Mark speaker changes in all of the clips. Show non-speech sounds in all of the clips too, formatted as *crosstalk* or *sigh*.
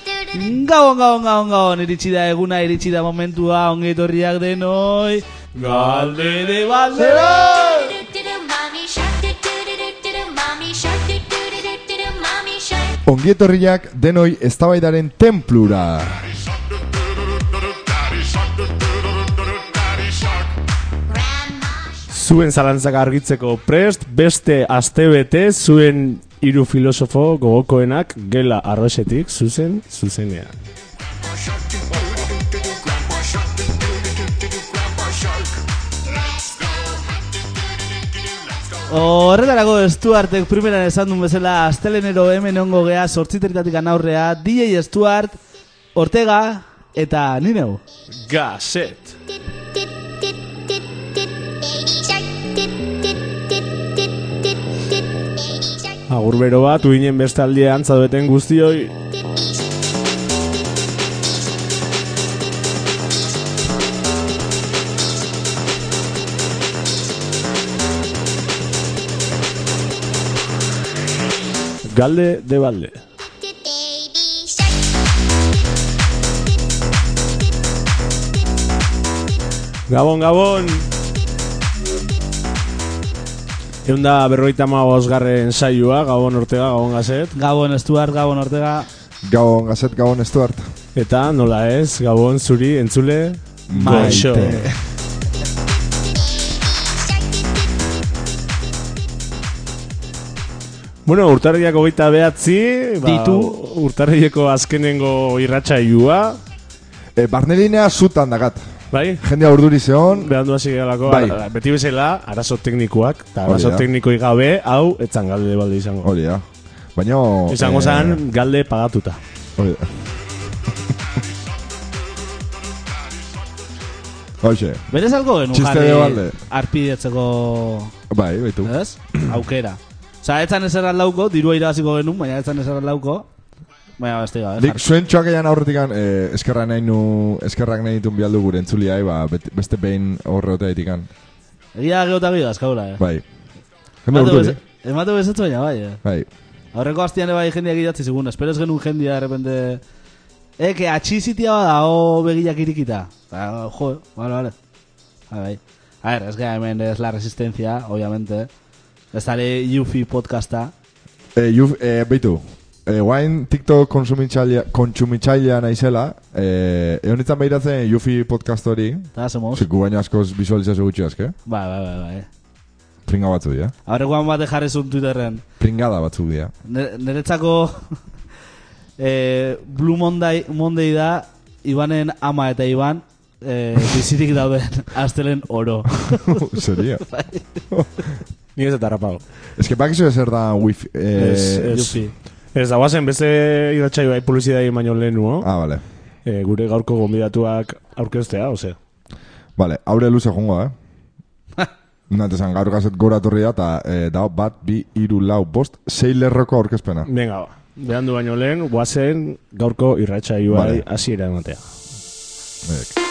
Speaker 1: Gabon, gabon, gabon, gabon, iritsi da eguna, iritsi da momentua, ongi etorriak denoi, galdere baldera!
Speaker 2: Ongietorriak denoi eztabaidaren templura.
Speaker 3: Zuen zalantzak argitzeko prest, beste astebete zuen hiru filosofo gogokoenak gela arrosetik zuzen zuzenean.
Speaker 1: Horretarako Stuartek primeran esan duen bezala, astelenero hemen ongo gea, sortziteritatik anaurrea, DJ Stuart, Ortega, eta nineu.
Speaker 3: Gazet! Agur bero Ah, bat, uinen beste aldia antzadueten guztioi, galde de balde. Gabon, gabon! Eunda berroita maozgarren saioa, Gabon Ortega, Gabon Gazet.
Speaker 1: Gabon Stuart, Gabon Ortega,
Speaker 2: Gabon, gazet, gabon, estuart.
Speaker 3: Eta nola ez, Gabon zuri entzule
Speaker 1: Maite.
Speaker 3: goxo. Bueno, urtarriak hogeita behatzi, ba,
Speaker 1: Ditu.
Speaker 3: urtarriako azkenengo irratsaioa,
Speaker 2: E, barnelinea zutan dagat.
Speaker 3: bai?
Speaker 2: Jendea urduri zeon,
Speaker 3: Behandu hasi gelako,
Speaker 2: Bai.
Speaker 3: ara- beti bezala, arazo teknikoak, eta
Speaker 2: Hori
Speaker 3: arazo
Speaker 2: da.
Speaker 3: teknikoi gabe, hau, etzan galde balde izango.
Speaker 2: hori da. Baina... eh,
Speaker 3: Izango zan, galde pagatuta.
Speaker 2: Hori da. Hoxe,
Speaker 1: Berez algo genuen
Speaker 2: Txiste de balde.
Speaker 1: arpidetzeko
Speaker 2: bai, baitu.
Speaker 1: ez? aukera. Osa, etzan ezer aldauko, dirua irabaziko genuen, baina etzan ezer aldauko. Baina, beste gabe.
Speaker 2: Nik zuen txoak egin aurretik eh, eskerrak nahi nu, eskerrak nahi ditun bialdu gure entzuliai, ba, bet- beste behin horreotea ditikan.
Speaker 1: Egia gero eta gehiago azkaula, eh?
Speaker 2: Bai. Jende
Speaker 1: Ematu
Speaker 2: urduri. eh?
Speaker 1: bez- Ematu bezetzu baina, bai, eh?
Speaker 2: Bai.
Speaker 1: Aurreko hastian bai jendeak idatzi zigun, espero ez genuen jendea de repente... Eh, Eke, atxizitia badago begiak irikita. Ah, jo, vale, vale. A ver, a ver, es que hemen es la resistencia, obviamente. Ez dare Yufi podcasta.
Speaker 2: E, juf, e, beitu, e, guain TikTok konsumitzailea- kontsumitzailea naizela, e, egon nintzen behiratzen Jufi podcast hori,
Speaker 1: Eta somos.
Speaker 2: ziku baino askoz visualizazio gutxi aske,
Speaker 1: Bai, bai, bai, bai.
Speaker 2: pringa batzu dira,
Speaker 1: Aurrekoan bat jarri zuen Twitterren.
Speaker 2: pringada batzu
Speaker 3: *laughs*
Speaker 2: dira. *laughs*
Speaker 1: Ne- Neretzako *laughs* eh, Blue Monday, Monday da Ibanen ama eta Iban eh, bizirik dauden *laughs* astelen oro.
Speaker 2: Serio.
Speaker 3: Ni ez eta rapago.
Speaker 2: Ez que bakizu ezer da wifi... E,
Speaker 3: Ez, ez.
Speaker 1: Yufi.
Speaker 3: Ez da guazen, beste irratxai bai publizidai baino lehenuo,
Speaker 2: Ah, vale.
Speaker 3: eh, gure gaurko gonbidatuak aurkeztea, ose.
Speaker 2: Vale, aure luze jongo,
Speaker 3: *laughs*
Speaker 2: eh? Nate zan, gaur gazet gora torri da, eta eh, da bat, bi, iru, lau, bost, sei lerroko aurkezpena.
Speaker 3: Venga, ba. Behandu baino lehen, guazen gaurko irratxai bai
Speaker 2: Vale.
Speaker 3: hasiera ematea.
Speaker 2: Ek.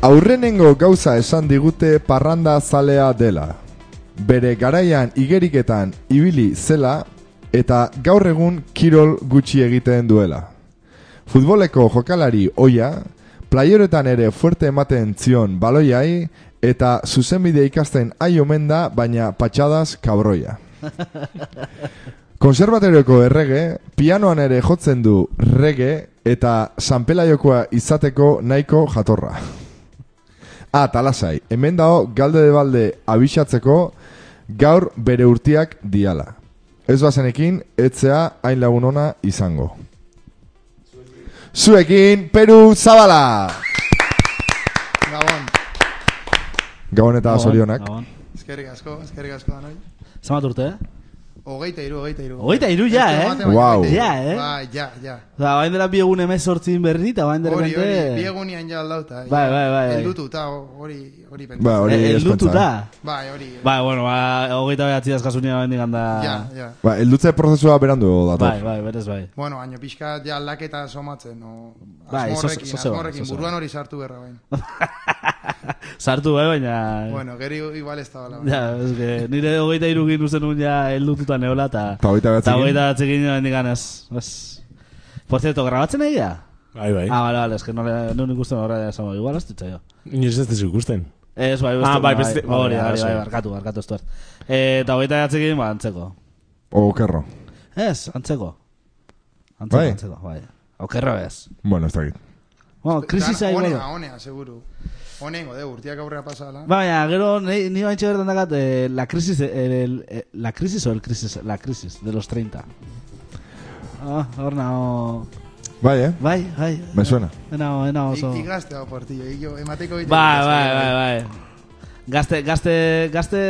Speaker 2: Aurrenengo gauza esan digute parranda zalea dela. Bere garaian igeriketan ibili zela eta gaur egun kirol gutxi egiten duela. Futboleko jokalari oia, playeretan ere fuerte ematen zion baloiai eta zuzenbide ikasten ai omen da, baina patxadas kabroia. Konserbatorioko errege, pianoan ere jotzen du rege eta sanpelaiokoa izateko nahiko jatorra. Ah, talasai, hemen dao galde de balde abixatzeko gaur bere urtiak diala. Ez bazenekin, etzea hain lagun ona izango. Zuekin, Peru Zabala!
Speaker 4: Gabon,
Speaker 2: Gabon eta Ba,
Speaker 1: Bai.
Speaker 2: zorionak.
Speaker 1: Gabon.
Speaker 4: eskerrik asko, eskerrik asko danoi.
Speaker 1: ba, Zenbat urte, eh?
Speaker 4: Hogeita iru, hogeita iru.
Speaker 1: Hogeita hiru ja,
Speaker 4: Ez du
Speaker 1: eh?
Speaker 4: ematen, baina
Speaker 2: Wow.
Speaker 4: hogeita hiru.
Speaker 1: Ja, eh?
Speaker 4: Bai, ja, ja.
Speaker 1: Osa, bain Ba, dela biegun emez sortzin berri, eta bain dela
Speaker 4: Hori, hori,
Speaker 1: bente-
Speaker 4: biegunian ja aldauta.
Speaker 1: Bai, bai, bai, bai.
Speaker 4: Eldutu, eta hori, hori pentsa.
Speaker 2: Ba, hori
Speaker 1: Eh,
Speaker 2: ez
Speaker 1: eldutu
Speaker 2: pentsa.
Speaker 1: da.
Speaker 4: Bai, hori.
Speaker 1: Ba, bueno, ba, hogeita behatzi azkasunia bain diganda...
Speaker 4: Ja, ja.
Speaker 2: Ba, eldutze prozesua berandu dator.
Speaker 1: Bai, bai, berez bai.
Speaker 4: Bueno, baino pixka ja aldaketa somatzen, no?
Speaker 1: Bai,
Speaker 4: Asmorrekin,
Speaker 1: zoze- zoze bat,
Speaker 4: asmorrekin,
Speaker 1: zoze bat.
Speaker 4: buruan hori sartu berra bain.
Speaker 1: Sartu bai, baina...
Speaker 4: Bueno, gero igual ez da bala. bai.
Speaker 1: Ja, ez que, nire hogeita irugin uzen un ja heldututa neola, eta...
Speaker 2: Ta hogeita
Speaker 1: Eta
Speaker 2: batzekin?
Speaker 1: hogeita batzekin hendikan ez. ez. Por cierto, grabatzen ari da?
Speaker 3: Bai, bai.
Speaker 1: Ah, vale, vale, es que no, le, no ikusten horra esango, igual ez ditzaio.
Speaker 3: Ni ez ez ikusten.
Speaker 1: Ez, bai,
Speaker 3: Ah, bai, beste-
Speaker 1: bai, hori,
Speaker 3: bai,
Speaker 1: hori, bai,
Speaker 3: bai.
Speaker 1: barkatu, barkatu estuar. Eh, eta hogeita batzekin, ba, antzeko.
Speaker 2: Okerro.
Speaker 1: Ez, antzeko. Antzeko,
Speaker 2: Bai.
Speaker 1: antzeko, bai. Okerro ez.
Speaker 2: Bueno, ez dakit.
Speaker 1: Bueno, krisisa igual.
Speaker 4: Honea, honea, seguru. Honengo, de, urtiak aurrera pasala.
Speaker 1: Baina, Bai, gero, ni, ni baintxe bertan dakat, eh, la crisis, eh, el, eh, la crisis o el crisis, la crisis, de los 30. Ah, hor nao...
Speaker 2: Bai, eh?
Speaker 1: Bai, bai.
Speaker 2: Me suena.
Speaker 1: Enao, enao oso.
Speaker 4: Ik gazte hau portillo, ikio, emateko egiten.
Speaker 1: Bai, bai, bai, bai. Gazte, gazte, gazte...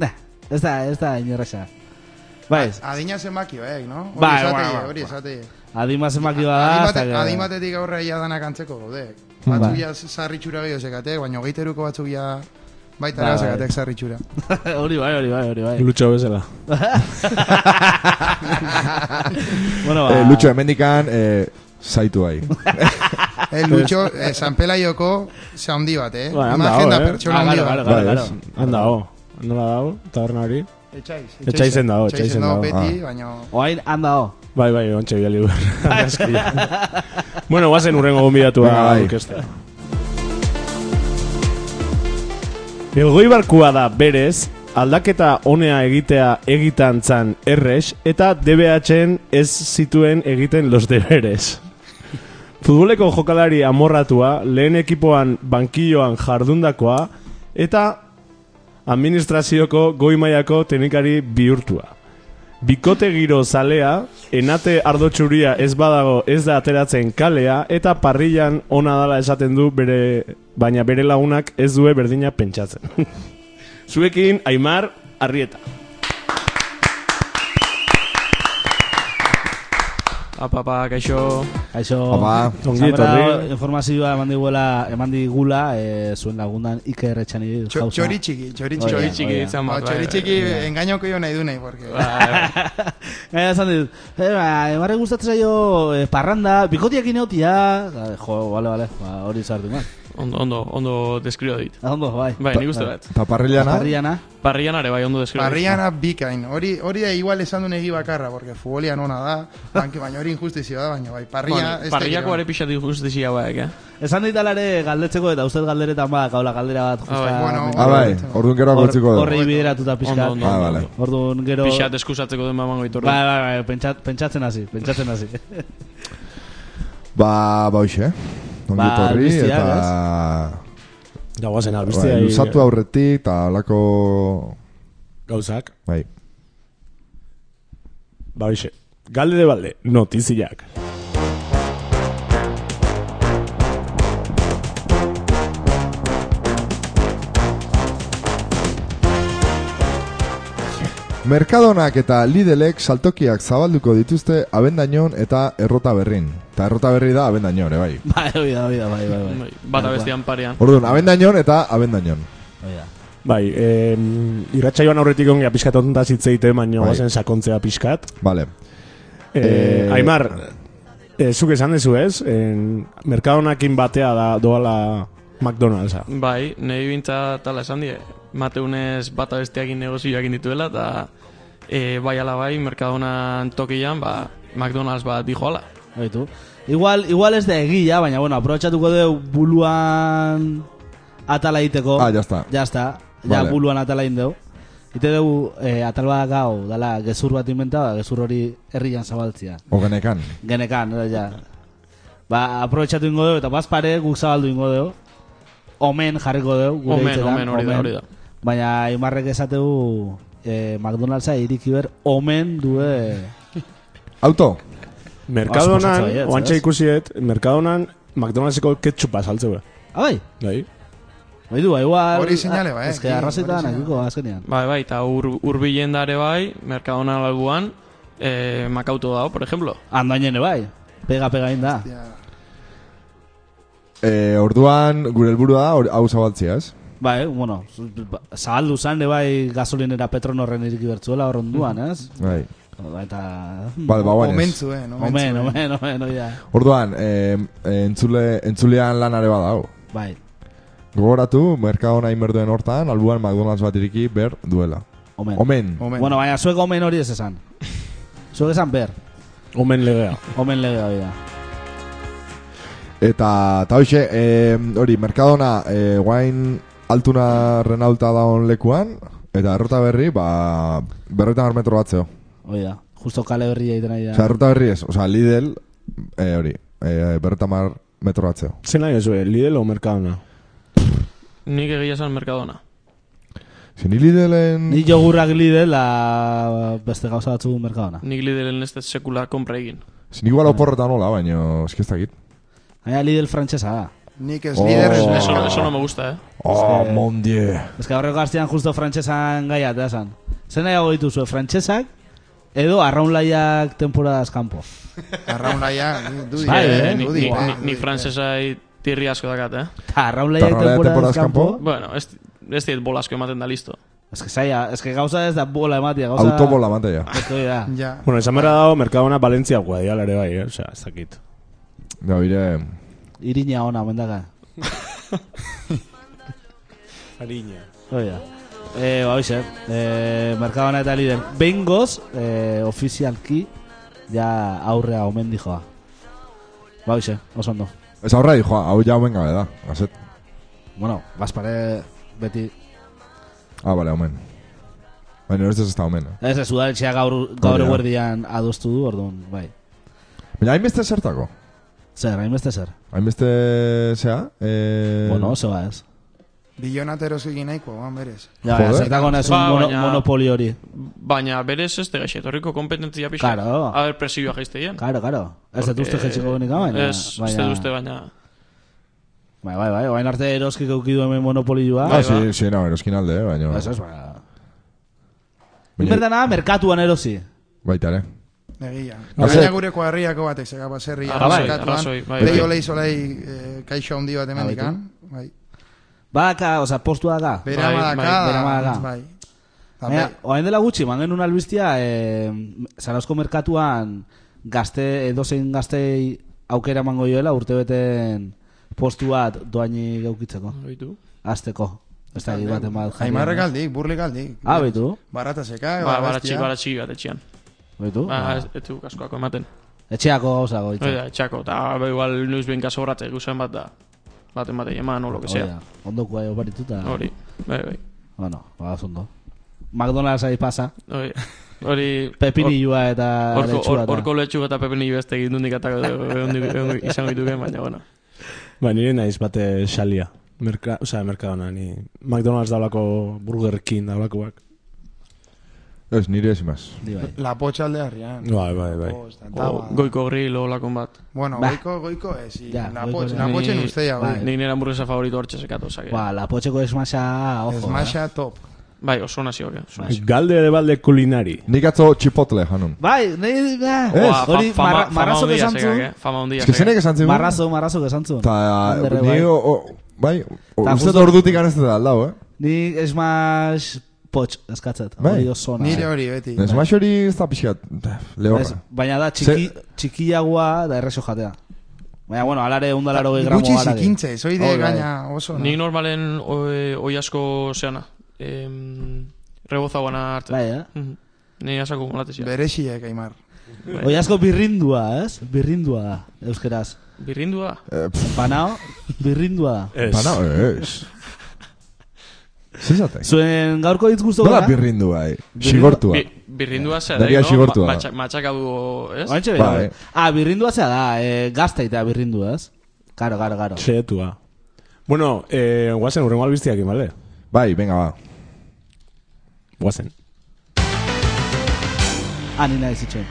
Speaker 1: Nah, ez da, ez da, inorraxa. Bai,
Speaker 4: Adina zenbakio, eh, no? Hori
Speaker 1: Bai,
Speaker 4: esatei,
Speaker 1: bai, bai,
Speaker 4: hori
Speaker 1: bai.
Speaker 4: esatei.
Speaker 1: adima zenbaki bada... hasta que-
Speaker 4: Adimatetik adimatetik aurre ia danak antzeko gaude.
Speaker 1: Bai.
Speaker 4: Batzuk ja sarritxura gehiago zekatek, baina hogeiteruko batzuk ja baita
Speaker 1: Bai,
Speaker 4: gara
Speaker 1: bai.
Speaker 4: zekatek
Speaker 1: *laughs*
Speaker 4: sarritxura.
Speaker 1: *laughs* Hori bai, hori bai, hori
Speaker 2: Eh,
Speaker 1: bai.
Speaker 3: Lutxo bezala.
Speaker 1: bueno, ba...
Speaker 2: Eh, Lucho, hemendikan eh, zaitu
Speaker 1: *laughs*
Speaker 2: bai.
Speaker 4: El Lucho, eh, San Pelaioko saundi bat, eh?
Speaker 3: Bai, anda,
Speaker 4: Imagen da
Speaker 3: hau, eh?
Speaker 4: pertsona
Speaker 1: Ah,
Speaker 4: handi
Speaker 1: galo,
Speaker 4: bat.
Speaker 1: galo, galo,
Speaker 2: Bai,
Speaker 1: galo.
Speaker 2: ez.
Speaker 3: Handa ho. Nola dago, taberna hori.
Speaker 4: Etxaiz.
Speaker 3: Etsaizen dago, etsaizen
Speaker 4: dago.
Speaker 3: dago.
Speaker 4: Beti, baina...
Speaker 1: Oain, handa ho.
Speaker 3: Bai, bai, ontsa bidali
Speaker 2: *laughs*
Speaker 3: behar. bueno, guazen urrengo gombidatu
Speaker 2: Venga, bai.
Speaker 3: aurkeztea. Elgoibarkua da berez, aldaketa honea egitea egitantzan erres, eta DBH-en ez zituen egiten los deberes. Futboleko jokalari amorratua, lehen ekipoan bankilloan jardundakoa, eta administrazioko goimaiako teknikari bihurtua. Bikote giro zalea, enate ardotxuria ez badago ez da ateratzen kalea, eta parrillan ona dala esaten du bere, baina bere lagunak ez due berdina pentsatzen. *laughs* Zuekin, Aimar, Arrieta.
Speaker 5: Apapa, kaixo,
Speaker 1: Aixo...
Speaker 2: Apa,
Speaker 3: Ongi etorri.
Speaker 1: informazioa eman digula, eman digula, eh, zuen lagundan Iker etxani
Speaker 4: Txo-
Speaker 1: jauza. *laughs*
Speaker 4: Txoritxiki, txoritxiki.
Speaker 1: Oia.
Speaker 5: txiki ditzen
Speaker 4: Ba,
Speaker 5: bat. bai,
Speaker 4: Txoritxiki engainoko jo nahi du nahi, porque...
Speaker 1: Ah,
Speaker 5: bai.
Speaker 1: Eh, esan dit, eh, ba, emarre gustatzen zaio eh, parranda, bikotiakin eotia, Ah, jo, bale, bale, ba, hori zartu mal.
Speaker 5: Ondo, ondo, ondo deskribatu dit.
Speaker 1: Ondo, bai. Ba,
Speaker 5: Bai, nik uste bat.
Speaker 2: Ta parrillana?
Speaker 1: Parriana.
Speaker 5: Parrian are bai ondo deskribatu dit.
Speaker 4: Parriana bikain, hori hori da igual esan du negi bakarra, porque futbolian ona da, banki baina hori injustizia da, baina bai, este parria...
Speaker 5: Bueno, Parriako are pixatik justizia hauek, eh?
Speaker 1: Esan dit alare galdetzeko eta uste galderetan ba, gaula galdera bat justa.
Speaker 5: Ah,
Speaker 4: bueno,
Speaker 2: Ah, bai, orduan gero
Speaker 1: Hor-
Speaker 2: akotziko da.
Speaker 1: Horri bideratuta pixka.
Speaker 5: Ondo, ondo,
Speaker 2: Ah,
Speaker 5: ondo.
Speaker 2: bale.
Speaker 1: Orduan gero...
Speaker 5: Pixat eskusatzeko den mamango itordu.
Speaker 1: Bai, bai, bai, pentsat, pentsatzen hasi, pentsatzen hasi.
Speaker 2: Ba, ba, hoxe. Ongi
Speaker 1: Ba,
Speaker 2: etorri
Speaker 1: albisteak,
Speaker 2: eta...
Speaker 3: Da guazen albistea.
Speaker 2: Ba, luzatu aurretik eta alako...
Speaker 3: Gauzak.
Speaker 2: Bai.
Speaker 3: Ba, hoxe. Galde de balde, notiziak.
Speaker 2: Merkadonak eta Lidelek saltokiak zabalduko dituzte abendañon eta errota berrin. Eta errota berri da abendañon, ere bai.
Speaker 1: *laughs* Bai, hori da, hori da, bai, bai, bai.
Speaker 5: Bai, Bata bestian parean.
Speaker 2: Orduan, abendañon eta abendañon.
Speaker 1: Hori da.
Speaker 3: Bai, eh, irratxa joan aurretik ongea pixkat ontaz hitz egiten, baina
Speaker 2: Bai.
Speaker 3: guazen sakontzea pixkat.
Speaker 2: Vale.
Speaker 3: Eh,
Speaker 2: Eh,
Speaker 3: Aimar, eh, zuk esan dezu ez? En, merkadonakin batea da doala McDonald'sa.
Speaker 5: Bai, nahi bintza tala esan die. Mateunez bata besteakin negozioak dituela, eta e, bai ala bai, Mercadonan tokian, ba, McDonald's bat dijoala.
Speaker 1: Oitu. Igual, igual ez da egia, baina, bueno, aprobetsatuko dugu buluan atala egiteko.
Speaker 2: Ah, ya está.
Speaker 1: Ya está. Ya
Speaker 2: Vale.
Speaker 1: buluan atala egin dugu. Ite dugu, eh, atal bat gau, dala, gezur bat inventaba, gezur hori herrian zabaltzia.
Speaker 2: Ogenekan.
Speaker 1: Genekan, edo, ja. Ba, aprobetsatu ingo dugu, eta bazpare guk zabaldu ingo dugu. Omen jarriko dugu. gure
Speaker 5: Omen,
Speaker 1: hitzetan,
Speaker 5: omen, hori da, hori da.
Speaker 1: Baina, Imarrek esategu, eh, McDonald'sa irikiber omen due...
Speaker 2: Auto.
Speaker 1: Oso
Speaker 3: Merkadonan,
Speaker 1: pasatza baietz,
Speaker 3: oantxa
Speaker 1: ez?
Speaker 3: ikusiet, Merkadonan McDonald'seko ketchupa saltzeu.
Speaker 1: Abai!
Speaker 3: Bai.
Speaker 1: Bai du, ba, igual...
Speaker 4: Hori seinale, ba, eh.
Speaker 1: Ez que arrazetan,
Speaker 4: Hori
Speaker 1: akiko, azkenean.
Speaker 5: Bai, bai, eta ur, urbilen dare bai, Mercadona laguan, e, makauto dago, por ejemplo.
Speaker 1: Andoainen, bai. Pega, pega inda.
Speaker 4: Ja.
Speaker 2: Eh, orduan, gure helburua da, hor- hau zabaltzia, ez?
Speaker 1: Bai, bueno, zu- ba- zabaldu zan, de bai, gasolinera petron horren iriki bertzuela horren
Speaker 4: *laughs*
Speaker 1: duan, ez?
Speaker 2: Bai.
Speaker 1: Eta... hmm,
Speaker 2: Vale, ba, guanez.
Speaker 4: Omentzu, eh, no?
Speaker 1: Omen, omen, omen, oida.
Speaker 2: Orduan, eh, eh, entzule, entzulean lanare badao.
Speaker 1: Bai.
Speaker 2: Gogoratu, merkadona inberduen hortan, albuan McDonald's bat iriki ber duela.
Speaker 1: Omen.
Speaker 2: Omen.
Speaker 4: Omen.
Speaker 1: Bueno, baina zuek omen hori ez esan. Zuek esan ber.
Speaker 3: Omen legea.
Speaker 1: Omen legea hori da.
Speaker 2: Eta, eta hoxe, em, hori, merkadona eh, guain altuna renauta daun lekuan, eta errota berri, ba, berretan armetro bat zeo.
Speaker 1: Hori da. Justo kale berria egiten ari
Speaker 2: Osea,
Speaker 1: da.
Speaker 2: errota berri ez, osea, Lidl, eh, hori, eh, berretan mar metro bat zeo.
Speaker 3: Zer nahi zuen, Lidl o Mercadona?
Speaker 5: Nik egia esan Mercadona.
Speaker 2: Si ni Lidlen...
Speaker 1: Ni jogurrak lidela beste gauza batzu merkadona.
Speaker 5: Nik lideren ez dut sekula konpra egin.
Speaker 2: Si ni igual oporretan hola, baino, eski ez dakit.
Speaker 1: Baina Lidl frantsesa da.
Speaker 4: eh. Nik ez
Speaker 2: Oh.
Speaker 4: lider ez
Speaker 2: Oh.
Speaker 5: Eso,
Speaker 4: mercado.
Speaker 5: eso no me gusta, eh.
Speaker 3: Ah,
Speaker 2: Oh, mon die.
Speaker 1: Ez que aurreko astean justo frantsesan gaia eta esan. Zer nahiago dituzue, frantsesak edo arraunlaiak temporadas kanpo.
Speaker 4: Arraunlaia, du
Speaker 1: Bai,
Speaker 4: dire,
Speaker 1: eh,
Speaker 5: ni,
Speaker 4: du
Speaker 5: ni,
Speaker 4: dire,
Speaker 5: ni,
Speaker 4: du
Speaker 5: ni
Speaker 4: dire.
Speaker 5: frantsesai tirri asko dakat, eh.
Speaker 1: Ta arraunlaiak
Speaker 2: Arraunlaiak temporadas
Speaker 1: temporadas
Speaker 2: kanpo?
Speaker 1: kanpo.
Speaker 5: Bueno, ez, ez dit bola asko ematen da listo.
Speaker 1: Ez que zaila, ez que gauza ez da bola ematia, gauza...
Speaker 2: Autobola matea.
Speaker 1: Ez que hori da.
Speaker 4: Ja.
Speaker 3: Bueno, esan behar dago Mercadona Valencia guadiala ere bai, eh? Osea, ez dakit.
Speaker 2: Da, bire,
Speaker 1: Irina ona, mendaka.
Speaker 3: Harina.
Speaker 1: Hori da. Oh, Eh, ba, hoxe, eh, Mercadona eta Lidl. Bengoz, eh, ofizialki, ja aurrea omen dijoa. Ba, hoxe, oso ondo.
Speaker 2: ez aurra dijo, "Ah, hau ja omen gabe da, azet.
Speaker 1: Bueno, bazpare beti...
Speaker 2: Ah, bale, omen. Baina ez ez ez da omen, eh?
Speaker 1: Ez, ez, udaletxea gaur, gaur
Speaker 2: Hori da.
Speaker 1: eguerdian adostu du, orduan, bai.
Speaker 2: Baina hainbeste zertako?
Speaker 1: Zer, hainbeste zer.
Speaker 2: Hainbeste, zea? Eh...
Speaker 1: Bueno, oso ba, ez.
Speaker 4: Billonat erosik nahiko, ban berez.
Speaker 1: Ja, baina,
Speaker 2: Joder.
Speaker 1: zertako nahez un
Speaker 5: Ba,
Speaker 1: mono,
Speaker 5: baina-
Speaker 1: monopoli hori.
Speaker 5: Baina berez ez tega etorriko kompetentzia pixka.
Speaker 1: Claro.
Speaker 5: A ver, presioa jaizteien.
Speaker 1: Karo, karo. Ez dut uste jetxiko genik baina...
Speaker 5: Ez, ez dut uste, baina...
Speaker 1: Bai, bai, bai, oain arte eroskik eukidu hemen monopolioa.
Speaker 2: Ah,
Speaker 5: Bai,
Speaker 2: sí,
Speaker 5: ba.
Speaker 2: sí, no, eroskin alde, eh, baina...
Speaker 1: Eso es, ba...
Speaker 2: Baina-
Speaker 1: Berdana, merkatuan erosi.
Speaker 2: Baita ere.
Speaker 4: Egia.
Speaker 2: Ba,
Speaker 4: Gaina
Speaker 2: ze-
Speaker 4: gureko herriako batek, zega baserria.
Speaker 5: Arrazoi,
Speaker 4: merkatuan,
Speaker 5: arrazoi, Ah, bai,
Speaker 4: Leio
Speaker 5: bai.
Speaker 4: leizolei eh, kaixo handi bat
Speaker 1: Ah, baitu.
Speaker 4: emendikan. Bai.
Speaker 1: Badaka, Ba, oza, postua da.
Speaker 4: Bera
Speaker 5: Bai,
Speaker 4: badaka.
Speaker 1: bai, bera badaka.
Speaker 4: Bai. Eta
Speaker 1: Baina,
Speaker 4: be-
Speaker 1: oain dela gutxi, man genuen albiztia, eh, Zarauzko merkatuan gazte, edozein gaztei aukera emango joela urtebeten postu bat doaini gaukitzeko,
Speaker 5: Oitu.
Speaker 1: azteko. Ez da, baten bat. jarri.
Speaker 4: Aimarrek aldik, burlik aldik.
Speaker 1: Ah, baitu,
Speaker 4: Barata seka,
Speaker 5: Ba, baratxi, baratxi bat etxean.
Speaker 1: baitu.
Speaker 5: Ba,
Speaker 1: Ah,
Speaker 5: ez, ez du kaskoako ematen.
Speaker 1: Etxeako gauza goitzen.
Speaker 5: Oida, etxako, eta ba, igual nuz behin kaso horatze guzen bat da. Baten batei eman, o lo que sea.
Speaker 1: Ondo kuai oparituta.
Speaker 5: Hori, bai, bai.
Speaker 1: Bueno, badaz ondo. McDonald's ahí pasa.
Speaker 5: Hori, hori...
Speaker 1: Pepinillua eta
Speaker 5: Horko,
Speaker 1: lechua
Speaker 5: hor-
Speaker 1: eta-
Speaker 5: horko letxu eta pepen beste egin dundik atako
Speaker 4: *laughs*
Speaker 5: dugu, ehundik- ehundik izango dituken, baina, bueno.
Speaker 3: Ba, nire naiz bate xalia. Merka, osea, Mercadona, ni McDonald's daulako Burger King daulakoak.
Speaker 2: Ez, nire ez imaz.
Speaker 1: Di bai.
Speaker 4: La potxa alde harrian.
Speaker 3: Bai, bai, bai.
Speaker 4: Osta, eta
Speaker 5: O,
Speaker 4: ba.
Speaker 5: goiko grill o lakon bat.
Speaker 4: Bueno,
Speaker 1: Ba.
Speaker 4: goiko, goiko ez. i-
Speaker 1: Ja,
Speaker 4: La
Speaker 1: goiko
Speaker 4: potxa,
Speaker 1: ez.
Speaker 4: la
Speaker 5: Ni-
Speaker 4: potxa ustea, bai.
Speaker 5: Nik nire hamburguesa favorito hortxe sekatu, osea que-
Speaker 1: Ba, la potxeko esmasa, ojo. eh.
Speaker 4: Smasha top.
Speaker 5: Bai, oso nazio, que, oso nazio.
Speaker 3: Galde ere balde kulinari.
Speaker 2: Nik atzo chipotle, janun.
Speaker 1: Bai, nahi...
Speaker 5: Ba,
Speaker 1: Ah,
Speaker 5: fa-
Speaker 1: hori,
Speaker 5: fama-
Speaker 1: marra-
Speaker 5: fama
Speaker 1: marrazo
Speaker 5: handia
Speaker 1: esan
Speaker 5: sekak,
Speaker 1: zuen.
Speaker 5: eh? Fama hundia.
Speaker 2: Ez que zenek esan zigun.
Speaker 1: Marrazo, marrazo esan zuen.
Speaker 2: Ta,
Speaker 1: Andere,
Speaker 2: ni,
Speaker 1: bai.
Speaker 2: o, o, bai, o-
Speaker 1: Ta,
Speaker 2: uste dut
Speaker 1: justo-
Speaker 2: ordutik anezte da aldau, eh?
Speaker 1: Ni esmas potx eskatzet.
Speaker 2: Bai.
Speaker 1: Hori oso ona.
Speaker 4: Nire hori beti. Bai.
Speaker 2: Smash hori ez da pixkat, pff,
Speaker 1: bai. Ez,
Speaker 2: lehorra.
Speaker 1: Baina da, txiki, txikiagoa da errezo jatea. Baina, bueno, alare undalaro gramo
Speaker 4: Gutxi
Speaker 1: gara.
Speaker 4: zikintze, zoide
Speaker 1: Hori bai.
Speaker 4: gaina oso. no?
Speaker 5: Nik normalen oi, oi asko zeana. Em, reboza guana hartzen.
Speaker 1: Bai, eh?
Speaker 5: Mhm. Ni asako molatezia.
Speaker 4: Bereziak, Aimar.
Speaker 1: Oi asko birrindua, ez? Birrindua da, euskeraz.
Speaker 5: Birrindua?
Speaker 2: Eh, pff,
Speaker 1: Banao, birrindua da.
Speaker 3: Ez.
Speaker 2: Pana, ez. Zizatek.
Speaker 1: Zuen gaurko hitz gustu
Speaker 2: Nola
Speaker 1: gara?
Speaker 2: birrindu bai,
Speaker 1: Birrindu-
Speaker 2: xigortua.
Speaker 5: Bi, birrindua zera,
Speaker 2: Daria
Speaker 5: no?
Speaker 2: xigortua da.
Speaker 5: Ma, matxa- matxakadu, ez?
Speaker 1: Oantxe
Speaker 2: Bai.
Speaker 1: bai. Ah, birrindua zea da, eh, gazta eta birrindua, ez? Karo, karo, karo.
Speaker 3: Xeetua. Bueno, eh, guazen urrengo albiztiakin, bale?
Speaker 2: Bai, venga, ba.
Speaker 3: Guazen.
Speaker 1: Ani nahi zitxen.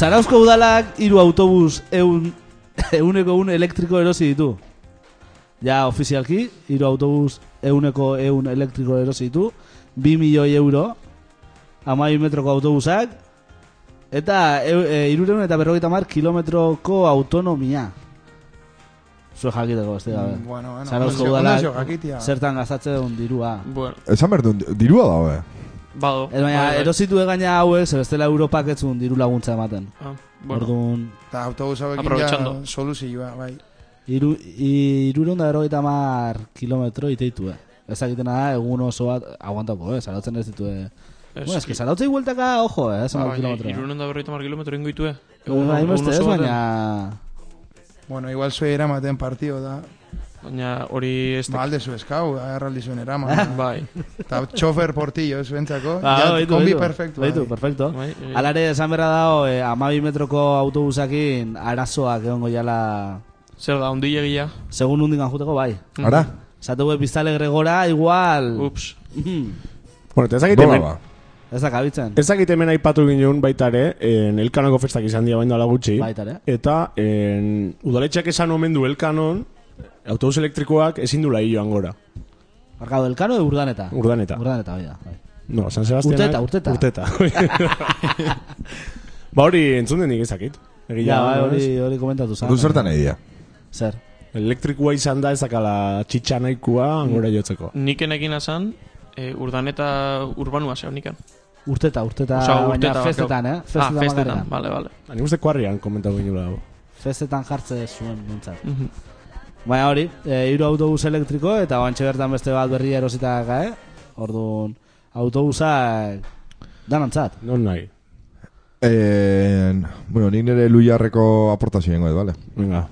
Speaker 1: Zarauzko udalak hiru autobus eun, *laughs* euneko un elektriko erosi ditu. Ja, ofizialki, hiru autobus euneko eun elektriko erosi ditu. Bi milioi euro, amai metroko autobusak, eta eu, e, irureun eta berrogeita mar kilometroko autonomia. Zue jakiteko, ez dira.
Speaker 4: Mm, Bueno, bueno.
Speaker 1: Zarauzko
Speaker 4: ondo-
Speaker 1: udalak-
Speaker 4: ondo jakitia.
Speaker 1: Zertan gaztatze duen dirua.
Speaker 5: Bueno,
Speaker 2: Esan behar duen, dirua da, bai.
Speaker 1: Mm-hmm.
Speaker 5: bado.
Speaker 1: Ez baina,
Speaker 5: Bai, bai.
Speaker 1: erositu egaina hauek, zer bestela Europak ez zuen diru laguntza ematen.
Speaker 5: Ah, bueno.
Speaker 1: Orduan,
Speaker 4: Eta autobus hauekin ja
Speaker 5: Aprovechando.
Speaker 4: soluzioa, bai.
Speaker 1: Iru, irureunda erogeita mar kilometro iteitu, eh? Ez dakitena da, egun oso bat, aguantako, eh? Zarautzen ez ditu, eh?
Speaker 5: Ez
Speaker 1: Bueno, eski,
Speaker 5: ki-
Speaker 1: zarautzei bueltaka, ojo, eh? Zona
Speaker 5: Ba,
Speaker 1: bat
Speaker 5: baina
Speaker 1: kilometro.
Speaker 5: irurehun eta berrogeita hamar kilometro ingo ditue. Egun-
Speaker 1: Baina,
Speaker 5: egun
Speaker 1: hainbeste ez,
Speaker 5: oso batean.
Speaker 1: baina...
Speaker 4: Bueno, igual zue eramaten partio da.
Speaker 5: Baina hori ez da...
Speaker 4: Balde zu eskau, agarraldi zuen
Speaker 1: *laughs*
Speaker 4: eraman.
Speaker 5: *laughs* Bai,
Speaker 4: Eta txofer portillo, zuentzako.
Speaker 1: Ba. Ah,
Speaker 4: ja,
Speaker 1: baitu,
Speaker 4: kombi
Speaker 1: baitu.
Speaker 4: perfektua.
Speaker 1: Baitu,
Speaker 4: eh.
Speaker 1: perfecto.
Speaker 5: bai, eh,
Speaker 1: Alare, esan berra dago, eh, amabi metroko autobusakin arazoak egongo jala...
Speaker 5: zer da, ondilegia.
Speaker 1: Segun hundikan juteko, bai.
Speaker 2: Ara?
Speaker 1: Zateu biztale gregora, igual...
Speaker 5: Ups.
Speaker 1: Mhm.
Speaker 3: Bueno, eta ez dakit
Speaker 2: Dola
Speaker 3: hemen-
Speaker 2: ba.
Speaker 1: Ez dakabitzen.
Speaker 3: Ez dakit hemen aipatu ginen baita ere, en, elkanoko festak izan dira baino ala gutxi.
Speaker 1: Baita ere.
Speaker 3: Eta en, udaletxeak esan omen du elkanon, autobus elektrikoak ezin dula joan gora.
Speaker 1: Markado Elkano de Urdaneta.
Speaker 3: Urdaneta.
Speaker 1: Urdaneta, bai da. bai.
Speaker 3: No, San Sebastianak...
Speaker 1: Urteta,
Speaker 3: urteta. Urteta.
Speaker 1: *laughs*
Speaker 3: ba hori entzun denik ez dakit. Egia
Speaker 1: Ja, bai,
Speaker 3: da,
Speaker 1: hori,
Speaker 3: ez?
Speaker 1: hori komentatu zan.
Speaker 2: Du zertan nahi dia.
Speaker 1: Zer.
Speaker 3: Elektrikoa izan da ez dakala txitsa nahikoa angora jotzeko.
Speaker 5: Nikenekin azan, eh, urdaneta urbanua zeo niken.
Speaker 1: Urteta, urteta,
Speaker 5: Osea,
Speaker 1: Ah, baina
Speaker 5: urteta
Speaker 1: festetan, eh?
Speaker 5: barkau. Ah, festetan,
Speaker 1: bakarrik.
Speaker 5: bale, bale.
Speaker 3: Ba, Nik uste kuarrian komentatu ginula dago.
Speaker 1: Festetan jartze zuen bintzat.
Speaker 5: Mhm.
Speaker 1: Baina hori, eh, hiru autobus elektriko eta oantxe bertan beste bat berria erosita gae. Orduan, eh, autobusak danantzat.
Speaker 3: Non nahi.
Speaker 2: En, bueno, nik nire lujarreko aportazioen goet, vale?
Speaker 3: Venga.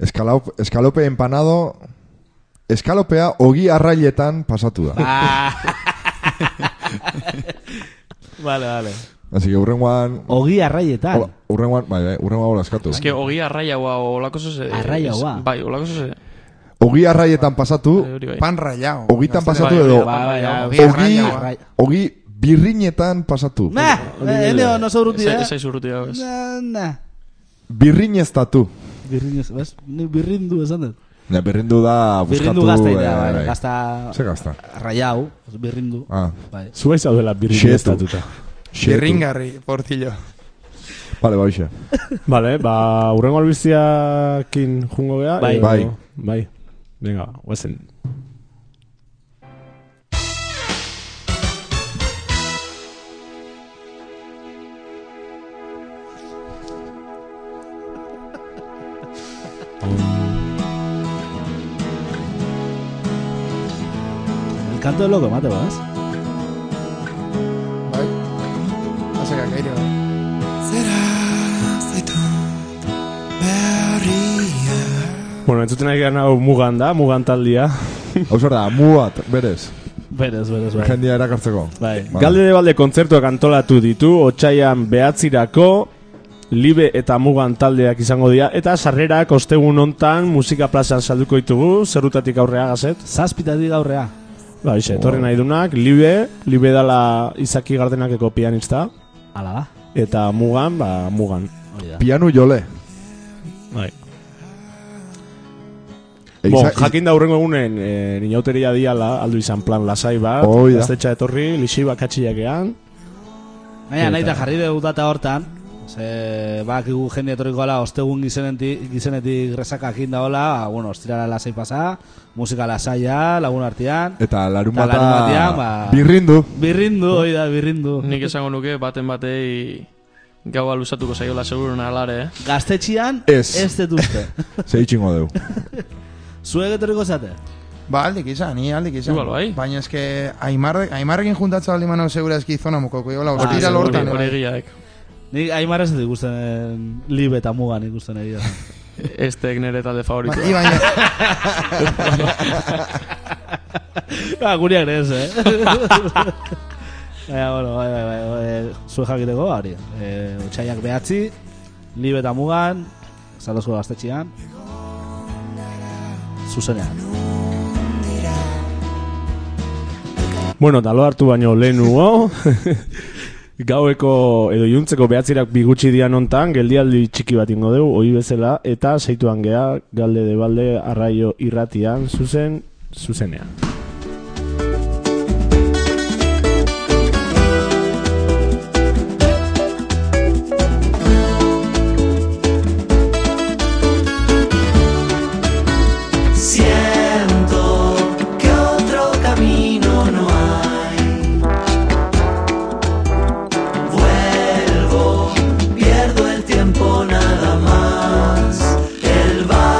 Speaker 2: Eskalop, eskalope empanado... Eskalopea ogi arrailetan pasatu
Speaker 1: *laughs*
Speaker 2: da.
Speaker 5: Ah. *laughs*
Speaker 1: Vale, vale.
Speaker 2: Así que urrengoan...
Speaker 1: Ogi arraietan.
Speaker 2: Hola, Urrengoan, bai, bai, urrengoan hola eskatu.
Speaker 5: Ez que hogi arraiaua olako zoze.
Speaker 1: Ah, Arraiaua. Uh,
Speaker 5: Bai, olako zoze.
Speaker 2: Ogi arraietan pasatu,
Speaker 5: Hori bai.
Speaker 4: Pan rayao.
Speaker 2: ogitan pasatu
Speaker 5: Bai,
Speaker 2: edo...
Speaker 1: Ba, bai, bai,
Speaker 4: Ogi
Speaker 2: Ogi,
Speaker 4: arraioa.
Speaker 1: arrai-
Speaker 2: ogi birrinetan pasatu.
Speaker 1: Nah, eh, Elio, no zauruti,
Speaker 5: Ez
Speaker 1: eh?
Speaker 5: aiz urruti dago ez.
Speaker 1: Na, na.
Speaker 2: Birrineztatu.
Speaker 1: Birrinez, bez? Ni birrindu esan dut.
Speaker 2: Ne, birrindu da
Speaker 1: Birrindu
Speaker 2: buskatu...
Speaker 1: gazta
Speaker 2: eh,
Speaker 1: idea, bai.
Speaker 2: bai.
Speaker 1: Gazta
Speaker 2: Ze gazta?
Speaker 1: raiau, birrindu.
Speaker 2: Ah,
Speaker 1: Bai.
Speaker 3: Zua izan duela birri
Speaker 2: Xehetu.
Speaker 3: estatuta.
Speaker 4: Xerringarri, portillo.
Speaker 2: Vale, ba, hoxe.
Speaker 3: Vale, ba, urrengo albiztiakin jungo gea.
Speaker 1: Bai.
Speaker 3: edo-
Speaker 2: Bai.
Speaker 3: Bai. Venga, guazen.
Speaker 1: El canto es loco, mate, ¿vas?
Speaker 4: Bai. Azaka, kaire, bai.
Speaker 6: Zera zaitut berria
Speaker 3: Bueno, entzuten nahi gara hau mugan da, mugan taldia.
Speaker 2: Hau zer da, muat, berez.
Speaker 1: Berez, berez, bai.
Speaker 2: Jendia erakartzeko.
Speaker 1: *laughs* Bai.
Speaker 2: Vale.
Speaker 3: Galde de balde kontzertuak antolatu ditu, otxaian behatzirako, libe eta mugan taldeak izango dira, eta sarrerak ostegun hontan musika plazan salduko ditugu, zerrutatik aurrea gazet.
Speaker 1: Zazpitatik aurrea.
Speaker 3: Ba, bixe, etorri nahi dunak, libe, libe dala izaki gardenakeko pianista,
Speaker 1: Ala da.
Speaker 3: eta mugan, ba, mugan.
Speaker 1: Hori da.
Speaker 2: Pianu jole.
Speaker 3: Bai.
Speaker 2: E,
Speaker 3: Bon,
Speaker 2: iza-
Speaker 3: jakin da hurrengo egunen, e, ninauteria diala, aldu izan plan lasai bat,
Speaker 2: Hoi da.
Speaker 3: gaztetxa etorri, lixi bakatxiak ean,
Speaker 1: Baina, nahi eta
Speaker 3: Eta-
Speaker 1: jarri dugu data hortan, ze, bakigu jende etorriko ala, ostegun gizeneti, gizenetik resakakin daola, ba, bueno, ostirara lasai pasa, musika lasaia, lagun artean.
Speaker 2: Eta larun
Speaker 1: Eta larun batean,
Speaker 2: bata
Speaker 1: ba-
Speaker 2: birrindu.
Speaker 1: Birrindu, hori da, birrindu.
Speaker 5: Nik esango nuke baten batei gaua luzatuko zaiola segurun alare, eh?
Speaker 1: Gaztetxian,
Speaker 2: Ez.
Speaker 1: ez detuzte.
Speaker 2: Zei txingo deu.
Speaker 1: Zuek etorriko zate?
Speaker 4: Ba, aldik izan, ni aldik izan.
Speaker 5: Igual, bai.
Speaker 4: Baina eske, Aimarre- Aimarrekin juntatza bali manau segura eski zona mokoko. Iola, ostira
Speaker 1: Ah, seguro,
Speaker 4: lortan.
Speaker 5: Ah,
Speaker 4: bai.
Speaker 5: Hori egiaek.
Speaker 1: Nik Aimar ez dut ikusten eh, libe eta mugan ikusten egia.
Speaker 5: Este nere
Speaker 4: Ba,
Speaker 5: talde
Speaker 1: Bai,
Speaker 5: favorito.
Speaker 4: i baina-
Speaker 1: ba, gureak ere ez, eh? *laughs* Baina, bueno, bai, bai, bai, bai, zuen jakiteko, ba, hori. E, Otxaiak behatzi, libe eta mugan, zalozko gaztetxian, zuzenean.
Speaker 3: Bueno, talo hartu baino *laughs* lehenugo Gaueko edo juntzeko behatzirak bigutxi dian hontan Geldialdi txiki bat ingo dugu, ohi bezala Eta seituan gea, galde de balde, arraio irratian Zuzen, zuzenean
Speaker 6: Siento que otro camino no hay Vuelvo, pierdo el tiempo nada más El bar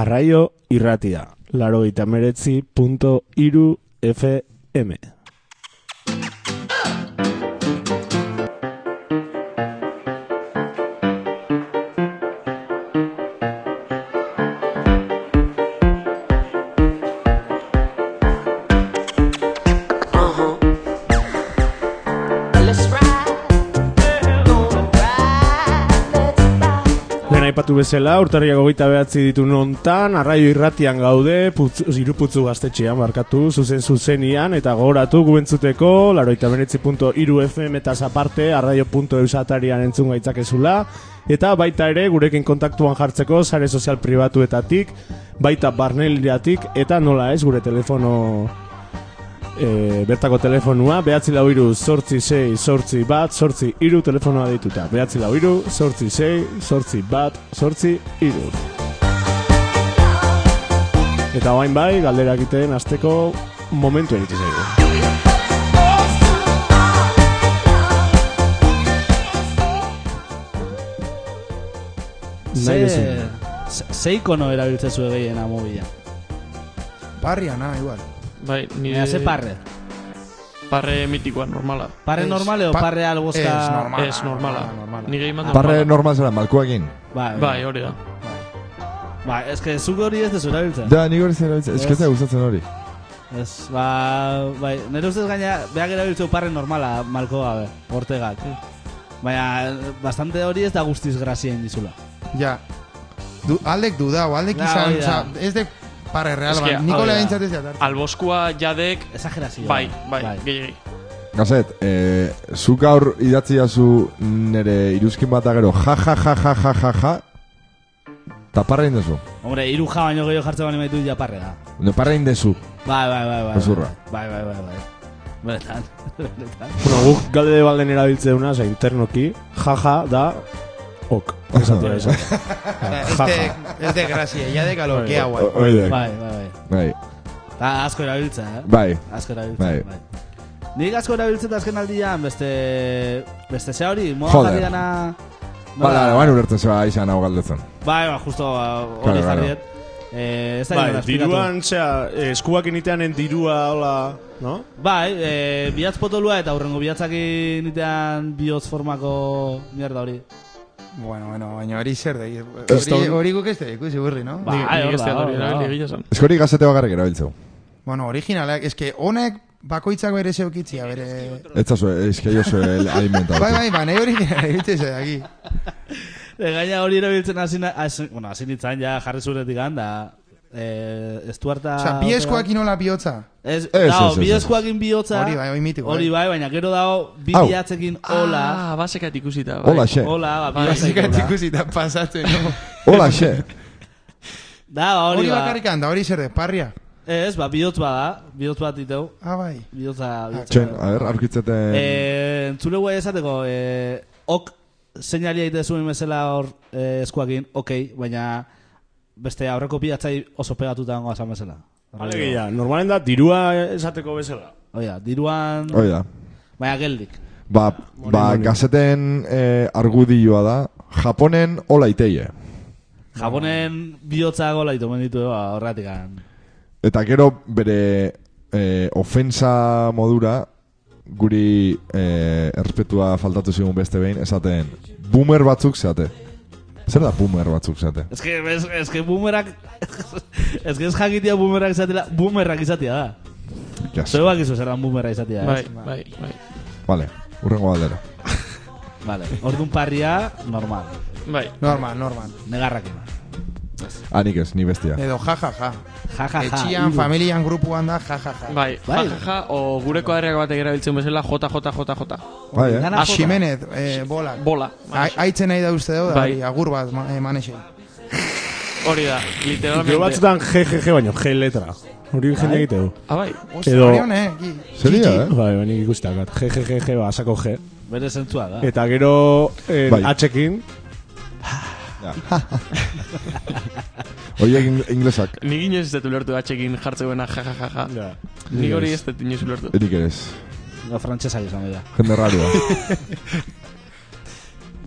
Speaker 3: Arraio irratia, laro meretzi punto iru FM. Lehen aipatu bezala, urtarriak hogeita behatzi ditu nontan, arraio irratian gaude, putz, iruputzu gaztetxean markatu, zuzen zuzenian, eta gogoratu gubentzuteko, laroita iru FM eta aparte, arraio.eusatarian entzun gaitzakezula, eta baita ere gurekin kontaktuan jartzeko, sare sozial pribatuetatik, baita barneliatik, eta nola ez gure telefono e, bertako telefonua behatzi lau iru sortzi sei sortzi bat sortzi iru telefonoa dituta behatzi lau iru sortzi sei sortzi bat sortzi iru eta bain bai galdera egiten azteko momentu eritzi zaigu Nahi
Speaker 1: Ze,
Speaker 3: duzuna.
Speaker 1: ze, ze ikono erabiltzen zuen gehiena mobila.
Speaker 4: Eh, Parria, na, igual.
Speaker 5: Bai, nire...
Speaker 1: Mira, ze parre.
Speaker 5: Parre mitikoa, normala.
Speaker 1: Parre
Speaker 4: Ez,
Speaker 1: normale o
Speaker 4: pa-
Speaker 1: parre alboska...
Speaker 4: ez, normala.
Speaker 5: Ez, normala.
Speaker 4: normala.
Speaker 5: Nire iman
Speaker 2: Parre normal zara, malkoakin.
Speaker 1: Ba,
Speaker 5: Bai, hori da.
Speaker 1: Ba, ez que zuk hori ez dezu erabiltzen.
Speaker 2: Da, nik hori zer erabiltzen, ez que ez da gustatzen hori.
Speaker 1: Ez, ba, bai, nire ustez gaina, behak erabiltzen parre normala, malko gabe, ortegak. Baina, bastante hori ez da guztiz grazien dizula.
Speaker 4: Ja. Du, aldek dudau, aldek
Speaker 1: Da,
Speaker 4: izan,
Speaker 1: hori da.
Speaker 4: oza, ez dek parre real,
Speaker 5: Ez que,
Speaker 4: ba, Nikola
Speaker 5: hori da.
Speaker 4: behintzat ez diat hartu.
Speaker 5: Alboskua jadek,
Speaker 1: Esagerazio.
Speaker 5: bai, bai, gehiagi.
Speaker 2: Gazet, eh, zu gaur idatzi dazu nere iruzkin bat agero ja ja ja ja ja ja ja eta parra indezu.
Speaker 1: Hombre, iru ja baino gehiago jartzen bali maitu ja parre da.
Speaker 2: No, parra indezu.
Speaker 1: Bai, bai, bai, bai.
Speaker 2: Gezurra.
Speaker 1: Bai, bai, bai, bai. Benetan, *laughs* benetan.
Speaker 3: bueno, guk galde balden erabiltzen duna za internoki jaja da ok esatea esan
Speaker 4: Ez
Speaker 3: jaja
Speaker 4: dek- Ez dek grazia, ya dek alokea guai.
Speaker 2: O- Oide.
Speaker 1: Bai, bai, bai.
Speaker 2: Bai,
Speaker 1: Ta asko erabiltzen, eh?
Speaker 2: bai.
Speaker 1: Asko erabiltzen,
Speaker 2: Bai.
Speaker 1: bai. Nik asko erabiltzen da azken aldian, beste... Beste ze hori, moda
Speaker 2: Joder.
Speaker 1: jarri dana...
Speaker 2: Bala, ban ulertzen zeba izan hau galdetzen.
Speaker 1: Bai, ba, justo ba, hori
Speaker 2: Claro,
Speaker 1: jarri
Speaker 2: claro.
Speaker 1: dut. Eh, ez da
Speaker 3: Bai,
Speaker 1: nola esplikatu.
Speaker 3: diruan, zera, eh, eskuak initeanen dirua, hola, no?
Speaker 1: Bai, eh, bihatz potolua eta hurrengo bihatzakin itean bihotz formako mierda hori.
Speaker 4: Bueno, bueno, baina hori zer dek. Hori,
Speaker 2: Kriston.
Speaker 4: hori guk ez dek, ikusi burri, no?
Speaker 1: Ba,
Speaker 5: Nik- nik
Speaker 1: hor
Speaker 5: ez
Speaker 1: da,
Speaker 5: teat Ah, hori
Speaker 1: hor da.
Speaker 5: erabili egia esan.
Speaker 2: Eskori gazete bakarrik erabiltzeu.
Speaker 4: Bueno, originalak, eske honek bakoitzak bere zeukitzia, bere...
Speaker 2: Ez zazu, ez que jozu alimenta.
Speaker 4: Bai, bai, bai, nahi originala egiten zait aquí.
Speaker 1: E, Gaina hori erabiltzen hasi na- hasi- bueno, hasi nintzen ja jarri zuretik handa. Eh, estuarta...
Speaker 4: Osa, bi
Speaker 1: bai.
Speaker 4: eskuak inola bihotza.
Speaker 1: Ez,
Speaker 2: Ez,
Speaker 1: dao,
Speaker 2: ez, ez,
Speaker 1: bi
Speaker 2: ez.
Speaker 1: eskuakin bihotza.
Speaker 4: Hori bai, hori mitiko,
Speaker 1: Hori bai, baina gero dao, bi
Speaker 2: Au.
Speaker 1: bihatzekin hola.
Speaker 5: Ah, basekat ikusita, bai.
Speaker 2: Hola, xe.
Speaker 1: Hola, ba,
Speaker 4: Basikat
Speaker 1: bihatzekin hola.
Speaker 4: ikusita pasatzen, no?
Speaker 2: Hola, xe.
Speaker 1: Da, ba, *laughs* hori
Speaker 4: Hori
Speaker 1: ba.
Speaker 4: bakarrik handa, hori zer dek, parria.
Speaker 1: Ez, ba, bihotz bada. Bihotz bat diteu.
Speaker 4: Ah, bai.
Speaker 1: Bihotza, bihotza.
Speaker 2: Txen, a ber, aurkitzeten...
Speaker 1: Eh, entzule guai esateko, eh, ok seinali aite zuen bezala hor eh, eskuakin, ok, baina beste aurreko pilatzai oso pegatuta dago esan bezala.
Speaker 3: Alegia, normalen da, dirua esateko bezala.
Speaker 1: Oia, diruan,
Speaker 2: Hoi da.
Speaker 1: baina geldik.
Speaker 2: Ba, ba gazeten eh, argudioa da, Japonen hola iteie.
Speaker 1: Japonen bihotza gola ditu menditu, ba, horretik.
Speaker 2: Eta gero bere eh, ofensa modura guri eh, errespetua faltatu zigun beste behin esaten boomer batzuk zeate. Zer da boomer batzuk zeate?
Speaker 1: Ez que, ez, ez que boomerak, *laughs* ez que ez jakitia boomerak izatela, boomerrak izatia da.
Speaker 2: Jas.
Speaker 1: Zue bakizu zer dan boomerra izatia,
Speaker 5: Bai,
Speaker 1: ez?
Speaker 5: bai, bai.
Speaker 2: Vale, urrengo galdera.
Speaker 1: Vale, orduan parria, normal,
Speaker 5: Bai,
Speaker 4: Normal, normal.
Speaker 1: negarrakin.
Speaker 2: Ah, nik ez, ni bestia.
Speaker 1: Eh,
Speaker 4: Edo ja, ja, ja.
Speaker 1: Ja, ja, ja.
Speaker 4: Etxian,
Speaker 1: hiru.
Speaker 4: familian, grupuan da, ja, ja, ja.
Speaker 5: bai,
Speaker 1: Bai.
Speaker 5: jajaja, o gureko herriak batek erabiltzen bezala, JJJJ.
Speaker 2: Bai, eh?
Speaker 1: Dana
Speaker 4: Ah,
Speaker 1: jota.
Speaker 4: Ximenez, eh, bolak.
Speaker 5: Bola,
Speaker 4: Ai- Aitzen nahi da uste dut,
Speaker 5: Bai.
Speaker 4: hori, agur bat, ma- eh, manexei.
Speaker 5: hori da,
Speaker 3: Gero
Speaker 5: literalmente.
Speaker 3: batzutan GGG baino, G letra. Hori jende egite du.
Speaker 5: Ah, bai,
Speaker 4: Ostia,
Speaker 3: Edo-
Speaker 4: hori hon, eh, ki-
Speaker 2: Seria,
Speaker 4: kiki.
Speaker 2: eh?
Speaker 3: Bai, baina ikustakat. GGGG basako G.
Speaker 1: Bere zentzua da.
Speaker 3: ba, Eta gero, eh,
Speaker 2: Bai.
Speaker 3: atxekin,
Speaker 2: Oiek ing inglesak.
Speaker 5: Nik inoiz ez dut ulertu atxekin jartzeuena jajajaja. Nik hori ez dut inoiz ulertu.
Speaker 2: Nik eres.
Speaker 1: No, frantxesak izan dira. *laughs*
Speaker 2: Jende rarua.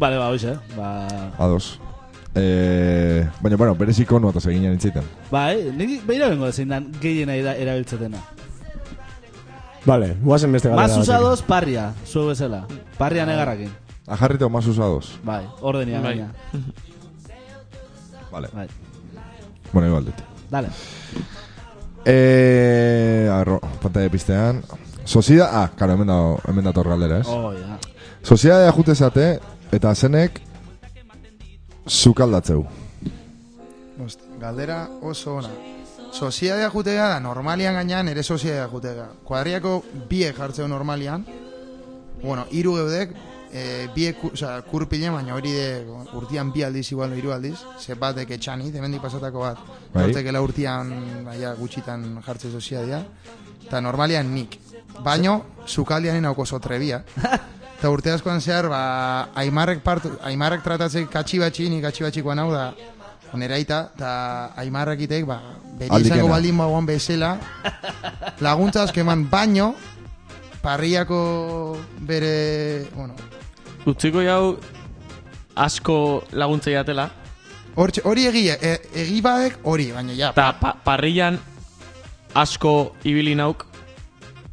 Speaker 1: Bale, ba, hoxe, ba...
Speaker 2: Ados. Eh, baina, bueno, berez ikonua eta segin nintziten.
Speaker 1: Bai, nik behira bengo da zein dan gehiena ira- erabiltzetena.
Speaker 3: Vale, guazen beste gara.
Speaker 1: Más usados parria, zu bezala. Parria negarrakin.
Speaker 2: Ajarrita o más usados.
Speaker 1: Bai, ordenia
Speaker 5: Bai.
Speaker 1: gaina.
Speaker 2: Vale.
Speaker 1: Bai.
Speaker 2: Bueno, igual dut.
Speaker 1: Dale.
Speaker 2: Eh, arro, pantalla piztean. Sociedad, ah, claro, hemen dago, hemen dator galdera, ez?
Speaker 1: Oh, ja.
Speaker 2: Soziedadea jute zate, eta zenek zukaldatzeu.
Speaker 4: Ost, galdera oso ona. Soziadea jutea da, normalian gainean ere soziadea jutea. Kuadriako biek jartzeu normalian. Bueno, hiru geudek, e, biek, ku- osea, kurpile, baina hori de urtian bi aldiz, igual hiru aldiz. Ze batek etxani, hemendik pasatako bat.
Speaker 2: Bai.
Speaker 4: Hortek ela urtian, baina gutxitan jartze soziadea. Eta normalian nik. Baino, zukaldianen hauko
Speaker 5: *laughs*
Speaker 4: sotrebia. Eta urte askoan zehar, ba, Aimarrek, partu, Aimarrek tratatzek katxibatxi, nik katxibatxikoan hau da, nera ita, eta Aimarrek itek, ba, bere
Speaker 2: Aldikena.
Speaker 4: izango baldin bagoan bezala, laguntza asko eman baino, parriako bere, bueno,
Speaker 5: Utziko jau asko laguntza datela.
Speaker 4: hortxe- hori egia, e, egi badek hori, baina ja,
Speaker 5: Eta pa parrillan asko ibili nauk.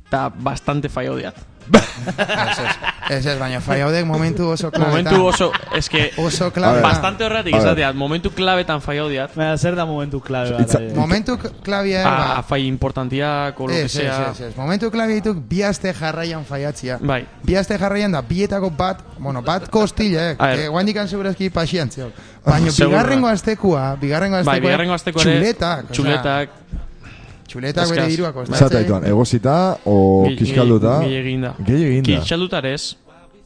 Speaker 5: Eta bastante faio diat.
Speaker 4: ez ez, ez ez, baina faiaudek momentu oso klabetan.
Speaker 5: Momentu oso, eske,
Speaker 4: Ah, Oso klabetan.
Speaker 5: bastante horretik
Speaker 2: A ver.
Speaker 5: izateat. Momentu klabetan faio diat.
Speaker 1: Baina, zer da momentu klabe bat. eh?
Speaker 2: Itza-
Speaker 1: adibidez?
Speaker 4: Momentu klabia,
Speaker 5: Ah,
Speaker 4: ba,
Speaker 5: fai importantiak, o lo que
Speaker 4: ez, ez,
Speaker 5: sea.
Speaker 4: ez, ez, momentu klabia dituk bi aste jarraian faiatzia.
Speaker 5: Bai.
Speaker 4: Bi aste jarraian da bietako bat, bueno, bat kostila, eh?
Speaker 5: A ver.
Speaker 4: que guain dikan segurazki pasian
Speaker 5: *laughs*
Speaker 4: zeok. Baina
Speaker 5: Seguro.
Speaker 4: bigarrengo astekua, bigarrengo astekua,
Speaker 5: Bai, bigarrengo asteko ere...
Speaker 4: eh, txuletak,
Speaker 5: Txuletak.
Speaker 4: osea, txuletak bere
Speaker 5: Eskas.
Speaker 4: diruak
Speaker 2: Zata
Speaker 4: ostatzen.
Speaker 2: ituan, egozita o
Speaker 5: Gehi-
Speaker 2: kiskalduta.
Speaker 5: gehi- Gehieginda.
Speaker 2: Gehieginda.
Speaker 5: Kiskalduta ere ez,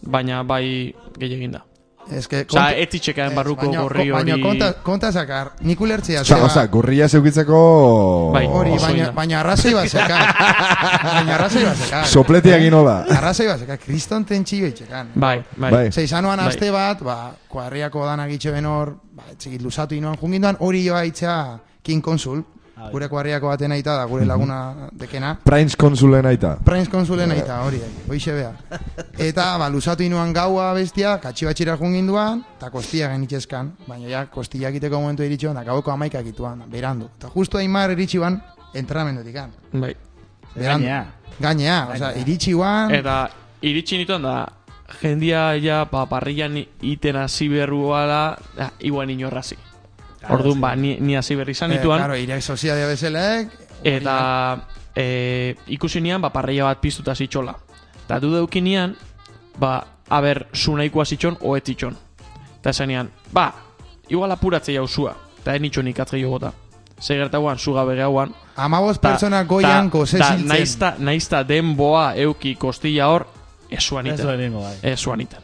Speaker 5: baina bai gehieginda.
Speaker 4: Ez que...
Speaker 5: Osa,
Speaker 4: konta-
Speaker 5: ez titxekaen
Speaker 4: ez,
Speaker 5: barruko
Speaker 4: baina-
Speaker 5: gorri
Speaker 4: Baina
Speaker 5: hori...
Speaker 4: konta, konta zakar, nik ulertzea
Speaker 2: Osa,
Speaker 4: zeba-
Speaker 2: osa, gorria zeukitzeko...
Speaker 5: Bai.
Speaker 4: Hori,
Speaker 5: Oso
Speaker 4: baina,
Speaker 5: oina.
Speaker 4: baina arrazoi bat zekan.
Speaker 5: *laughs*
Speaker 4: baina arrazoi bat zekan.
Speaker 5: Eh?
Speaker 2: Soplete egin hola.
Speaker 4: Arrazoi bat zekan, kriston tentxio itxekan.
Speaker 5: Bai, bai. *laughs*
Speaker 2: Bai.
Speaker 4: Zei sanoan
Speaker 5: Bai.
Speaker 4: aste bat, ba, kuadriako dana gitxe benor, ba, txikit luzatu inoan junginduan, hori joa itxea King Consul, gure kuadriako baten aita da, gure laguna dekena.
Speaker 2: Prainz konsulen aita.
Speaker 4: Prains konsulen aita, hori, hoixe bea. Eta, ba, luzatu inoan gaua bestia, katxi batxira junginduan, eta kostia genitxezkan, baina ja, kostia egiteko momentu iritxuan, da gaueko amaika egituan, berandu. Eta justu aimar iritxuan, entramendutik an.
Speaker 5: bai.
Speaker 4: Berandu.
Speaker 1: Gainea.
Speaker 4: Gainea, oza, iritxuan,
Speaker 5: Eta iritsi nituen da, jendia ja pa, parrillan iten hasi berru bala, da, iguan inorrazi. Orduan, ba, ni, ni hasi berri izan
Speaker 4: eh,
Speaker 5: nituen,
Speaker 4: claro, irek soziadea bezalek,
Speaker 5: eta e, ikusi nian, ba, parrilla bat piztuta zitxola. Eta du deukinean, ba, aber, zunaikoa zitxon, oet zitxon. Eta esanean, ba, igual apuratzei hausua, eta enitxon ikatzei jogota. Zegertagoan, zugabe gauan,
Speaker 4: Amabos
Speaker 5: Ta-
Speaker 4: pertsona
Speaker 5: ta-
Speaker 4: goian goze
Speaker 5: ta
Speaker 4: ziltzen.
Speaker 5: Naizta, naizta denboa euki kostilla hor, esuan
Speaker 1: Ez
Speaker 5: iten.
Speaker 1: lehenengo, bai.
Speaker 5: Esuan iten.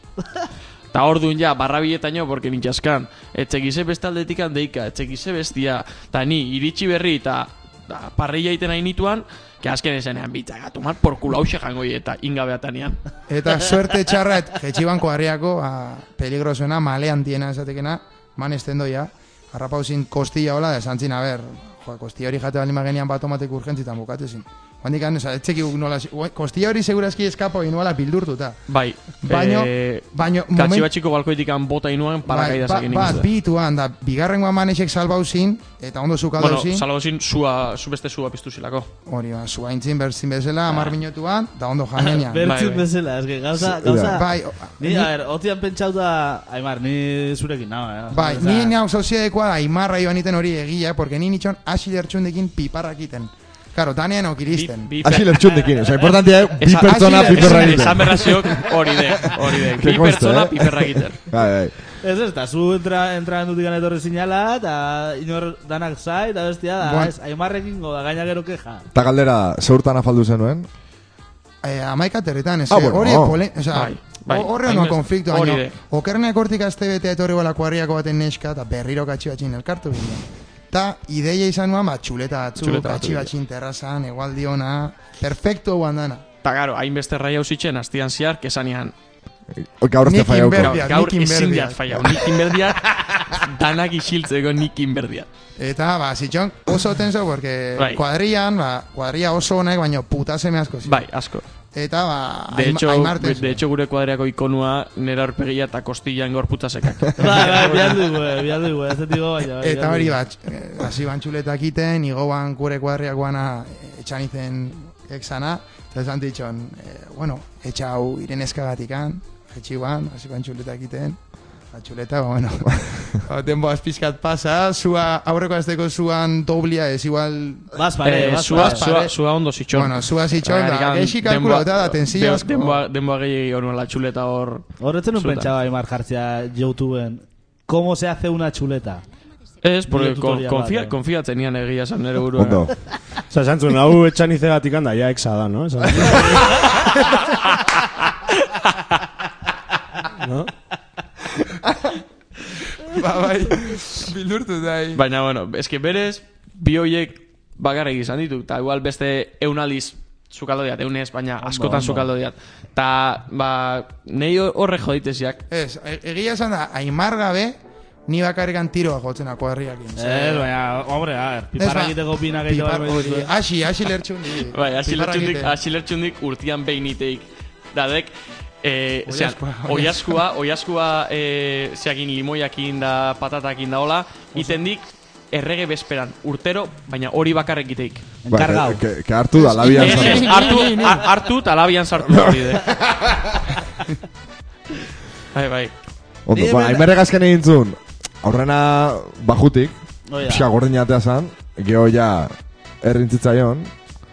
Speaker 5: Ta orduan ja, barrabietaino, porque nintxaskan, etxegize beste aldetikan deika, etxegize bestia, ta ni iritsi berri, eta da, parrilla iten hain nituan, que azken esanean bitza, gatu mar, por kula hauxe jango eta ingabeatanean.
Speaker 4: Eta suerte txarra, et- ba, jetxibanko harriako, a, peligrosoena, malean tiena esatekena, man estendoia, harrapau zin kostilla hola, esan zin, a ber, jo, kostilla hori jate balima genian bat omatek urgentzitan bukatu zin. Bandik han, oza, etzeki guk nola, ue, kostilla hori segurazki eskapo inuala bildurtuta.
Speaker 5: Bai,
Speaker 4: Baino-
Speaker 5: eh,
Speaker 4: baino, Bai, ba-
Speaker 5: katxi
Speaker 4: moment-
Speaker 5: batxiko balkoitik bota inuan,
Speaker 4: bat,
Speaker 5: parakaidasak
Speaker 4: bat, bituan, da, bigarrengoa manesek salbau zin, eta ondo zukaldu
Speaker 5: Bueno,
Speaker 4: zin,
Speaker 5: salgo zin, zua, zu beste zua piztu zilako.
Speaker 4: hori, ba, zuaintzin berzin bezala, amar minutuan, da ondo janean.
Speaker 5: Bai,
Speaker 1: Bertzut
Speaker 5: bai.
Speaker 1: bezala, ez que gauza, gauza...
Speaker 4: Bai, o-
Speaker 1: Ni, a ver, otian pentsauta, Aimar, ni zurekin nao, eh?
Speaker 4: Bai,
Speaker 1: Osea,
Speaker 4: ni hau soziadekoa da Imarra joan iten hori egia, porque ni nitxon hasi lertxundekin piparrak iten. Claro, tanean okiristen.
Speaker 5: Bi- bi-
Speaker 2: Asi lertxundekin, osa, importantia, eh, bi
Speaker 5: Esa-
Speaker 2: pertsona
Speaker 4: Asiler-
Speaker 2: piperra
Speaker 5: Esan- Esan
Speaker 2: egiten.
Speaker 5: berra ziok hori
Speaker 2: *laughs*
Speaker 5: dek, hori dek.
Speaker 2: Que
Speaker 5: Bi
Speaker 2: conste,
Speaker 5: pertsona
Speaker 2: eh?
Speaker 5: piperra egiten.
Speaker 2: *laughs* Bai, bai.
Speaker 1: Ez ez, eta zu entra, entra endutik etorri zinala, eta inor danak zai, eta bestia, da,
Speaker 4: Buan.
Speaker 1: ez, Aimarrekin goda, gaina gero keja.
Speaker 2: Ta galdera, zeurtan afaldu zenuen?
Speaker 4: Eh, amaika territan, ez.
Speaker 2: Ah, bueno.
Speaker 4: hori polen... O sea,
Speaker 5: Bai, bai.
Speaker 4: horre no
Speaker 5: Hainbeste-
Speaker 4: konflikto,
Speaker 5: hori
Speaker 4: baina
Speaker 5: de.
Speaker 4: okerneak hortik azte betea etorri bala kuarriako baten neska, eta berriro katxibatxin elkartu ginen. Ta ideia izan nuen, ba, txuleta batzu,
Speaker 5: Txuleta batzu,
Speaker 4: katxibatxin terrazan, egualdi ona, perfecto guan dana.
Speaker 5: Eta garo, hainbeste rai hau zitzen, hastian ziar, kesanean.
Speaker 2: Gaur azte
Speaker 4: Nik
Speaker 2: faiauko.
Speaker 4: Berdiak,
Speaker 5: gaur
Speaker 4: Nikin
Speaker 5: ezin
Speaker 4: Berdiak.
Speaker 5: diat faia, nikin berdiat, *laughs* danak isiltzeko nikin berdiat.
Speaker 4: Eta, ba, zitxon oso tenso, porque
Speaker 5: Bai.
Speaker 4: kuadrian, ba, kuadria oso honek, baina puta seme asko ziren.
Speaker 5: Bai, asko.
Speaker 4: Eta ba,
Speaker 5: De
Speaker 4: aim-
Speaker 5: hecho,
Speaker 4: aimartes.
Speaker 5: de hecho, gure kuadriako ikonua nera aurpegia eta kostilan gorputza
Speaker 4: *laughs*
Speaker 5: sekak.
Speaker 1: Bai, bai, bihar dugu, eh, bihar dugu, ez dut digo, baina... bai,
Speaker 4: Eta
Speaker 1: bihar
Speaker 4: hori
Speaker 1: dugu.
Speaker 4: bat, eh, hasi ban txuletak iten, igo ban kure kuadriak guana eh, etxan izen exana, eta esan ditxon, eh, bueno, etxau ireneskagatik an, etxi ban, hasi ban txuletak iten, ba, txuleta, ba, bueno,
Speaker 5: *laughs*
Speaker 4: denbo azpizkat pasa, zua, aurreko azteko zuan doblia ez igual,
Speaker 1: Bas pare,
Speaker 5: Eh,
Speaker 1: bas
Speaker 5: Zua,
Speaker 1: pare.
Speaker 5: zua, zua ondo zitxon.
Speaker 4: bai, bueno, zua zitxon, da,
Speaker 5: Horregatik,
Speaker 4: geixi
Speaker 5: denboa-
Speaker 4: ba, kalkula da, tensio
Speaker 5: de-
Speaker 4: asko.
Speaker 5: Denboa, denboa gehiagi hori la txuleta hor.
Speaker 1: Horretzen un
Speaker 5: Zutan.
Speaker 1: pentsaba Aimar jartzea YouTubeen. ¿Cómo se hace una chuleta?
Speaker 5: Ez, porque
Speaker 1: Nire
Speaker 5: kon-
Speaker 1: tutoria
Speaker 5: konfia,
Speaker 1: bat, eh.
Speaker 5: konfiatzen nian egia esan nere buruan.
Speaker 2: Ondo.
Speaker 3: Osa, esan zuen, hau etxan izegatik handa, ja exa da, no?
Speaker 1: *laughs*
Speaker 3: Esan zuen. no?
Speaker 4: ba, bai, bildurtu dai.
Speaker 5: Baina, bueno, eske berez, bi hoiek bakarrik izan ditu. Eta igual beste eun aliz zukaldo diat, eunez, baina askotan zukaldo diat. Eta, ba, nahi horre joditeziak.
Speaker 4: Ez, e- egia esan da, aimar gabe, ni bakarrikan tiroa jotzen akuarriak.
Speaker 1: Eh, baina, hombre, a ver, piparra egiteko pina gehiago
Speaker 4: Pipar
Speaker 1: behar
Speaker 4: ba, hori,
Speaker 1: dituzu, eh.
Speaker 4: hasi, hasi
Speaker 5: *laughs*
Speaker 4: eh, lertxundi.
Speaker 5: Bai, asilertxundik,
Speaker 4: Piparrak
Speaker 5: asilertxundik urtian behiniteik. Dadek, eh, zean,
Speaker 4: Oilaskua,
Speaker 5: oiaskua, oiaskua, eh, zeakin limoiakin da patatakin da hola, itendik errege besperan, urtero, baina hori bakarrik iteik.
Speaker 2: Ba,
Speaker 1: Enkargau.
Speaker 2: que, que, que hartu da labian
Speaker 5: Ez, ez,
Speaker 2: zara.
Speaker 5: Eh, hartu, har- hartu eta labian sartu hori
Speaker 4: *laughs*
Speaker 5: de. Bai, bai.
Speaker 2: Ondo,
Speaker 1: Ni
Speaker 2: ba,
Speaker 1: hemen-
Speaker 2: aimarrek azken egin zuen, aurrena bajutik,
Speaker 5: Oh,
Speaker 1: Hoi da.
Speaker 2: pixka gordin jatea zan, geho ja errintzitzaion,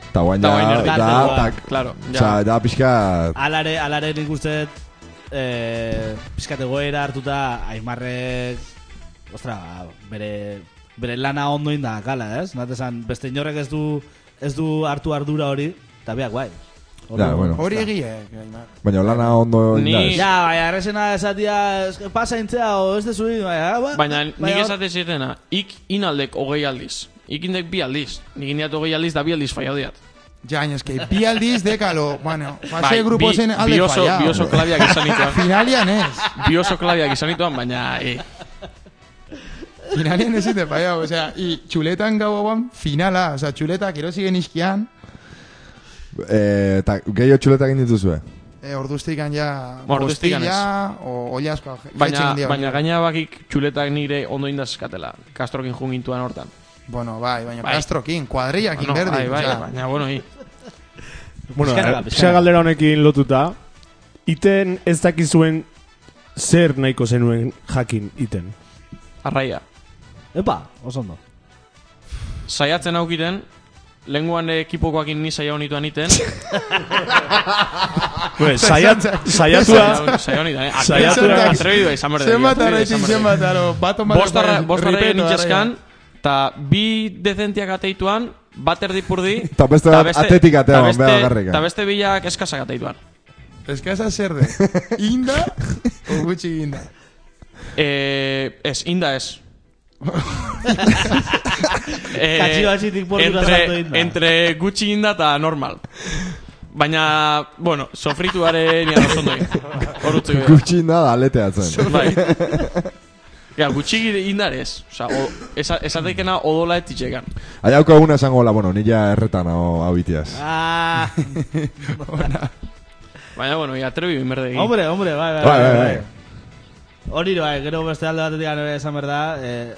Speaker 2: eta guain
Speaker 5: Eta
Speaker 2: ja,
Speaker 5: guain
Speaker 2: da,
Speaker 1: errintzitzaion,
Speaker 2: da,
Speaker 5: claro, ja.
Speaker 2: Osa, da pixka,
Speaker 1: Alare, alare nik uste eh, pizkate goera hartuta Aimarrek ostra, bere, bere lana ondo inda kala, ez? Nat esan, beste inorrek ez du ez du hartu ardura hori, eta bai. beak guai.
Speaker 2: Ja, bueno.
Speaker 4: Hori
Speaker 5: Bai.
Speaker 4: eh, egiek, Aimar.
Speaker 2: baina lana ondo
Speaker 5: Ni-
Speaker 2: inda ez.
Speaker 1: Ja, baina errezena esatia, es que pasa intzea, o ez dezu in, baina, ba,
Speaker 5: Baina nik
Speaker 1: hor-
Speaker 5: esate zirena, ik inaldek hogei aldiz. Ik indek bi aldiz. Nik indiat hogei aldiz da bi aldiz faia diat.
Speaker 4: Ja, es que bi aldiz dekalo, bueno, fase
Speaker 5: Bai,
Speaker 4: Ba, grupo zen
Speaker 5: bi-
Speaker 4: alde
Speaker 5: bi oso-
Speaker 4: fallao.
Speaker 5: Bi oso klabiak
Speaker 4: *laughs*
Speaker 5: izan nituan.
Speaker 4: Finalian ez.
Speaker 5: Bi oso klabiak izan nituan, baina... Eh,
Speaker 4: Finalian ez ite fallao, o sea, y txuletan gau hauan finala, o sea, txuleta kirosigen izkian,
Speaker 2: Eh, Eta gehiago txuleta egin dituzue.
Speaker 4: e, orduztikan ja
Speaker 5: Ba, orduztikan ez.
Speaker 4: postilla, o oliaskoa je-
Speaker 5: Baina,
Speaker 4: jaitxin dio.
Speaker 5: baina gaina bakik txuletak nire ondo indazkatela. Kastrokin jungintuan hortan.
Speaker 4: Bueno, bai, baina
Speaker 5: Bai.
Speaker 4: kastrokin, kuadrillakin
Speaker 5: Bueno,
Speaker 4: berdin,
Speaker 5: bai, bai,
Speaker 4: o sea,
Speaker 5: baina, bueno, hi.
Speaker 1: Pixkanaka,
Speaker 3: Bueno, eh,
Speaker 1: pixkanaka.
Speaker 3: pixka galdera honekin lotuta, iten ez dakizuen zer nahiko zenuen jakin iten.
Speaker 5: Arraia.
Speaker 1: Epa, oso ondo.
Speaker 5: Saiatzen aukiren, lenguan ekipokoakin ni saia honituan
Speaker 4: *laughs*
Speaker 5: iten.
Speaker 1: *laughs*
Speaker 3: Pues, saiat, saiatua,
Speaker 5: Saia honituan, eh?
Speaker 3: Saiatu
Speaker 5: Atrebidu,
Speaker 3: da.
Speaker 5: atrebidu, izan berde.
Speaker 4: Zenbat arraitzin, zenbat aro, bat onbat
Speaker 5: Bost arra-
Speaker 4: onbat,
Speaker 5: bost arraia
Speaker 4: ripeto,
Speaker 5: nintzaskan, eta bi dezentiak ateituan, bat erdi purdi,
Speaker 2: Eta beste bat atetik atea,
Speaker 5: eta
Speaker 2: ban, bera
Speaker 5: beste-
Speaker 2: bakarrik. eh.
Speaker 5: Eta beste bilak eskasak ateituan.
Speaker 4: Eskasa zer de, inda, o gutxi inda.
Speaker 5: Eh, ez, inda ez. eh,
Speaker 1: Katxio atxitik bordura salto
Speaker 5: entre,
Speaker 1: inda.
Speaker 5: entre gutxi inda eta normal. Baina, bueno, sofrituaren nian oso ondoi. Hor utzi behar.
Speaker 2: Gutxi inda da
Speaker 5: *laughs*
Speaker 2: aleteatzen.
Speaker 5: Bai. Ja, gutxi indarez. Osa, o, esa, esatekena odola etitxekan.
Speaker 2: Aiauko eguna esango la, bueno, nila erretan hau abitiaz.
Speaker 1: *laughs* Ah,
Speaker 5: Baina, bueno, ia atrebi berde egin.
Speaker 1: hombre, hombre, bai, bai,
Speaker 2: Bai,
Speaker 1: bai.
Speaker 2: bai,
Speaker 1: bai.
Speaker 2: bai.
Speaker 1: Hori bai, gero beste alde batetik ere esan berda, eh,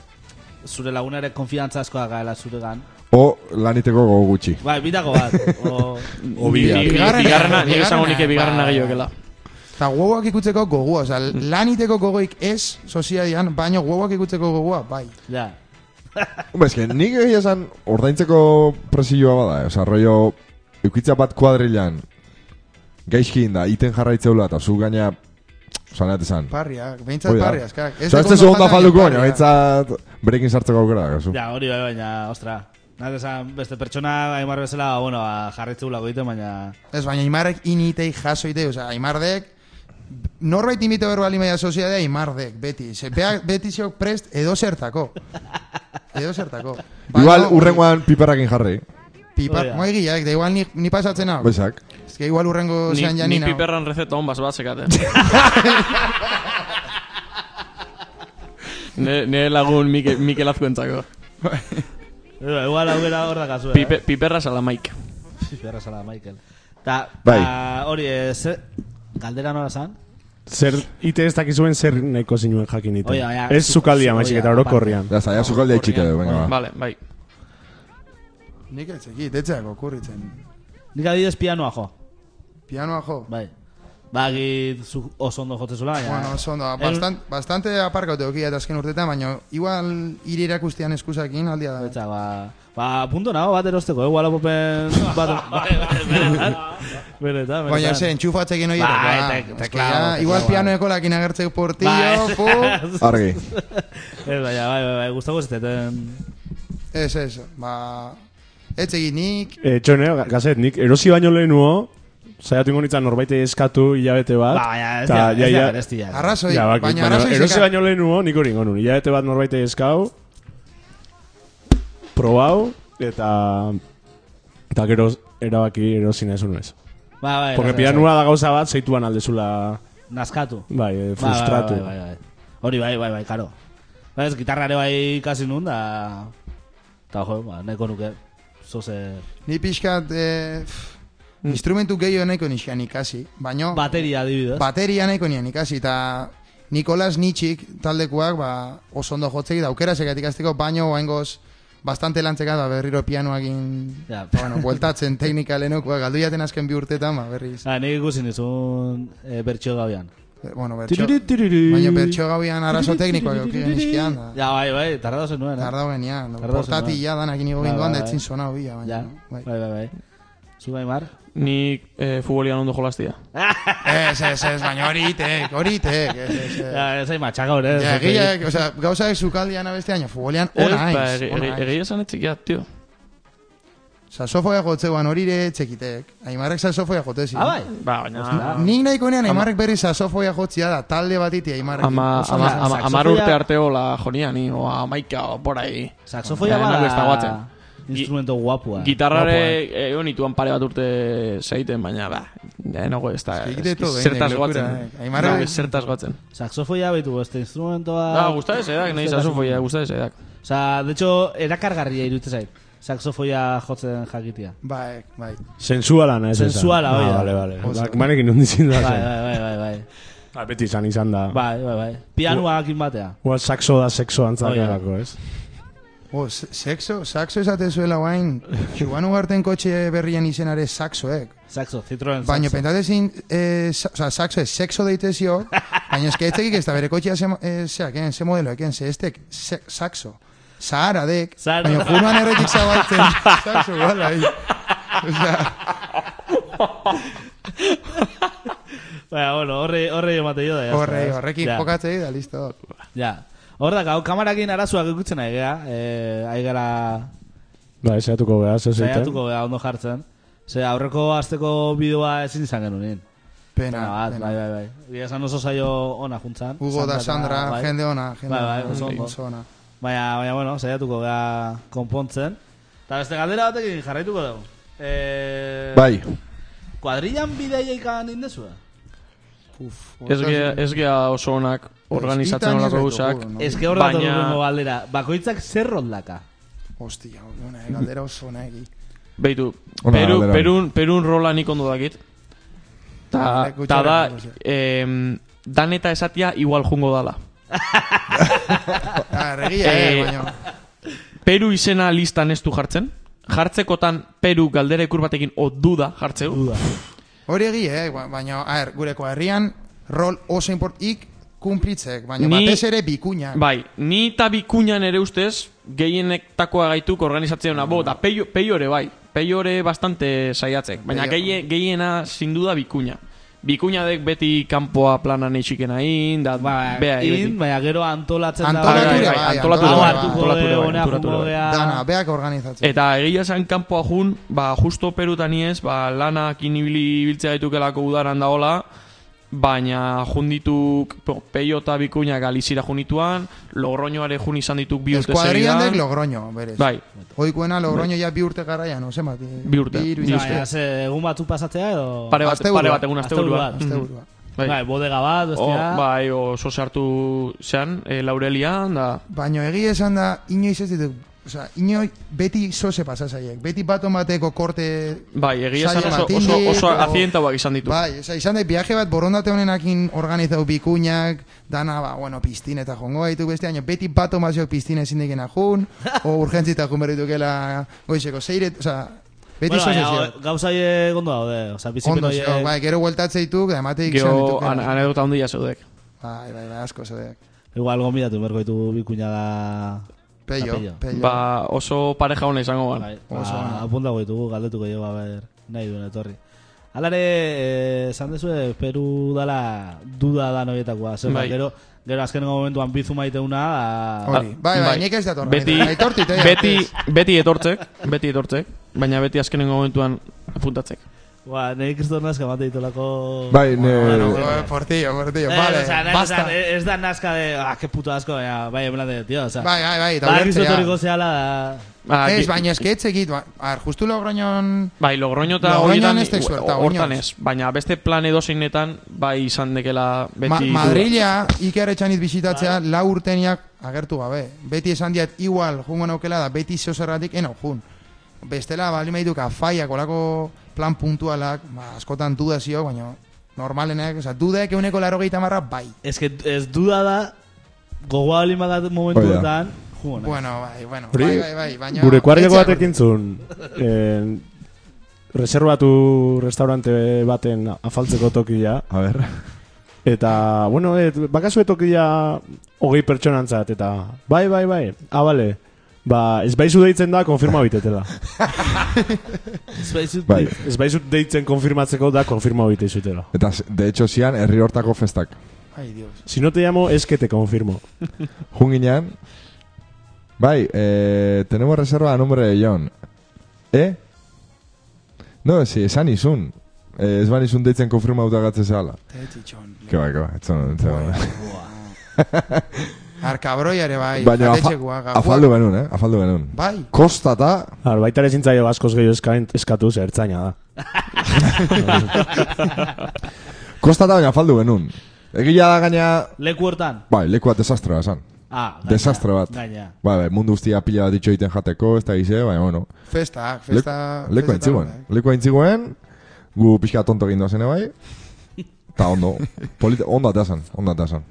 Speaker 1: zure lagunarek konfiantza askoa gaela zuregan.
Speaker 2: O laniteko gogo gutxi.
Speaker 1: Bai, bitako bat. O,
Speaker 5: Bi- bi-
Speaker 2: Obiak.
Speaker 5: Bigarrena, bigarrena, nire esango nike bigarrena
Speaker 4: Ba.
Speaker 5: gehiokela.
Speaker 4: Eta huevoak ikutzeko gogoa, oza, laniteko gogoik ez soziadian, baina huevoak ikutzeko gogoa, bai.
Speaker 1: ja.
Speaker 2: Hombre, eske, nik egia esan ordaintzeko presioa bada, eh? Osa, rollo, eukitza bat kuadrilan, gaizki inda, iten jarraitzeula, eta zu gaina, osa, nahet esan.
Speaker 4: Parriak, behintzat
Speaker 2: Hoi da.
Speaker 4: parriak, eskak.
Speaker 2: Osa, ez tezu onda falduko, baina, behintzat, berekin sartzeko aukera, gazu.
Speaker 1: ja, hori bai, baina, ostra. Nat esan, beste pertsona, aimar bezala, bueno, ba, jarritzu lago egiten, baina...
Speaker 4: Ez, baina Aimarrek initei jaso ite, oza, Aimardek, norbait imite berba limaia soziadea Aimardek, beti. Ze, bea, beti zeok prest edo zertako. Edo zertako. Baina,
Speaker 2: Igual, urrengoan piperrakin jarri,
Speaker 4: Pipar,
Speaker 1: Oia.
Speaker 4: moa egiak, eh, da igual ni, ni pasatzen hau.
Speaker 2: bezak.
Speaker 4: Ez que igual urrengo
Speaker 5: Ni,
Speaker 4: zean
Speaker 5: ni
Speaker 4: janina.
Speaker 5: piperran rezeta honbaz bat zekaten. ne, ne lagun Mike, Mikel Azkuentzako.
Speaker 1: eh, Igual, igual aukera hor da eh. kasua.
Speaker 5: Pipe, piperra salamaik.
Speaker 1: Piperra sala, Michael. Ta,
Speaker 2: Bai.
Speaker 1: ta, hori, eh, zer, galdera nola zan?
Speaker 3: Zer, ite ez dakizuen zer nahiko zinuen jakin ite.
Speaker 1: Oia, oia,
Speaker 3: ez
Speaker 1: zu-
Speaker 3: zukaldia,
Speaker 1: zu-
Speaker 3: maizik
Speaker 1: oia,
Speaker 3: eta orokorrian.
Speaker 2: Ya está, ya sukaldia itxite, venga, ba.
Speaker 5: Vale, bai.
Speaker 4: Nik ez egit, etzeak okurritzen.
Speaker 1: Nik adidez pianoa jo,
Speaker 4: Pianoa jo.
Speaker 1: bai. Bagit zu oso ondo jotzezula, baina...
Speaker 4: Bueno, oso ondo,
Speaker 1: El-
Speaker 4: bastan, bastante aparkautu eukia eta azken urtetan, baina igual hire irakustean eskusakin aldia da.
Speaker 1: Eta, ba, ba, punto nago bat erosteko, eh, Wallapopeen
Speaker 4: *laughs*
Speaker 1: bat...
Speaker 4: Bai,
Speaker 1: benetan, benetan.
Speaker 4: Baina ze, entxufatzekin hori
Speaker 1: Ba, eta-
Speaker 4: ba, eske
Speaker 1: teclado,
Speaker 4: ja,
Speaker 1: teclado,
Speaker 4: Igual
Speaker 1: bai.
Speaker 4: pianoeko lakin agertzeko portillo, fu.
Speaker 1: Ba,
Speaker 2: Argi.
Speaker 1: *laughs* ez, baina, bai, bai, bai, guztako ez teten...
Speaker 4: Ez, ez, ba... Ez egin nik,
Speaker 3: E, txone, ga- gazet, nik erosi baino lehenuo, saiatu ingo nintzen norbaite eskatu hilabete
Speaker 1: Ba,
Speaker 3: bat.
Speaker 1: baina, ez
Speaker 3: ta,
Speaker 1: dira,
Speaker 3: ja,
Speaker 1: ez dira,
Speaker 3: ja,
Speaker 1: berezti, ja.
Speaker 4: arrazoi,
Speaker 3: ja, bakit,
Speaker 4: baina
Speaker 3: baina
Speaker 4: arrazoi
Speaker 3: erosi
Speaker 4: zeka-
Speaker 3: baino lehenuo nik hori ingo nun. Hilabete bat norbaite eskau, probau, eta... Eta gero erabaki erosi nahi ez.
Speaker 1: Ba, bai,
Speaker 3: Porque
Speaker 1: bai, bai,
Speaker 3: pianua da gauza bat, zeituan aldezula,
Speaker 1: bai. Nazkatu.
Speaker 3: bai, eh,
Speaker 1: Ba, bai,
Speaker 3: frustratu.
Speaker 1: Bai, bai, bai. Hori bai, bai, bai, karo. Ba, ez, gitarrare bai kasi nun, da... Ta, jo, ba, neko nuke. Zoze...
Speaker 4: Ni pixkat... E,
Speaker 3: Mm.
Speaker 4: instrumentu gehiago nahiko nixean ikasi, baino...
Speaker 1: Bateria, adibidez.
Speaker 4: Bateria nahiko nian ikasi, eta Nikolas Nitschik taldekuak ba, oso ondo jotzegi da aukera segatik azteko, baino oaingoz bastante lantzeka da berriro pianoakin
Speaker 1: Ja.
Speaker 4: ba,
Speaker 1: *laughs*
Speaker 4: bueno, bueltatzen teknika lehenokua galdu jaten azken bi urtetan, ba, berriz.
Speaker 1: Ha, Bai, nik ikusi nizun e, bertxio gauean.
Speaker 4: Eh, Bueno, bertxo,
Speaker 3: Tiriri, tiriri.
Speaker 4: baina bertxo gauian arazo teknikoak eukien nizkian da.
Speaker 1: Ja, bai, bai, tarda zen nuen, eh?
Speaker 4: Tardau genian,
Speaker 1: Tardau
Speaker 4: portati
Speaker 1: zenuen.
Speaker 4: ja danakin igo
Speaker 1: Bai,
Speaker 4: ginduan,
Speaker 1: bai,
Speaker 4: da etzin
Speaker 1: bai.
Speaker 4: sonau bila, baina.
Speaker 1: Ja,
Speaker 4: bai.
Speaker 1: bai, bai, bai. Zu bai, Mar?
Speaker 5: Nik eh, futbolian ondo jolastia.
Speaker 4: Ez, ez, ez, baina hori itek, hori itek, ez, ez, ez.
Speaker 1: Ja, ez hain matxaka hori, eh, ez?
Speaker 4: Eh. Ja, egileak, o sea, gauzak zukaldian abestean, ja, futbolean
Speaker 5: Ez,
Speaker 4: ona
Speaker 5: ba,
Speaker 4: aiz.
Speaker 5: egi-
Speaker 4: ona
Speaker 5: egi-
Speaker 4: aiz.
Speaker 5: egia esan etzik, ja, tio.
Speaker 4: Sasofoia jotzeuan hori ere txekitek. Aimarrek sasofoia jotezi.
Speaker 1: Ah, bai?
Speaker 5: Ba, baina...
Speaker 4: Nik nahi konean Aimarrek berri sasofoia jotzia da, talde batiti Aimarrek.
Speaker 5: Ama,
Speaker 4: Oso
Speaker 5: ama,
Speaker 4: oso-
Speaker 5: ama,
Speaker 1: saxofoia-
Speaker 5: amar urte arte hola jonia, ni, o amaika, o por ahí.
Speaker 1: Saxofoia
Speaker 5: Ja,
Speaker 1: bada...
Speaker 5: nago ez dagoatzen.
Speaker 1: Instrumento guapua.
Speaker 5: Gitarrare egon nituen pare bat urte zeiten, baina, ba, enago ez da...
Speaker 4: Egite
Speaker 5: ez-
Speaker 4: todo,
Speaker 5: ez Zertaz
Speaker 4: Indek,
Speaker 5: goatzen.
Speaker 4: lokura, eh. Aimarra-
Speaker 5: Aimarra... Zertaz Ah, goatzen.
Speaker 1: Saxofoia baitu, este instrumentoa...
Speaker 5: Da, guztaz edak, nahi sasofoia, guztaz edak.
Speaker 1: Osa, de hecho, erakargarria irutze zait. Saxofoia jotzen jakitia.
Speaker 4: Bai, bai.
Speaker 3: Sensuala na ez esan.
Speaker 1: Sensuala, oia.
Speaker 3: Ah, vale, vale.
Speaker 4: Oso.
Speaker 3: Ba, Banekin hundi zinda
Speaker 1: Bai, bai,
Speaker 3: zen.
Speaker 1: bai, bai, bai.
Speaker 3: Ah, Beti izan izan da.
Speaker 1: Bai, bai, bai. Pianua hakin batea.
Speaker 3: Ua saxo da sexo
Speaker 1: Oia.
Speaker 3: antzakelako, ez?
Speaker 4: O, Oh, se- sexo, saxo esate zuela guain, Juan Ugarten kotxe berrien izenare saxoek.
Speaker 1: Saxo, Citroen saxo.
Speaker 4: Baina pentatezin, eh, sa, oza, saxo ez sexo deitezio, baina ez etzekik ez da bere kotxea ze, eh, zeak, eh, ze modeloek, eh, ze estek se, saxo. Zahara dek,
Speaker 1: Zahara.
Speaker 4: baina juruan erretik zabaltzen, saxo, bai. bala,
Speaker 1: *laughs*
Speaker 4: Osa,
Speaker 1: Baina, Bai, bueno, horre, horre emate jo da. ya está,
Speaker 4: Horre,
Speaker 1: ez?
Speaker 4: horrekin
Speaker 1: Ja,
Speaker 4: jokatzei da, listo.
Speaker 1: Ja. Hor da, gau, kamarakin arazoak ikutzen ari gea. Eh, ari gara
Speaker 3: Bai, saiatuko behaz, ez egiten.
Speaker 1: saiatuko gea ondo jartzen. Ze aurreko asteko bideoa ezin izan genuen.
Speaker 4: Pena,
Speaker 1: Nah, bat,
Speaker 4: pena.
Speaker 1: bai, bai, bai. Egia esan oso saio ona juntzan.
Speaker 4: Hugo da Sandra,
Speaker 1: bai.
Speaker 4: jende ona, jende
Speaker 1: Bai, bai, oso
Speaker 4: ona,
Speaker 1: ondo.
Speaker 4: oso ona.
Speaker 1: Baina, baina, bueno, saiatuko gara konpontzen. Eta beste galdera batekin jarraituko dugu. Eh,
Speaker 2: Bai.
Speaker 1: Kuadrillan bideia ikan indezua?
Speaker 4: Uf,
Speaker 5: Ez gea,
Speaker 4: hortaz-
Speaker 5: ez gea oso onak
Speaker 4: Hitan
Speaker 5: organizatzen
Speaker 4: ez
Speaker 5: olako
Speaker 4: ditugu,
Speaker 5: guzak.
Speaker 4: no?
Speaker 1: Ez que hor dator
Speaker 5: Baina-
Speaker 1: urrengo galdera. Bakoitzak zer roldaka?
Speaker 4: Hostia, ona, eh, galdera oso ona egi.
Speaker 5: Beitu,
Speaker 2: Ona,
Speaker 5: Peru,
Speaker 2: galdera.
Speaker 5: Perun, Perun rola nik ondo dakit. Ta,
Speaker 4: Leku
Speaker 5: ta da,
Speaker 4: txarra,
Speaker 5: em, dan eta esatia igual jungo dala.
Speaker 4: Ah, regia, eh,
Speaker 5: Eh,
Speaker 4: baina.
Speaker 5: Peru izena listan ez du jartzen. Jartzekotan Peru galdera ikur batekin o duda jartzeu.
Speaker 1: Duda.
Speaker 4: Hori egi, eh, ba- baina, a ver, gure herrian rol oso import ik kumplitzek, baina
Speaker 5: Ni-
Speaker 4: batez ere bikuña.
Speaker 5: Bai, ni eta bikuñan ere ustez, gehienek takoa gaituk organizatzen bo, eta peio, peiore bai, peiore bastante saiatzek, baina
Speaker 4: Peio.
Speaker 5: gehi, gehiena sinduda bikuña. Bikuñadek beti kanpoa planan eixiken hain, da,
Speaker 1: Ba,
Speaker 5: bea,
Speaker 1: in, baina gero antolatzen
Speaker 4: Antolatu
Speaker 1: da.
Speaker 4: ere
Speaker 1: bai,
Speaker 4: bai,
Speaker 5: antolatu
Speaker 1: Hau
Speaker 5: ere bai,
Speaker 1: hartuko
Speaker 5: antolatu ere
Speaker 1: de
Speaker 5: bai,
Speaker 1: ona
Speaker 5: antolatu ere
Speaker 1: jungo
Speaker 5: bai.
Speaker 1: gea.
Speaker 4: Dana, beak organizatzen.
Speaker 5: Eta egia esan kanpoa jun, ba, justo perutan iez, ba, lanak inibili biltzea ditukelako udaran daola, baina jundituk po- peio eta bikuña galizira junituan, logroñoare jun izan dituk bi urte
Speaker 4: Eskuadrian dek
Speaker 5: segidan.
Speaker 4: Logroño, berez.
Speaker 5: Bai,
Speaker 4: Oikuena Logroño ja bi urte garaian, no zenbat? eh,
Speaker 5: Bi urte, Bai.
Speaker 4: hiru
Speaker 5: bi
Speaker 1: Ja,
Speaker 5: uste.
Speaker 1: baina, ze, egun batu pasatzea edo...
Speaker 5: pare bat,
Speaker 4: Asteburua.
Speaker 5: pare bat egun asteburua.
Speaker 1: Asteburua.
Speaker 5: Mhm.
Speaker 4: asteburua.
Speaker 5: Bai.
Speaker 1: Bai, bodega bat,
Speaker 5: O,
Speaker 1: bestea...
Speaker 5: bai, oso sartu zean, e, laurelian, da...
Speaker 4: Baina egia esan da, inoiz ez ditu Osa, inoi beti zoze pasazaiek. Beti baton bateko korte...
Speaker 5: Bai, egia esan
Speaker 4: saio
Speaker 5: oso,
Speaker 4: batindik,
Speaker 5: oso, oso
Speaker 4: o-
Speaker 5: azientauak izan ditu.
Speaker 4: Bai, oza, izan da, viaje bat borondate honenakin organizau bikuñak, dana, ba, bueno, piztin eta jongo gaitu beste, baina beti bat omazio piztin ezin dikena jun, o urgentzita jun berritu gela goizeko zeiret, oza, beti bueno,
Speaker 1: baina,
Speaker 4: zozezio.
Speaker 1: gauza hie gondo daude, oza, bizipen
Speaker 4: Ondo,
Speaker 1: horiek-
Speaker 4: zeo, bai, gero bueltatze dituk, da emateik izan
Speaker 5: Gero
Speaker 4: dituk.
Speaker 5: an anedota handia zeudek.
Speaker 4: Bai, bai, bai, asko zedeak.
Speaker 1: Igual gombidatu berko ditu bikuña da...
Speaker 4: Peio,
Speaker 1: Apello.
Speaker 4: peio.
Speaker 5: Ba, oso pareja hona izango gan.
Speaker 1: Bai,
Speaker 4: Oso
Speaker 1: ba,
Speaker 4: ona.
Speaker 1: apuntako ditugu, galdetuko dugu, a ber, nahi duen etorri. Alare, eh, esan dezue, Peru dala duda da noietakoa. Zer,
Speaker 5: Bai.
Speaker 1: gero, gero azkenengo momentuan bizu maiteuna, da...
Speaker 4: Hori, bai, bai, nik ez dator.
Speaker 5: Ah, Beti,
Speaker 4: nahi, aitortit, eh,
Speaker 5: beti,
Speaker 4: ez.
Speaker 5: beti etortzek, beti etortzek, baina beti azkenengo momentuan apuntatzek.
Speaker 1: Ba, nahi kriston nazka mate ditolako...
Speaker 2: Bai, ne...
Speaker 4: Bueno, eh, portillo, portillo,
Speaker 1: Eh,
Speaker 4: vale,
Speaker 1: o sea, nahi-
Speaker 4: basta.
Speaker 1: o sea, ez da nazka de, ah, que puto asko, baina, bai, en plan de, tío, o sea...
Speaker 4: Bai, bai, bai, eta
Speaker 1: Ba,
Speaker 4: ulertzea.
Speaker 1: kristo toriko zehala da...
Speaker 5: Ah,
Speaker 4: Ez,
Speaker 5: gi-
Speaker 4: baina eske etzekit, ba, ar, justu Logroñon...
Speaker 5: Bai, Logroño eta
Speaker 4: Logroñon
Speaker 5: horietan,
Speaker 4: ez tek suelta,
Speaker 5: o- hortan
Speaker 4: oinoz.
Speaker 5: ez, baina beste plan edozeinetan, bai izan dekela beti...
Speaker 4: Ma
Speaker 5: duda.
Speaker 4: Madrila Iker Etxaniz bisitatzea lau urteniak agertu gabe. Beti esan diat, igual, jungo naukela da, beti zeo zerratik, eno, jun. Bestela, bali mehiduk afaiak, olako plan puntualak, ba, askotan duda zio, baina normalenak, oza, dudaek euneko laro gehieta marra, bai.
Speaker 1: Ez que ez duda da, gogoa hori madat momentuetan, jugo nahi.
Speaker 4: Bai, Bueno, bai, bueno,
Speaker 3: Hori,
Speaker 4: bai, bai, bai, baina...
Speaker 3: Gure kuadreko
Speaker 4: etxeak-
Speaker 3: batekin zuen, eh, reservatu restaurante baten afaltzeko tokia,
Speaker 2: A ber...
Speaker 3: Eta, bueno, et, bakazu etokia hogei pertsonantzat, eta bai, bai, bai, ah, bale, ba, ez baizu deitzen da, konfirma bitetela.
Speaker 1: Ez baizut
Speaker 2: Bai.
Speaker 1: dit.
Speaker 3: Ez baizu deitzen konfirmatzeko da, konfirma bitezutela.
Speaker 2: Eta, de hecho, zian, herri hortako festak.
Speaker 4: Ai, dios.
Speaker 3: Si no te llamo, es que te confirmo.
Speaker 2: Junginan... Bai, eh, tenemos reserva a nombre de John. Eh? No, si, esan izun. Eh, ez ban izun deitzen konfirma gatzen zehala.
Speaker 4: Tetitxon.
Speaker 2: Ke bai, ke bai, etzon, etzon.
Speaker 4: Arkabroia ere bai,
Speaker 2: *laughs* Baina afa,
Speaker 4: jatetxekoa, gaua-
Speaker 2: afaldu genuen, eh? Afaldu genuen.
Speaker 4: Bai,
Speaker 2: Kosta eta...
Speaker 3: Ar, baita ere zintzaio askoz gehiago eskain, eskatu ze ertzaina da.
Speaker 2: Kosta eta baina afaldu genuen. Egia da gaina...
Speaker 1: Leku hortan?
Speaker 2: Bai, lekua desastroa esan.
Speaker 1: Ah, gaina,
Speaker 2: Desastre bat.
Speaker 1: Gaina.
Speaker 2: Bai, bai, mundu guztia pila bat ditxo egiten jateko, ez da gize, baina bueno.
Speaker 4: festak,
Speaker 2: Lek-
Speaker 4: festa...
Speaker 2: Leku
Speaker 4: festa bai.
Speaker 2: aintziguen.
Speaker 4: tarde.
Speaker 2: Leku aintziguen, gu pixka tonto egin doazene bai. Ta ondo, polita, ondo atasan, ondo atasan.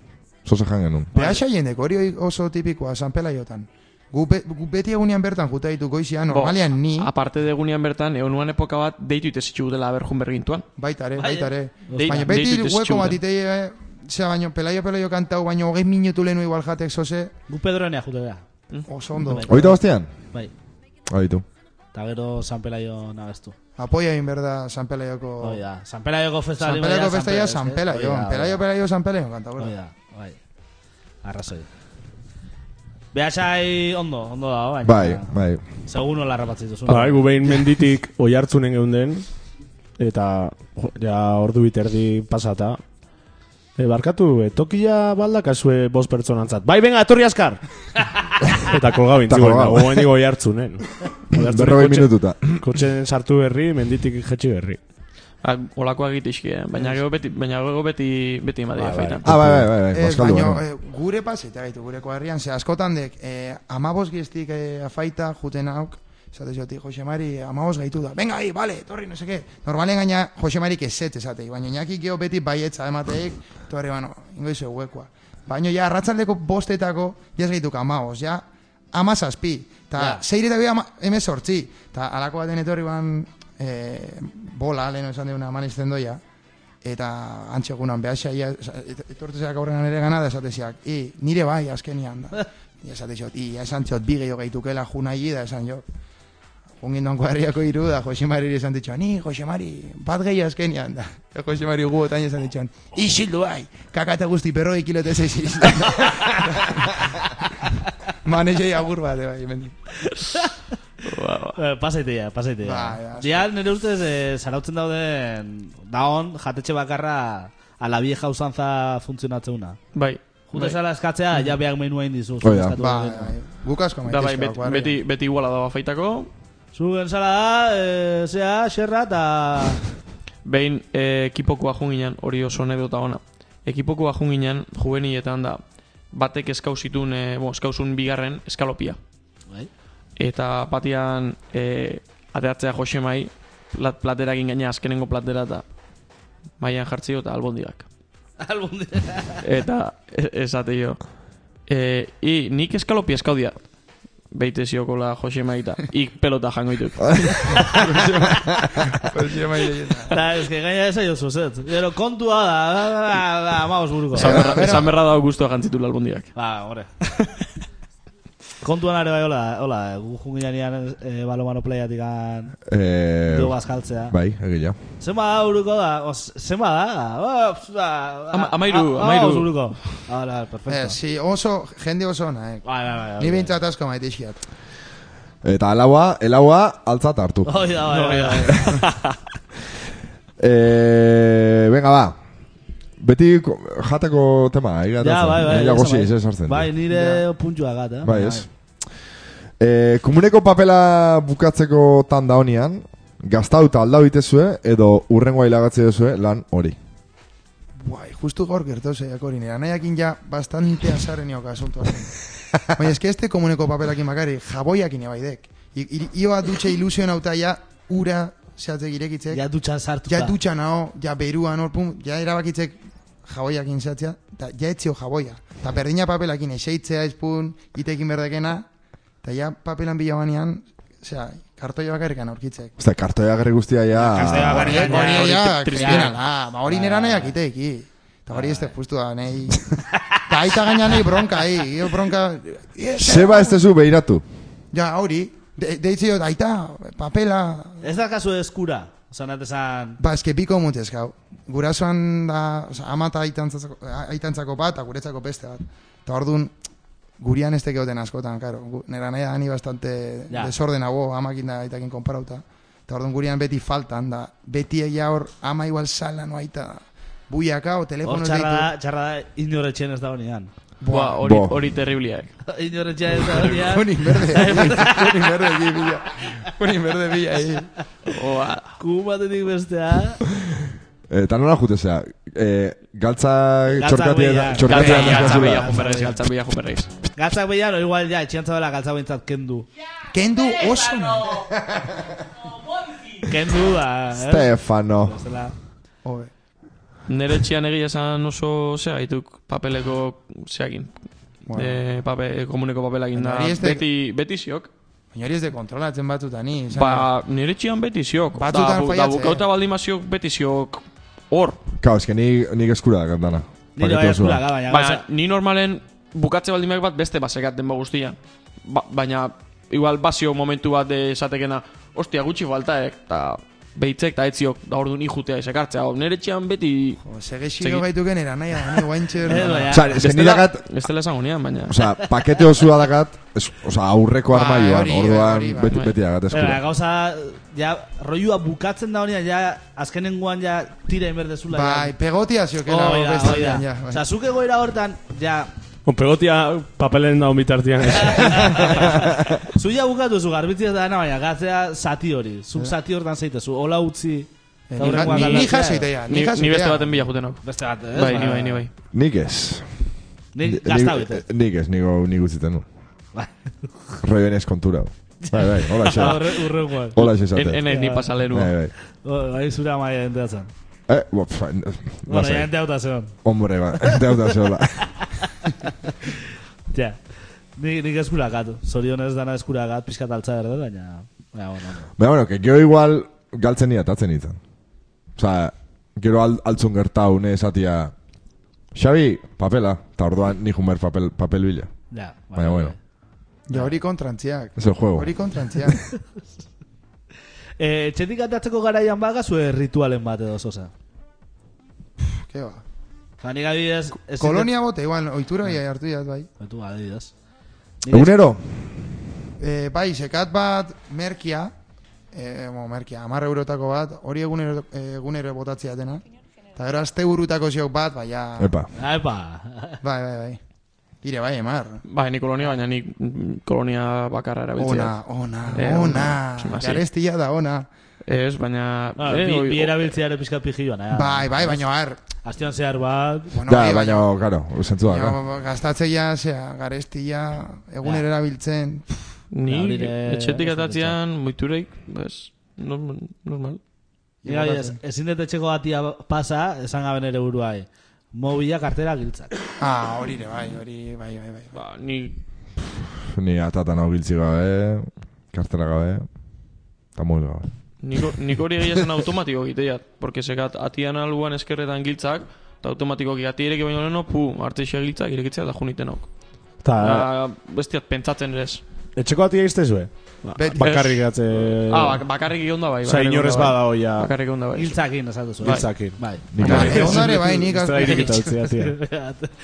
Speaker 2: Zoze jan genuen.
Speaker 4: Behaxa jendek, hori oso tipikoa, San Pelaiotan. Gu, be, gu beti egunean bertan juta ditu goizian,
Speaker 5: Bo, Ah.
Speaker 4: normalean ni,
Speaker 5: Aparte degunean bertan, egon nuan epoka bat deitu itezitxu dela berjun bergintuan.
Speaker 4: baita ere,
Speaker 1: Bai,
Speaker 4: baita ere.
Speaker 5: dei-
Speaker 4: Baina beti
Speaker 5: deitu ez
Speaker 4: hueko
Speaker 5: txuda.
Speaker 4: bat itei, eh, zera baino, Pelaio Pelaio kantau, baino hogei minutu lehenu igual jatek zoze,
Speaker 1: Gu Pedronea jute da.
Speaker 4: oso ondo.
Speaker 1: Bai.
Speaker 2: Oita bastian?
Speaker 1: Bai.
Speaker 2: Oitu.
Speaker 1: Eta gero San Pelaio nabestu.
Speaker 4: Apoia egin berda San Pelaioko...
Speaker 1: Hoi Bai, da. bai San Pelaioko festa.
Speaker 4: Oh. San Pelaioko festaia San Pelaio,
Speaker 1: Bai,
Speaker 4: Pelaio Pelaio San Pelaio kanta,
Speaker 1: Hoi
Speaker 4: bora.
Speaker 1: da, bai. Arrazoi. Behaxai ondo, ondo dago, baina.
Speaker 2: Bai, bai.
Speaker 1: Segun hola rapatzen duzun.
Speaker 2: Ba.
Speaker 3: Bai, gu behin menditik oi hartzunen geunden, eta jo, ja ordu biterdi pasata. E, barkatu, e, tokia baldakazue bost pertsonantzat. Bai, venga, etorri
Speaker 2: *laughs*
Speaker 3: askar! eta kolgau
Speaker 2: Eta
Speaker 3: intziguen,
Speaker 2: kolgau.
Speaker 3: gogoen digo oi hartzunen. Oi hartzunen
Speaker 2: Berrogei
Speaker 3: kotxe-
Speaker 2: minututa.
Speaker 3: Kotxen sartu berri, menditik jetxi berri.
Speaker 5: Ba, Olakoa egitezki, eh? baina gero beti, baina gero beti, beti ematea
Speaker 3: Bai, bai.
Speaker 5: feitan.
Speaker 2: Ah, bai, bai, bai, bai.
Speaker 4: Ez,
Speaker 2: Bazkaldu
Speaker 4: baino,
Speaker 2: genuen.
Speaker 4: eh, gure paseta gaitu, gure koherrian, ze askotan dek, eh, amabos geztik eh, afaita, juten hauk, esate ziotik, Josemari, amabos gaitu da, venga, ahi, vale, torri, no seke. Normalen gaina, Josemarik ezetz esatei, baina inaki geho beti bai baietza emateik, torri, bueno, ingo izo huekoa. Baina, ja, arratzaldeko bostetako, jaz gaituk amabos, ja, amazazpi, eta
Speaker 1: Ja.
Speaker 4: zeiretak bi ama, emezortzi, eta alako baten etorri ban, eh, bola, leheno esan deuna, manisten doia, eta antxegunan behaxa ia, etortezeak aurrenan ere gana da esateziak, i, nire bai azkenian da. *laughs* Ia esatezot, "E, ia esan txot bi gehiago gaitukela junai da esan jo. Ungin donko herriako iru da, Josemari esan ditxoan, ni, Josemari, bat gehi azkenian da. Eta Josemari guotan esan ditxoan, isildu bai, kakata guzti perroi kilotez ez *laughs* isildu. Manezei agur bat, eh, bai, hemendik. Ah.
Speaker 1: Eh, pasaitea, pasaitea.
Speaker 4: Bai, bai, asko.
Speaker 1: Ja, nire ustez, eh, zarautzen dauden, daon, jatetxe bakarra, a la vieja usanza funtzionatzeuna.
Speaker 5: Bai,
Speaker 1: Jute
Speaker 5: bai.
Speaker 1: zara eskatzea, ja beak menua indizu.
Speaker 2: Hoi da.
Speaker 4: Mm. Bai, bai, guk asko
Speaker 5: Da bai, beti,
Speaker 4: maitezka.
Speaker 5: beti, beti iguala da faitako.
Speaker 1: Zuen zara da, eh, zea, xerra, eta... *laughs*
Speaker 5: Behin eh, ekipokoa junginan, hori oso anedota ona. Ekipokoa junginan, juveniletan da, batek eskauzitun, eh, bo, eskauzun bigarren eskalopia.
Speaker 1: Bai.
Speaker 5: Eta batian e, ateratzea Josemai plat, platerakin gaina azkenengo platera eta maian jartzio eta albondigak. Eta e- esate jo. E, I nik eskalopi eskaudia. Beite ziokola Josemai eta ik pelota jango dituk.
Speaker 1: *laughs* Da, es que gaina esa yo zuzet. Pero kontua da, da, da, da, da, amaos buruko.
Speaker 5: Esan berra- Esan berra dago guztua jantzitu albondigak.
Speaker 1: Ba, gore. *laughs* Kontuan are bai, hola, hola, gu jungianean eh, balomano playatik an
Speaker 2: Eh,
Speaker 1: dugu azkaltzea.
Speaker 2: bai, egia.
Speaker 1: Zenba da buruko da, os, zenba da, ba, pf, ba, ba,
Speaker 5: Ama- amairu,
Speaker 1: a- amaos
Speaker 5: amairu.
Speaker 1: buruko. Hala, perfecto.
Speaker 4: Eh, si oso, jende oso ona,
Speaker 5: Ba,
Speaker 4: eh.
Speaker 1: Bai, bai, bai.
Speaker 4: Ni
Speaker 1: bai.
Speaker 4: bintzat asko maite izkiat.
Speaker 2: Eta alaua, elaua altzat hartu.
Speaker 1: *laughs* Hoi da, bai, bai, bai.
Speaker 2: Eh, venga, ba. Beti ko- jateko tema, egia
Speaker 1: Ja, bai, bai.
Speaker 2: Egia
Speaker 1: esan
Speaker 2: gozi,
Speaker 1: bai.
Speaker 2: ez sartzen.
Speaker 1: Bai, nire puntua eh? gata.
Speaker 2: Bai, ez. E, komuneko papela bukatzeko tanda honian, gaztauta alda bitezue, edo urrengoa ilagatzi duzue lan hori.
Speaker 4: Guai, justu gaur gertau zeiak hori nera. Nahiakin ja, bastante azarren nioka asunto. Baina eske este komuneko paperakin bakari, jaboiakin ebaidek. I- i- Iba dutxe ilusion hauta ja, ura zehatzek irekitzek.
Speaker 1: Ja dutxan sartuta.
Speaker 4: Ja dutxa nao, ja beruan hor, pum, ja erabakitzek jaboiakin zehatzea, eta ja etzio jaboia. Eta berdina papelakin eseitzea, espun, itekin berdekena, eta ja papelan bila banean, osea, kartoia bakarrikan aurkitzek.
Speaker 2: Osta, kartoia garri guztia
Speaker 5: Ah,
Speaker 1: Bai,
Speaker 5: bai,
Speaker 7: Kartoia
Speaker 2: ja...
Speaker 7: garri-
Speaker 4: Hori hori ja, Kristina,
Speaker 1: ja.
Speaker 4: la, ba hori nera nahi akiteki. Eta hori ez da justu da, *laughs* nahi. Eta aita gaina nahi bronka, ahi, gero bronka...
Speaker 2: Seba ez tezu behiratu.
Speaker 4: Ja, hori, de- deitzi dut, aita, papela...
Speaker 1: Ez da kasu eskura. Osa, natezan...
Speaker 4: Ba, eske biko mutez, gau. Gurasoan da, oza, ama eta aitantzako, aitantzako bat, eta guretzako beste bat. Eta orduan, gurian ez tekeoten askotan, karo. Gu- Nera nahi da, ni bastante
Speaker 1: Ja.
Speaker 4: desordenago amakin da aitakin konparauta. Eta orduan gurian beti faltan da. Beti egia hor, ama igual sala no aita. Buiaka o
Speaker 1: Hor
Speaker 4: telefonoz
Speaker 1: txarra
Speaker 4: deitu.
Speaker 1: da, txarra da inoretxen ez da *laughs* honean.
Speaker 5: Boa,
Speaker 4: Buah,
Speaker 5: hori,
Speaker 2: Boa.
Speaker 5: hori eh. terribliak.
Speaker 1: Inoretxen *laughs* ez da honean.
Speaker 4: Honi berde,
Speaker 2: *laughs*
Speaker 4: honi berde egin bila. Honi berde bila
Speaker 5: *laughs*
Speaker 4: egin.
Speaker 5: Boa,
Speaker 1: Kubatetik bestea.
Speaker 2: Eh, Eta nola jutezea? E, galtza
Speaker 1: Galtzak
Speaker 2: txorkatia...
Speaker 1: behia.
Speaker 2: Txorkatia...
Speaker 5: galtzan galtzan bila
Speaker 2: nazkazula.
Speaker 5: juferreiz, galtzan bila juferreiz.
Speaker 1: Galtzak behian, o igual ja, etxiantza dela galtzak behintzat kendu.
Speaker 4: Kendu oso. nahi.
Speaker 1: Kendu da, eh?
Speaker 2: Stefano.
Speaker 1: Bestela.
Speaker 4: Hobe.
Speaker 5: Nere txian egia esan oso, zea, ituk papeleko, zeakin, eh, pape, komuneko papelakin da.
Speaker 4: Nari ez de-
Speaker 5: Beti, beti ziok.
Speaker 4: Baina hori ez de kontrolatzen batzutan, ni. esan nahi.
Speaker 5: Ba, nire txian beti ziok.
Speaker 4: Batzutan
Speaker 5: da, bu- da
Speaker 4: faiatzen.
Speaker 5: bukauta baldin baziok, beti ziok hor.
Speaker 2: Kao, eske nik, nik eskura da gantana.
Speaker 1: Nire bai eskura, ga, baina
Speaker 5: Baina,
Speaker 1: galtzak.
Speaker 5: ni normalen bukatze baldin bat beste basekat denba guztia. Ba, baina, igual bazio momentu bat eh, esatekena, ostia gutxi faltaek, eta behitzek eta etziok, da orduan ijutea esekartzea. Hau, Nire txian beti...
Speaker 4: O, Sege xiro
Speaker 5: Segi-
Speaker 4: gaituken eranaia, ni guaintxe.
Speaker 1: Edo, ja.
Speaker 2: Osa, eske nik dakat...
Speaker 5: Bestela esango nian, baina...
Speaker 2: Osa, pakete osua dakat... es- Osa, aurreko
Speaker 4: Bai,
Speaker 2: armaiuan,
Speaker 4: hori,
Speaker 2: orduan
Speaker 4: hori, bai.
Speaker 2: beti, beti dakat
Speaker 1: Baina,
Speaker 2: eskura.
Speaker 1: gauza, ja, roiua bukatzen da honean, ja, azkenengoan, ja, tira inberdezula.
Speaker 4: Bai, pegotia ziokena.
Speaker 1: hoi da, hoi da.
Speaker 4: Ja, bai.
Speaker 1: Osa, zuk egoera hortan, ja,
Speaker 3: Onpegotia papelen daun
Speaker 2: *laughs*
Speaker 3: bitartian.
Speaker 1: zuia bukatu zu garbitzia da dena, baina gatzea zati hori. Zuk zati hortan zeitezu, hola utzi.
Speaker 4: Ni-
Speaker 1: eta hurrengoan
Speaker 4: ni- Ni
Speaker 1: aldatzea.
Speaker 4: jasoitea, ni
Speaker 5: Ni, ni beste
Speaker 4: jasoitea.
Speaker 5: baten bila jutenok.
Speaker 1: Beste bat, ez?
Speaker 5: Bai,
Speaker 1: Ba,
Speaker 5: ni bai, ni bai.
Speaker 2: Nik ez.
Speaker 1: Nik
Speaker 2: Ni-
Speaker 1: gazta
Speaker 2: nik- eh,
Speaker 1: bete.
Speaker 2: Nik ez, nigo nik utziten nu. Roioen ez kontura. Bai, bai, hola xe.
Speaker 1: Ah, Urrengoan.
Speaker 2: Hola xe
Speaker 5: En,
Speaker 2: zate.
Speaker 5: ene, ni pasalenua.
Speaker 2: Bai, bai.
Speaker 1: Bai, zure amaia enteatzen.
Speaker 2: Eh, bo, pfa, n-
Speaker 1: Bueno,
Speaker 2: lasai.
Speaker 1: ja enteauta zeon.
Speaker 2: Hombre, ba, *laughs* deuda zeola.
Speaker 1: Ja. Nik, nik eskurakat. Zorionez dana eskurakat, pixkat altza erde, baina... Baina, bueno.
Speaker 2: Baina, bueno, que gero igual galtzen ni atatzen nintzen. Osa, gero al, altzun gertau, ne esatia... Xabi, papela. Ta orduan ni jumer papel, papel bila.
Speaker 1: Ja,
Speaker 2: Baina, bueno.
Speaker 4: Ja, hori kontrantziak.
Speaker 2: Ez el juego.
Speaker 4: Hori *laughs* kontrantziak.
Speaker 1: Eh, txetik atatzeko garaian baga, zue ritualen bat edo zoza.
Speaker 4: Ke ba.
Speaker 1: Osa, nik adibidez... ez-
Speaker 4: Kolonia bote, igual, oitura ia hartu jat, bai.
Speaker 1: Betu, adibidez. Nik ez-
Speaker 2: Egunero?
Speaker 4: E, bai, sekat bat, merkia, e, mo, merkia, amar eurotako bat, hori egunero, egunero botatzea dena. Eta gero azte burutako ziok bat, bai, ja, bai,
Speaker 2: Epa.
Speaker 1: Ah, Epa!
Speaker 4: bai, bai. Dire, bai, emar.
Speaker 5: Bai, ni kolonia, baina ni mm, kolonia bakarra erabiltzea.
Speaker 4: Ona, ona,
Speaker 5: Eh,
Speaker 4: ona.
Speaker 5: ona.
Speaker 4: Garestia da, ona.
Speaker 5: Ez, baina...
Speaker 1: Ah,
Speaker 5: eh,
Speaker 1: bi,
Speaker 5: oi-
Speaker 1: bi erabiltzeare pixka pijioan, eh?
Speaker 4: Bai, bai, baina, har.
Speaker 1: Aztian zehar bat...
Speaker 4: Bueno,
Speaker 2: Ah.
Speaker 4: bai,
Speaker 2: Da,
Speaker 4: hori,
Speaker 2: baina, karo, zentzua.
Speaker 4: baina, gastatzea, zea, garestia, egunero erabiltzen. Pff,
Speaker 5: Ni
Speaker 1: Ja, hori ere
Speaker 5: etxetik
Speaker 1: oso
Speaker 5: atatzean muitureik, bez, normal. normal.
Speaker 1: Ia, ia, ez- ezin dut etxeko batia pasa, esan gabe nere buruai. Mobila kartera giltzak.
Speaker 4: Ah, hori ere, bai, hori, bai, bai, bai.
Speaker 5: Ba, ni
Speaker 2: Ni atatan hau giltzi gabe, kartela gabe, eta mobil gabe.
Speaker 5: Niko, niko hori egia zen automatiko egiteat, porque zekat atian albuan eskerretan giltzak, eta automatikoki ati ireki baino leheno, pu, artexia giltzak irekitzea da juniten auk.
Speaker 3: Ta,
Speaker 5: Ah. Bestiat pentsatzen ere ez.
Speaker 3: etxeko ati egiztezue?
Speaker 4: Beti.
Speaker 3: Bakarrik gatze...
Speaker 5: Ah, bak, bakarrik egon da bai.
Speaker 3: Osa,
Speaker 5: bakarrik
Speaker 3: inorrez
Speaker 5: egon da bai.
Speaker 3: bada hoia...
Speaker 5: Bakarrik egon da bai.
Speaker 1: Giltzakin, esatu zuen.
Speaker 3: Giltzakin.
Speaker 1: Bai.
Speaker 2: Nik
Speaker 4: Ba,
Speaker 2: ere.
Speaker 4: egon dare, bai,
Speaker 3: Ez
Speaker 4: nik
Speaker 3: da
Speaker 4: azte
Speaker 3: irekita utzia, tia.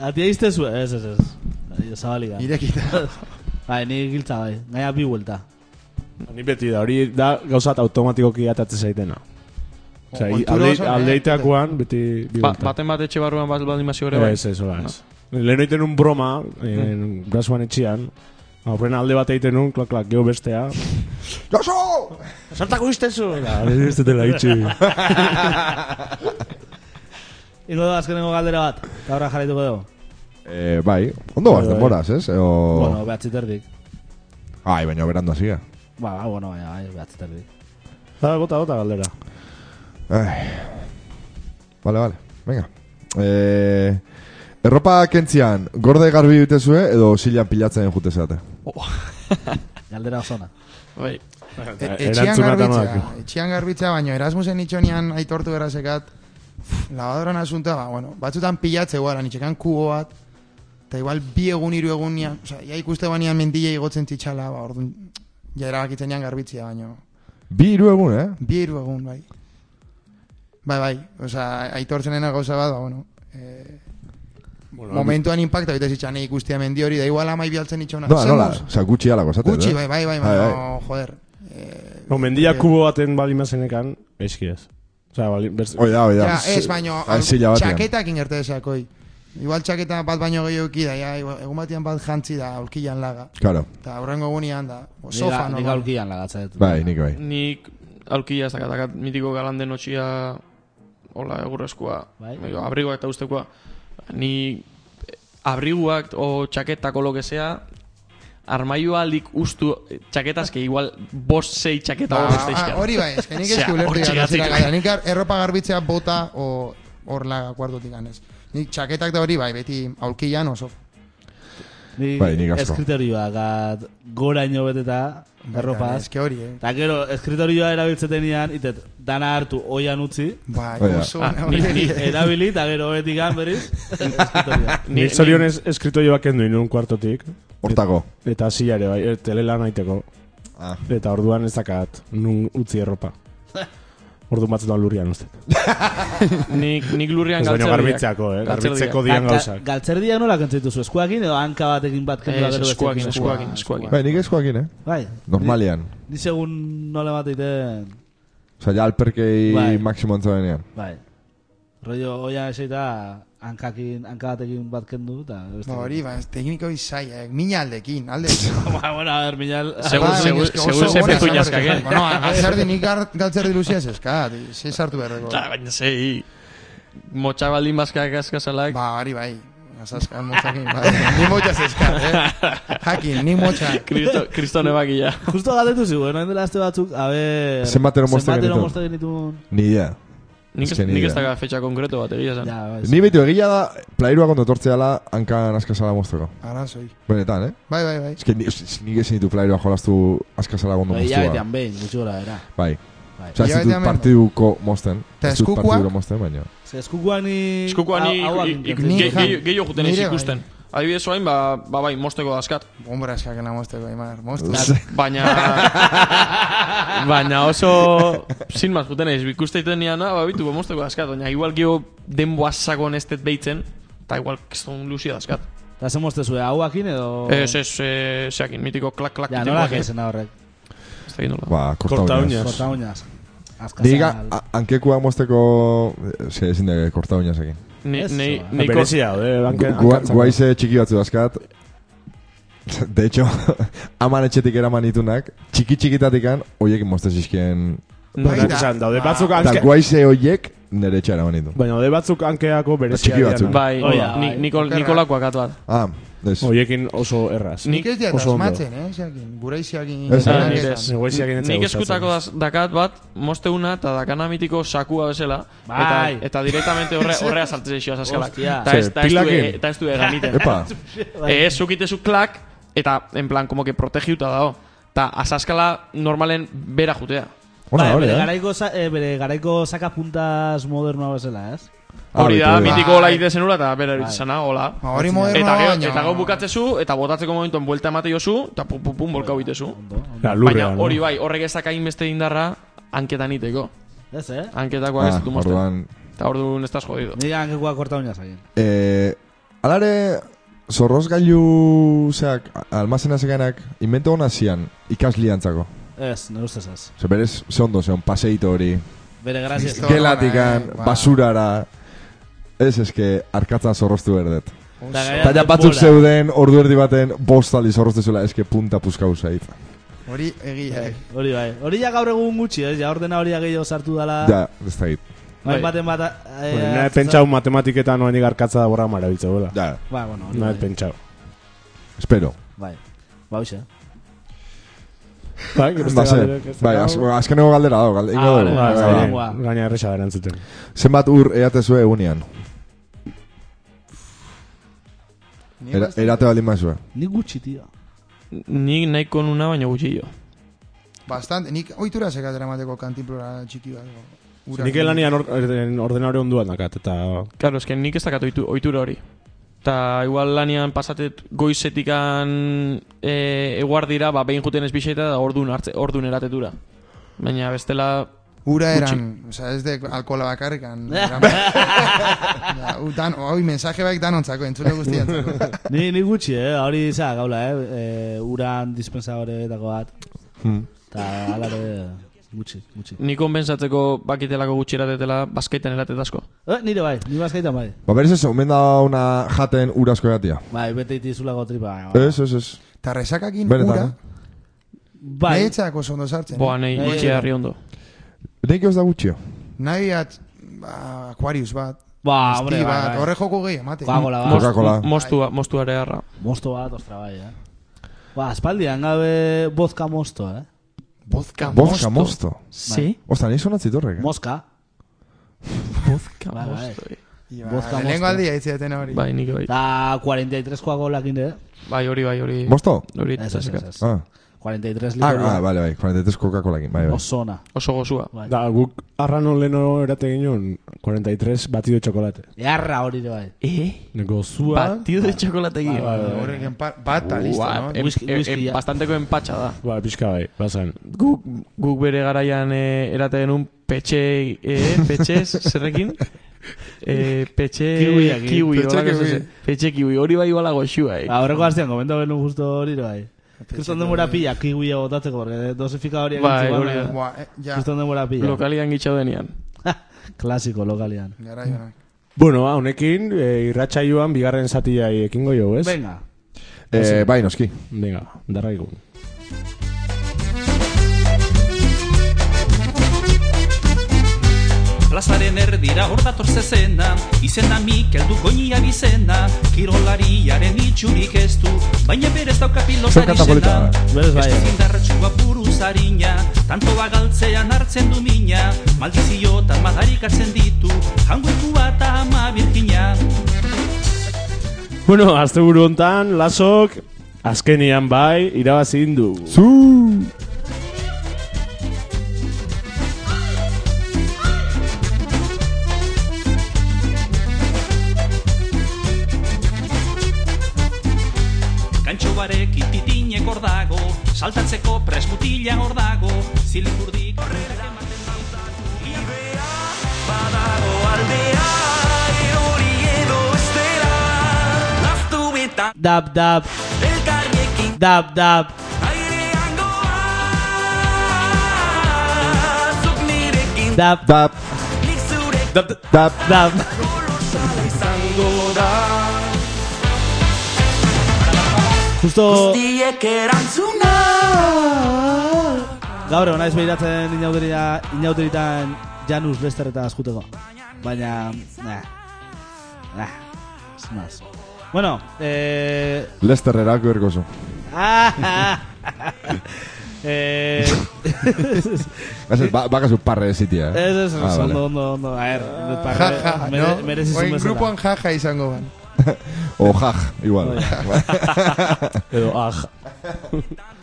Speaker 1: Atia izte zuen, ez, ez, ez. Zabalika. *laughs*
Speaker 4: irekita.
Speaker 1: Bai, ni giltza bai. Gaina bi vuelta.
Speaker 3: Ni beti da, hori da gauzat automatikoki atatzen zaitena. Osa,
Speaker 4: Kultura
Speaker 3: aldeit,
Speaker 4: oso, eh?
Speaker 3: aldeitakoan beti... bi
Speaker 5: Ba,
Speaker 3: guelta.
Speaker 5: baten bat etxe barruan bat baldin bazio ere bai. Ah. Hmm.
Speaker 3: Ez, ez, hola, ez. Lehen egiten un broma, eh, en, brasuan etxian, aurren alde bat egiten un, klak, klak, geho
Speaker 4: *laughs*
Speaker 3: bestea.
Speaker 2: Joso!
Speaker 3: Sartako iztezu! Hori ez dutela
Speaker 4: *laughs*
Speaker 3: itxi.
Speaker 1: Ingo da azkenengo galdera bat. Eta horra jarraituko dugu.
Speaker 2: Eh, bai, ondo
Speaker 3: Bai,
Speaker 2: baz
Speaker 3: bai.
Speaker 2: denboraz, ez? Eo...
Speaker 1: Bueno, behatzi terdik.
Speaker 2: Ai, baina berandu hasia.
Speaker 1: Ba, ah, bueno, baina, bai, behatzi terdik.
Speaker 3: Ah, Bota, bota galdera.
Speaker 2: Ai. Vale, vale, venga. Eh, erropa kentzian, gorde garbi ditezue edo zilan pilatzen jute zeate.
Speaker 1: Galdera osona.
Speaker 5: Bai.
Speaker 4: E- Etxean
Speaker 3: Erantzuna eta
Speaker 4: garbitzea,
Speaker 3: noak.
Speaker 4: etxean garbitzea, baino Erasmusen itxonian aitortu erasekat, lavadoran asunta, ba, bueno, batzutan pilatze guaran, itxekan kubo bat, eta igual bi egun hiru egunean, osea, ja ikuste banean mendila igotzen titxala, ba, orduan, ja erabakitzen ean garbitzea, baino,
Speaker 2: Bi hiru egun, eh?
Speaker 4: bi hiru egun, bai. Bai, bai, osea, aitortzen ena gauza bat, ba, bueno, eh, momentuan impacta, baita zitxan ikustea mendi hori, da igual amai bialtzen itxona.
Speaker 2: No,
Speaker 4: Zer
Speaker 2: nola,
Speaker 4: moz?
Speaker 2: oza, gutxi alako, esate.
Speaker 4: Ba, Gutxi, bai, bai, bai,
Speaker 2: Bai, bai.
Speaker 4: baino, joder. Eh,
Speaker 3: No, mendia
Speaker 4: eh,
Speaker 3: kubo baten bali mazenekan, eski ez. Osa, bali, berz...
Speaker 2: Hoi da, hoi da.
Speaker 4: Ja, ez, baino,
Speaker 2: Ah, zila batean.
Speaker 4: txaketakin gertu desakoi. Igual txaketa bat baino gehiago da, ja, igual, egun batean bat jantzi da, aulkilan laga.
Speaker 2: Claro,
Speaker 4: Eta horrengo gunean da, o, sofa,
Speaker 1: Sofa,
Speaker 4: no?
Speaker 1: Nik aurkian lagatzen. dut.
Speaker 2: bai, nik bai.
Speaker 5: Nik alkia ez dakat, dakat mitiko galanden otxia, hola, egurrezkoa,
Speaker 1: Bai.
Speaker 5: Edo, abrigoak eta ustekoa. Ni abriguak o txaketak o lo que sea, armaioa aldik ustu txaketaz, que igual bost sei txaketa
Speaker 4: Ba,
Speaker 5: hor beste
Speaker 4: ah,
Speaker 5: izan.
Speaker 4: hori bai,
Speaker 5: *laughs*
Speaker 4: ez, que nik
Speaker 5: Osea,
Speaker 4: eski ulertu
Speaker 5: hortxe
Speaker 4: gara, zera
Speaker 5: gatik.
Speaker 4: gara. Nik ar- erropa garbitzea bota o hor laga kuartotik ganez. Nik txaketak da hori bai, beti aulkilan o sofa.
Speaker 1: Ni
Speaker 2: Bai, nik asko. Bai,
Speaker 1: Eskritorioa, gat, goraino beteta, erropa.
Speaker 4: Ez que hori, eh.
Speaker 1: Eta gero, eskritorioa erabiltzetenian, itet, dana hartu oian
Speaker 2: *laughs*
Speaker 1: utzi,
Speaker 4: Bai,
Speaker 2: Hoi da.
Speaker 4: oso,
Speaker 5: Ah,
Speaker 4: hori.
Speaker 5: ni- ni-
Speaker 1: erabili, eta gero betik
Speaker 2: *laughs*
Speaker 1: berriz, eskritorioa.
Speaker 5: Ni-
Speaker 3: Nik zorionez eskritoioak endu inun kuartotik.
Speaker 2: Hortako.
Speaker 3: Eta zila ere bai, er, telelan aiteko.
Speaker 2: Ah.
Speaker 3: Eta orduan ez dakat, nun utzi
Speaker 5: *laughs*
Speaker 3: erropa. Orduan batzutan lurrian uste.
Speaker 5: Nik, nik lurrean
Speaker 3: Ez baino
Speaker 5: galtzerdiak.
Speaker 3: garbitzeako, eh? Garbitzeko dian gauzak.
Speaker 1: Galtzerdia nola kentzitu zu, eskuakin edo hanka batekin bat kendu da
Speaker 5: Ez,
Speaker 1: gero bestekin?
Speaker 5: eskuakin, eskuakin, eskuakin.
Speaker 2: Bai, nik eskoakin, eh?
Speaker 1: Bai,
Speaker 2: Normalian.
Speaker 1: Ni, ni segun nola mateiten,
Speaker 2: Osa, ja alperkei
Speaker 1: Bai.
Speaker 2: maximo entzabenean.
Speaker 1: bai. Rollo, oian eseita, hankakin, hanka batekin bat kendu, eta...
Speaker 4: Ba,
Speaker 1: bestekin.
Speaker 4: hori, ba, ez tekniko izaiak, mina aldekin, alde.
Speaker 1: Ba, bueno, a ver, minal...
Speaker 5: Segur-
Speaker 4: Ba, baina
Speaker 5: segur-
Speaker 4: ez que oso
Speaker 5: segur ze
Speaker 4: gona,
Speaker 5: pezuñazkak,
Speaker 4: segur-
Speaker 5: eh?
Speaker 4: Bueno, ah,
Speaker 5: *laughs*
Speaker 4: galtzerdi, nik gar- galtzerdi luzia ez eskat, ze sartu behar
Speaker 5: Ta, baina zei, motxa baldin bazkak askazalak.
Speaker 4: Ba, hori bai. Azazkan motzakin, bai. Ni motxaz eskat, eh? Jakin, ni motxa.
Speaker 5: Kristo, kristo nebakila.
Speaker 1: Justo galdetu zigu, noen dela aste batzuk, a ber...
Speaker 2: Zenbatero mozte genituen.
Speaker 1: mozte genituen.
Speaker 2: Ni idea.
Speaker 5: Nik,
Speaker 2: Ez que ni
Speaker 5: nik ez
Speaker 2: idea.
Speaker 5: dakat fetxa konkreto bat, egia esan.
Speaker 1: Ja, bai.
Speaker 2: Ni beti egia da, plairuak ondo tortzeala hankan askazala mozteko.
Speaker 4: Arazoi.
Speaker 2: Benetan, eh?
Speaker 4: Bai, bai, bai.
Speaker 2: Ez que ni- ez- nik ezin ditu plairuak jolastu askazala ondo
Speaker 1: Bai, hilabetean
Speaker 2: moztua.
Speaker 1: behin, gutxi gora, era.
Speaker 2: Bai.
Speaker 1: Bai.
Speaker 2: Osa, ez
Speaker 4: Hilabetean
Speaker 2: ditut
Speaker 4: behin,
Speaker 2: partiduko mozten.
Speaker 4: Ta
Speaker 2: Ez ditut
Speaker 4: eskukuak?
Speaker 2: partiduro mozten, baina.
Speaker 1: Ze eskukuan ni...
Speaker 5: Eskukoa ni
Speaker 1: hau- hauak
Speaker 5: ik- ik-
Speaker 1: kentzen.
Speaker 5: ge-
Speaker 4: Ni-
Speaker 5: gehi- gehiago juten ez
Speaker 4: nire bai.
Speaker 5: ikusten. Adibidez oain, ba, ba bai, mosteko daskat.
Speaker 4: Hombre, eskaken amozteko, Aimar. Moztu.
Speaker 5: Baina... baina oso... Zin maz juten ez, ikusteiten nian, ah, ba, bitu, ba, mosteko daskat. Baina igual geho denboa sakon ez dut deitzen, eta igual keston luzia daskat.
Speaker 1: Eta ze mozte zuen, hauakin edo...
Speaker 5: Ez, ez, eh, zeakin, mitiko klak, klak,
Speaker 1: Oh. Ja,
Speaker 5: mitikoak,
Speaker 1: nola
Speaker 5: eh.
Speaker 1: gezen horrek.
Speaker 5: Ez dakit nola.
Speaker 2: Ba, korta
Speaker 3: Korta
Speaker 2: uñaz.
Speaker 3: uñaz.
Speaker 1: Korta uñaz. Azkazal.
Speaker 2: Diga, ah, hankekuak mozteko... eh, Ze, ezin da, korta uñaz egin.
Speaker 5: Ni,
Speaker 1: Ez,
Speaker 5: nei,
Speaker 1: ba.
Speaker 5: neiko,
Speaker 3: Berezia, eh? banken-
Speaker 2: Gua-
Speaker 3: hankantzako.
Speaker 2: Guaize txiki batzu daskat. De hecho, *laughs* aman etxetik eraman itunak, txiki txikitatikan, oiek mozte zizkien.
Speaker 4: Bai, da.
Speaker 3: Esan, daude batzuk
Speaker 2: Eta
Speaker 3: hanke...
Speaker 2: guaize oiek nire etxe eraman ditu.
Speaker 3: Baina daude batzuk hankeako berezia.
Speaker 2: Txiki batzuk.
Speaker 3: diana.
Speaker 5: bai,
Speaker 1: Oia,
Speaker 5: ni,
Speaker 1: bai.
Speaker 5: niko,
Speaker 4: Okerra.
Speaker 5: nikolakoak bat.
Speaker 2: Ah, Ez.
Speaker 3: Hoiekin oso erraz.
Speaker 5: Ni-
Speaker 4: Nik ez diat
Speaker 3: oso ondo.
Speaker 4: asmatzen, eh? Xeakin, gure iziakin.
Speaker 2: Ez,
Speaker 5: Ah,
Speaker 2: nik
Speaker 5: nire-
Speaker 4: lanetan.
Speaker 3: Negoiziak egin ez
Speaker 5: Nik
Speaker 3: gustatzen.
Speaker 5: eskutako daz, dakat bat, mosteuna eta dakana mitiko sakua bezala.
Speaker 1: Bai.
Speaker 5: Eta, eta direktamente horre, horrea saltzen zeixioa zaskalak.
Speaker 1: Hostia. Bai.
Speaker 5: Eta ez,
Speaker 3: Ze,
Speaker 5: eta ez, du-
Speaker 3: pilakin?
Speaker 5: eta ez du eganiten.
Speaker 2: Epa,
Speaker 5: Eh, Ez zukitezu klak, eta en plan, como que protegiuta dago. Eta azaskala normalen bera jutea.
Speaker 2: ona
Speaker 1: Bai,
Speaker 2: hori,
Speaker 1: bere,
Speaker 2: eh?
Speaker 1: garaiko, sa- eh, bere garaiko sakapuntas modernoa bezala, ez?
Speaker 5: Hori da,
Speaker 2: Ah, beti,
Speaker 5: mitiko hola egiten zenula, eta bera
Speaker 1: Bai.
Speaker 5: eritzana, hola.
Speaker 4: Ba, Hori moderno
Speaker 5: Eta gero,
Speaker 4: baina.
Speaker 5: eta gero bukatzezu, eta botatzeko momentuan buelta emate jozu, eta pum, pum, pum, bolkau itezu.
Speaker 3: Ja, Ba, lurrean,
Speaker 5: Baina
Speaker 3: no?
Speaker 5: hori bai, horrek ez dakain beste indarra, hanketan iteko.
Speaker 1: Ez, eh?
Speaker 5: Hanketakoa ez
Speaker 2: Ah,
Speaker 5: ditu mozten.
Speaker 2: orduan,
Speaker 5: Eta orduan estás jodido.
Speaker 1: Nik hankekua korta uñaz haien.
Speaker 2: Eh, alare, zorrozgailu, zeak, almazena zekanak, invento hona zian, ikasliantzako.
Speaker 1: Ez, ne ustez ez.
Speaker 2: Ze berez, ze ondo, ze on paseito hori.
Speaker 1: Bere graziez.
Speaker 4: Listo.
Speaker 2: Gelatikan,
Speaker 4: eh, ba.
Speaker 2: basurara. Ez, eske, arkatzan zorroztu berdet.
Speaker 1: Eta gainera
Speaker 2: Taia batzuk
Speaker 1: denbora.
Speaker 2: zeuden, ordu erdi baten, bostaldi zorroztezula, eske punta puskau zait.
Speaker 4: Hori egia. eh.
Speaker 1: Hori bai. Hori ja gaur egun gutxi, ez? Ja ordena hori ja gehiago sartu dala.
Speaker 2: Ja, ez da git.
Speaker 1: Bai,
Speaker 5: Bai.
Speaker 1: baten bat... eh,
Speaker 3: Bueno, nahi
Speaker 1: hartzen
Speaker 3: pentsau matematiketan oen igarkatza da borra marabiltza duela.
Speaker 2: Ja,
Speaker 1: za- Ba, bueno, hori
Speaker 3: Nahi
Speaker 1: bai.
Speaker 3: pentsau.
Speaker 2: espero.
Speaker 1: Bai. Ba, hoxe.
Speaker 3: Bai, beste
Speaker 2: Ba, ze,
Speaker 3: galderek ez da
Speaker 2: bai,
Speaker 3: dago.
Speaker 2: az, azkeneko galdera dago, galde, ingo
Speaker 1: Ah,
Speaker 2: dugu.
Speaker 1: vale,
Speaker 3: Bai,
Speaker 1: Ez
Speaker 2: Bai,
Speaker 1: da
Speaker 3: bai,
Speaker 2: bai.
Speaker 1: dagoa.
Speaker 3: Gaina erresa da erantzuten.
Speaker 2: Zenbat ur eatezue egunean?
Speaker 4: Ni
Speaker 2: Era,
Speaker 4: ez-
Speaker 2: erate baldin mazue.
Speaker 1: Nik gutxi, tio.
Speaker 5: Nik nahiko nuna baina gutxillo.
Speaker 4: Bastante, nik oitura sekatera mateko kantinplora txiki bat. Ura-
Speaker 3: Nik elanian or- orden- ordenadore onduan dakat, eta...
Speaker 5: Claro, es que nik ez dakat ohitu- ohitura hori. Ta igual lanian pasatet goizetikan e, eguardira, ba, behin juten ez biseta da ordun, hartze, ordun eratetura. Baina bestela...
Speaker 4: Ura eran, oza, ez de alkola
Speaker 1: *laughs*
Speaker 4: bakarrikan. eran- Ja, u- dan- Hoi, mensaje baik danontzako, entzule guztientzako.
Speaker 1: Ni, ni gutxi, eh? Hori za, gaula, eh? eh uran dispensadoreetako bat. Eta alare gutxi, gutxi.
Speaker 5: Ni konpensatzeko bakitelako gutxi eratetela, basketan eratet asko.
Speaker 1: Eh, nire bai, ni bazkaitan bai.
Speaker 2: Ba, berez ez, omen da una jaten urasko eatia.
Speaker 1: Bai, bete itizulako tripa.
Speaker 2: Ez, ez, ez.
Speaker 4: Eta resakakin
Speaker 2: Benetan,
Speaker 4: ura,
Speaker 2: eh?
Speaker 1: Bai.
Speaker 4: nahi etxeak oso ondo sartzen.
Speaker 5: Boa, nahi
Speaker 1: Bai.
Speaker 5: itxia harri ondo.
Speaker 2: Nik ez da gutxio.
Speaker 4: Nahi at, ba, Aquarius bat,
Speaker 1: Ba, hombre,
Speaker 4: Sti
Speaker 1: bai,
Speaker 4: bat,
Speaker 1: bai.
Speaker 4: horre joko gehi emate.
Speaker 1: Coca-Cola
Speaker 2: Mm.
Speaker 1: bat.
Speaker 2: Coca-Cola.
Speaker 5: Mostua, mostua ere harra.
Speaker 1: Mosto bat, ostra bai, eh. Ba, espaldian gabe bozka mosto, eh.
Speaker 5: Bozka
Speaker 2: Boska mosto.
Speaker 5: Sí?
Speaker 2: Osta, nahi sonatzit horrek. eh?
Speaker 1: Mosca.
Speaker 5: Bozka
Speaker 1: Bai, bai.
Speaker 5: mosto. eh.
Speaker 1: Bozka
Speaker 4: Lehenko
Speaker 1: moztu.
Speaker 4: aldia itziaten hori.
Speaker 5: Bai, nik bai.
Speaker 1: Da 43 koako lakin, eh.
Speaker 5: Bai, hori, bai, hori.
Speaker 2: Mosto?
Speaker 5: Hori,
Speaker 1: Ez, ez, ez,
Speaker 5: taseka.
Speaker 1: ez.
Speaker 2: Ah,
Speaker 1: 43
Speaker 2: ah,
Speaker 1: litroa.
Speaker 2: ah, bale, bai, 43 Coca-Colakin, bai, bai.
Speaker 1: Osona.
Speaker 5: Oso gozua.
Speaker 1: Bai.
Speaker 3: Da, guk arrano leheno erate ginen 43 batido de chocolate.
Speaker 1: Earra hori ere bai.
Speaker 5: Eh?
Speaker 3: Gozua...
Speaker 5: Batido de txokolategi.
Speaker 4: Horrek enpa- bata, listo,
Speaker 5: Ua,
Speaker 4: no?
Speaker 5: em-
Speaker 1: Whisky-
Speaker 5: em-
Speaker 1: whisky,
Speaker 5: em-
Speaker 1: ja.
Speaker 5: bastanteko empatxa da.
Speaker 3: Ba, pixka bai, bazan.
Speaker 5: Guk, guk bere garaian eh, erate genuen petxe, eh, petxe zerrekin? Eh, petxe
Speaker 1: Kiwiak,
Speaker 5: kiwi,
Speaker 4: petxe
Speaker 5: holako
Speaker 4: kiwi.
Speaker 5: zezen. petxe kiwi, hori bai bala goxua, eh.
Speaker 1: Ba, horreko hastean, komento genuen justo hori ere bai. Kriston denbora pila, kiwia botatzeko, porque dosifika horiak
Speaker 5: Bai,
Speaker 1: entzun
Speaker 5: hori
Speaker 1: bana.
Speaker 5: da.
Speaker 4: Boa, eh, ja,
Speaker 1: Kriston denbora pila. *laughs*
Speaker 5: Lokalian gitxau denean.
Speaker 1: Klasiko, lokalian.
Speaker 4: gara joan.
Speaker 3: Bueno, ba, honekin, e, irratxaioan bigarren zatiai ekingo jo, ez?
Speaker 1: Venga.
Speaker 2: Eh, bai, noski.
Speaker 3: Venga, darraigun.
Speaker 7: Plazaren erdira hor dator zezena Izena Mikel du koinia bizena Kirolariaren itxurik ez du Baina berez dauka
Speaker 2: Zer
Speaker 7: pilotari
Speaker 2: kanta polita
Speaker 7: zena
Speaker 2: da.
Speaker 1: Berez bai.
Speaker 7: Ez indarratxua buruz harina Tantoa galtzean hartzen du mina Maldiziotan madarikatzen ditu Jangoikua eta ama birkina
Speaker 3: Bueno, azte buru hontan, lasok, azkenian bai, irabazi indu.
Speaker 2: Zu!
Speaker 7: Kantxo barekin titinek hor dago Saltatzeko presmutila hor dago Zilikurdik horrela ematen dauta Ibea badago aldea Erori edo estela Laztu eta
Speaker 1: Dab, dab,
Speaker 7: elkarriekin
Speaker 1: dab, dab.
Speaker 7: Airean goa Zuk nirekin
Speaker 1: Dab,
Speaker 2: Dap,
Speaker 7: Nik zurek
Speaker 2: dap.
Speaker 1: dab.
Speaker 7: kolosala izango da
Speaker 1: Justo
Speaker 7: Diek erantzuna
Speaker 1: gaur egon naiz behiratzen inauterita, inauteritan Janus Lester eta azkuteko. Baina, nah, nah, ez maz. Bueno, eh... ah,
Speaker 2: Lester erako
Speaker 1: *laughs*
Speaker 2: ergozu.
Speaker 1: eh... *laughs*
Speaker 2: Gazet, ba, bakazu parre zitia. eh?
Speaker 1: Ez, ez, ez,
Speaker 2: Ah,
Speaker 1: ondo,
Speaker 2: vale.
Speaker 1: ondo, ondo. A ver,
Speaker 4: Ja,
Speaker 1: parre,
Speaker 4: ja,
Speaker 1: mere,
Speaker 4: no?
Speaker 1: merezi zuen
Speaker 4: Oin
Speaker 1: bezala.
Speaker 4: grupoan jaja izango ban.
Speaker 2: O jaj, igual.
Speaker 3: Edo, ah,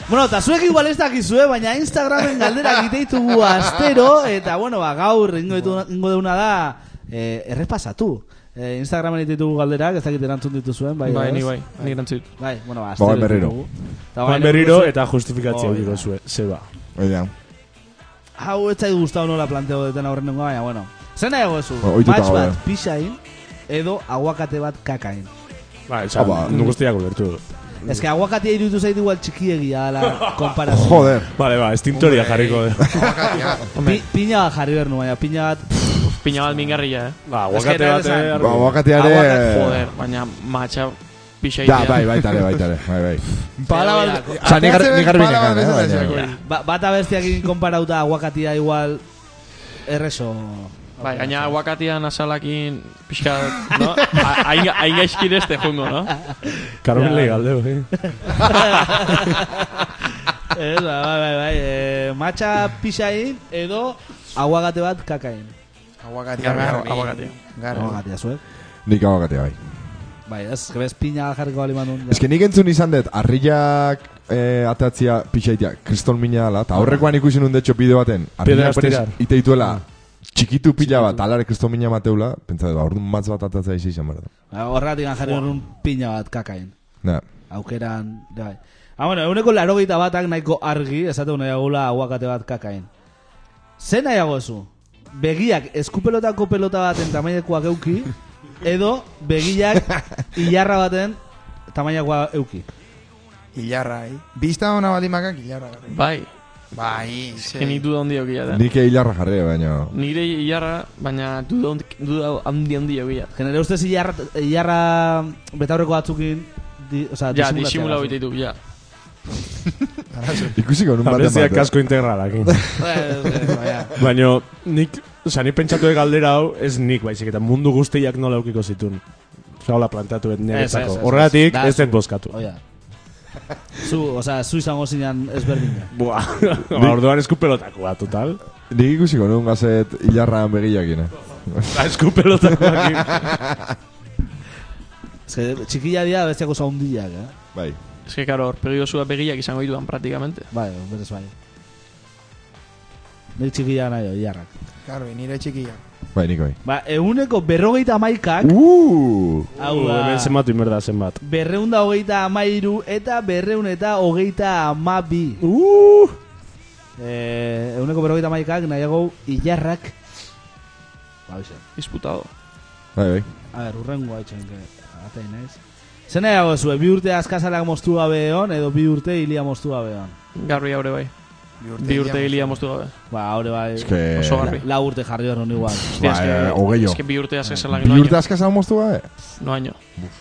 Speaker 1: Bueno, eta zuek igual ez dakizue, baina Instagramen
Speaker 2: *laughs*
Speaker 1: galderak iteitugu astero, eta bueno, ba, gaur ingo, ditu, ingo deuna da, eh, errepasatu. Eh, Instagramen iteitugu galderak, ez dakit erantzun dituzuen, bai,
Speaker 5: Bai,
Speaker 1: edo
Speaker 5: ni
Speaker 1: ez?
Speaker 5: bai, nik erantzut.
Speaker 1: Bai, bueno, ba,
Speaker 2: Joan berriro.
Speaker 1: ditugu.
Speaker 2: Ah,
Speaker 1: Eta
Speaker 3: Juan
Speaker 1: orain
Speaker 3: berriro
Speaker 1: dituzu-
Speaker 3: eta justifikatzea
Speaker 1: Oh,
Speaker 3: oh, diko
Speaker 1: ja.
Speaker 3: zue, zeba.
Speaker 2: Oida,
Speaker 1: Hau ez zait gustau nola planteo deten aurrenengo, baina, bueno. Zer nahiago ezu?
Speaker 2: Ba, ohituta
Speaker 1: Match bat
Speaker 2: gaude.
Speaker 1: pixain, edo aguakate bat kakain.
Speaker 3: Ba, esan,
Speaker 2: Ah, ba.
Speaker 3: nuk usteak ulertu.
Speaker 1: Ez
Speaker 2: Mm.
Speaker 1: que aguakatea iruditu zait igual txikiegia
Speaker 2: *laughs*
Speaker 1: dela konparazio.
Speaker 2: joder.
Speaker 3: Vale, ba, estintoria jarriko. eh.
Speaker 4: Abakatia.
Speaker 1: Pi, piña bat jarri behar nu, baina piña bat...
Speaker 5: Pina bat mingarria, eh?
Speaker 1: Ez
Speaker 3: Ba,
Speaker 1: que
Speaker 3: guakate
Speaker 1: nahi
Speaker 3: bat,
Speaker 1: esan.
Speaker 3: eh,
Speaker 2: Ba,
Speaker 3: argi.
Speaker 5: Aguakat,
Speaker 2: guakatiare...
Speaker 5: joder, baina matxa pixa
Speaker 2: Da,
Speaker 5: itea.
Speaker 2: bai, baitare, baitare, bai, bai.
Speaker 1: Pala bat-
Speaker 2: Osa, ni gar- ni garbi nekan, eh, baina-
Speaker 1: Ba, bat abestiakin konparauta aguakatia igual erreso.
Speaker 5: Bai, gaina aguakatian azalakin pixka, no? *laughs* A- Hain hain gaizkin ez jungo, no?
Speaker 3: Carmen Leigalde, eh.
Speaker 1: Ez, ba, bai, bai, bai. E, matxa pixain edo aguakate bat kakain.
Speaker 4: Abakatia.
Speaker 5: Garbi,
Speaker 4: garbi.
Speaker 5: aguakatea.
Speaker 4: Garbi.
Speaker 1: Aguakatia zuek.
Speaker 2: Nik abakatea, bai.
Speaker 1: Bai, ez, gebez piña jarriko bali manun.
Speaker 2: Ez que nik entzun izan dut, arriak eh, atatzia pixaitia, kriston mina dela, eta horrekoan ikusi nun detxo bideo baten,
Speaker 3: Piedras
Speaker 2: arriak perez
Speaker 3: tirar.
Speaker 2: ite dituela, txikitu pila bat, alare kriston mina mateula, pentsa dut, ba, orduan matz bat atatzea isi izan behar da.
Speaker 1: Horratik jarri horrun piña bat kakain.
Speaker 2: Na,
Speaker 1: Aukeran, bai. Ah, bueno, euneko laro batak nahiko argi, esate nahi agula aguakate bat kakain. Zer nahiago ezu? Begiak eskupelotako pelota baten tamainekoak euki, edo begiak ilarra baten tamainekoa euki.
Speaker 4: Ilarra, eh? Bista hona balimakak ilarra. garbi.
Speaker 5: Bai,
Speaker 4: Bai,
Speaker 5: que nik
Speaker 4: ze.
Speaker 5: duda hondi eukila da.
Speaker 2: nik hilarra jarri, baina...
Speaker 5: Nire ilarra, baina duda hond- duda handi handi eukila.
Speaker 1: Genere ustez ilarra, ilarra betaurreko batzukin, di, o sea,
Speaker 5: Ja,
Speaker 1: disimulatzea
Speaker 5: disimula
Speaker 1: batzuk.
Speaker 5: hoite ditu, *laughs* ja.
Speaker 2: Ikusi gau, nun baten
Speaker 3: Abestiak
Speaker 2: bat.
Speaker 3: kasko integralakin.
Speaker 1: Eh, eh, baina.
Speaker 3: Baina, nik, oza, nik pentsatu de galdera hau, ez nik baizik, eta mundu guztiak nola eukiko zitun. Oza, hola plantatu et
Speaker 1: Ez,
Speaker 3: niretzako.
Speaker 1: ez, ez, ez.
Speaker 3: Horregatik,
Speaker 1: Da,
Speaker 3: ez dut bozkatu.
Speaker 1: Oia. Oh, Zu, o sea, zu izango zinean ezberdina.
Speaker 3: *laughs* Buah, ba, orduan eskupelotakoa,
Speaker 1: *laughs*
Speaker 3: total.
Speaker 2: Nik ikusi gau, nun gazet hilarraan begiak, eh?
Speaker 3: Ba, *laughs* eskupelotakoa.
Speaker 1: Ez que txikilla dira bestiako zaundiak, eh?
Speaker 2: Bai.
Speaker 5: Ez que, karo, horpegi dozua begiak izango ditudan praktikamente.
Speaker 1: Bai, berez bai. Nik txikila nahi do, iarrak.
Speaker 4: Garbi, nire txikia.
Speaker 2: Bai, nik bai.
Speaker 1: Ba, euneko berrogeita amaikak,
Speaker 2: Uuuu!
Speaker 1: hau
Speaker 3: Hemen
Speaker 1: da,
Speaker 3: zenbatu inberda zenbat.
Speaker 1: berreunda hogeita amairu eta berreun eta hogeita amabi.
Speaker 3: Uh!
Speaker 1: Eh, euneko berrogeita amaikak nahiago ilarrak. Ba, bize.
Speaker 5: Disputado.
Speaker 2: Bai, bai.
Speaker 1: A ber, urrengo hau txenke, atai naiz. Zer nahiago zue, bi urte azkazalak moztu gabe egon, edo bi urte hilia moztu gabe egon.
Speaker 5: Garbi haure bai. Bi urte hilia moztu gabe.
Speaker 1: Ba, hori bai,
Speaker 2: Ez que...
Speaker 5: Oso garbi.
Speaker 1: la urte jarri hori igual.
Speaker 5: Hostia,
Speaker 2: Ba,
Speaker 5: es que-
Speaker 2: eh, hogeio.
Speaker 5: Es que bi urte azken zelak
Speaker 2: Bi
Speaker 5: no
Speaker 2: urte
Speaker 5: año.
Speaker 2: askaz hau moztu gabe?
Speaker 5: No año.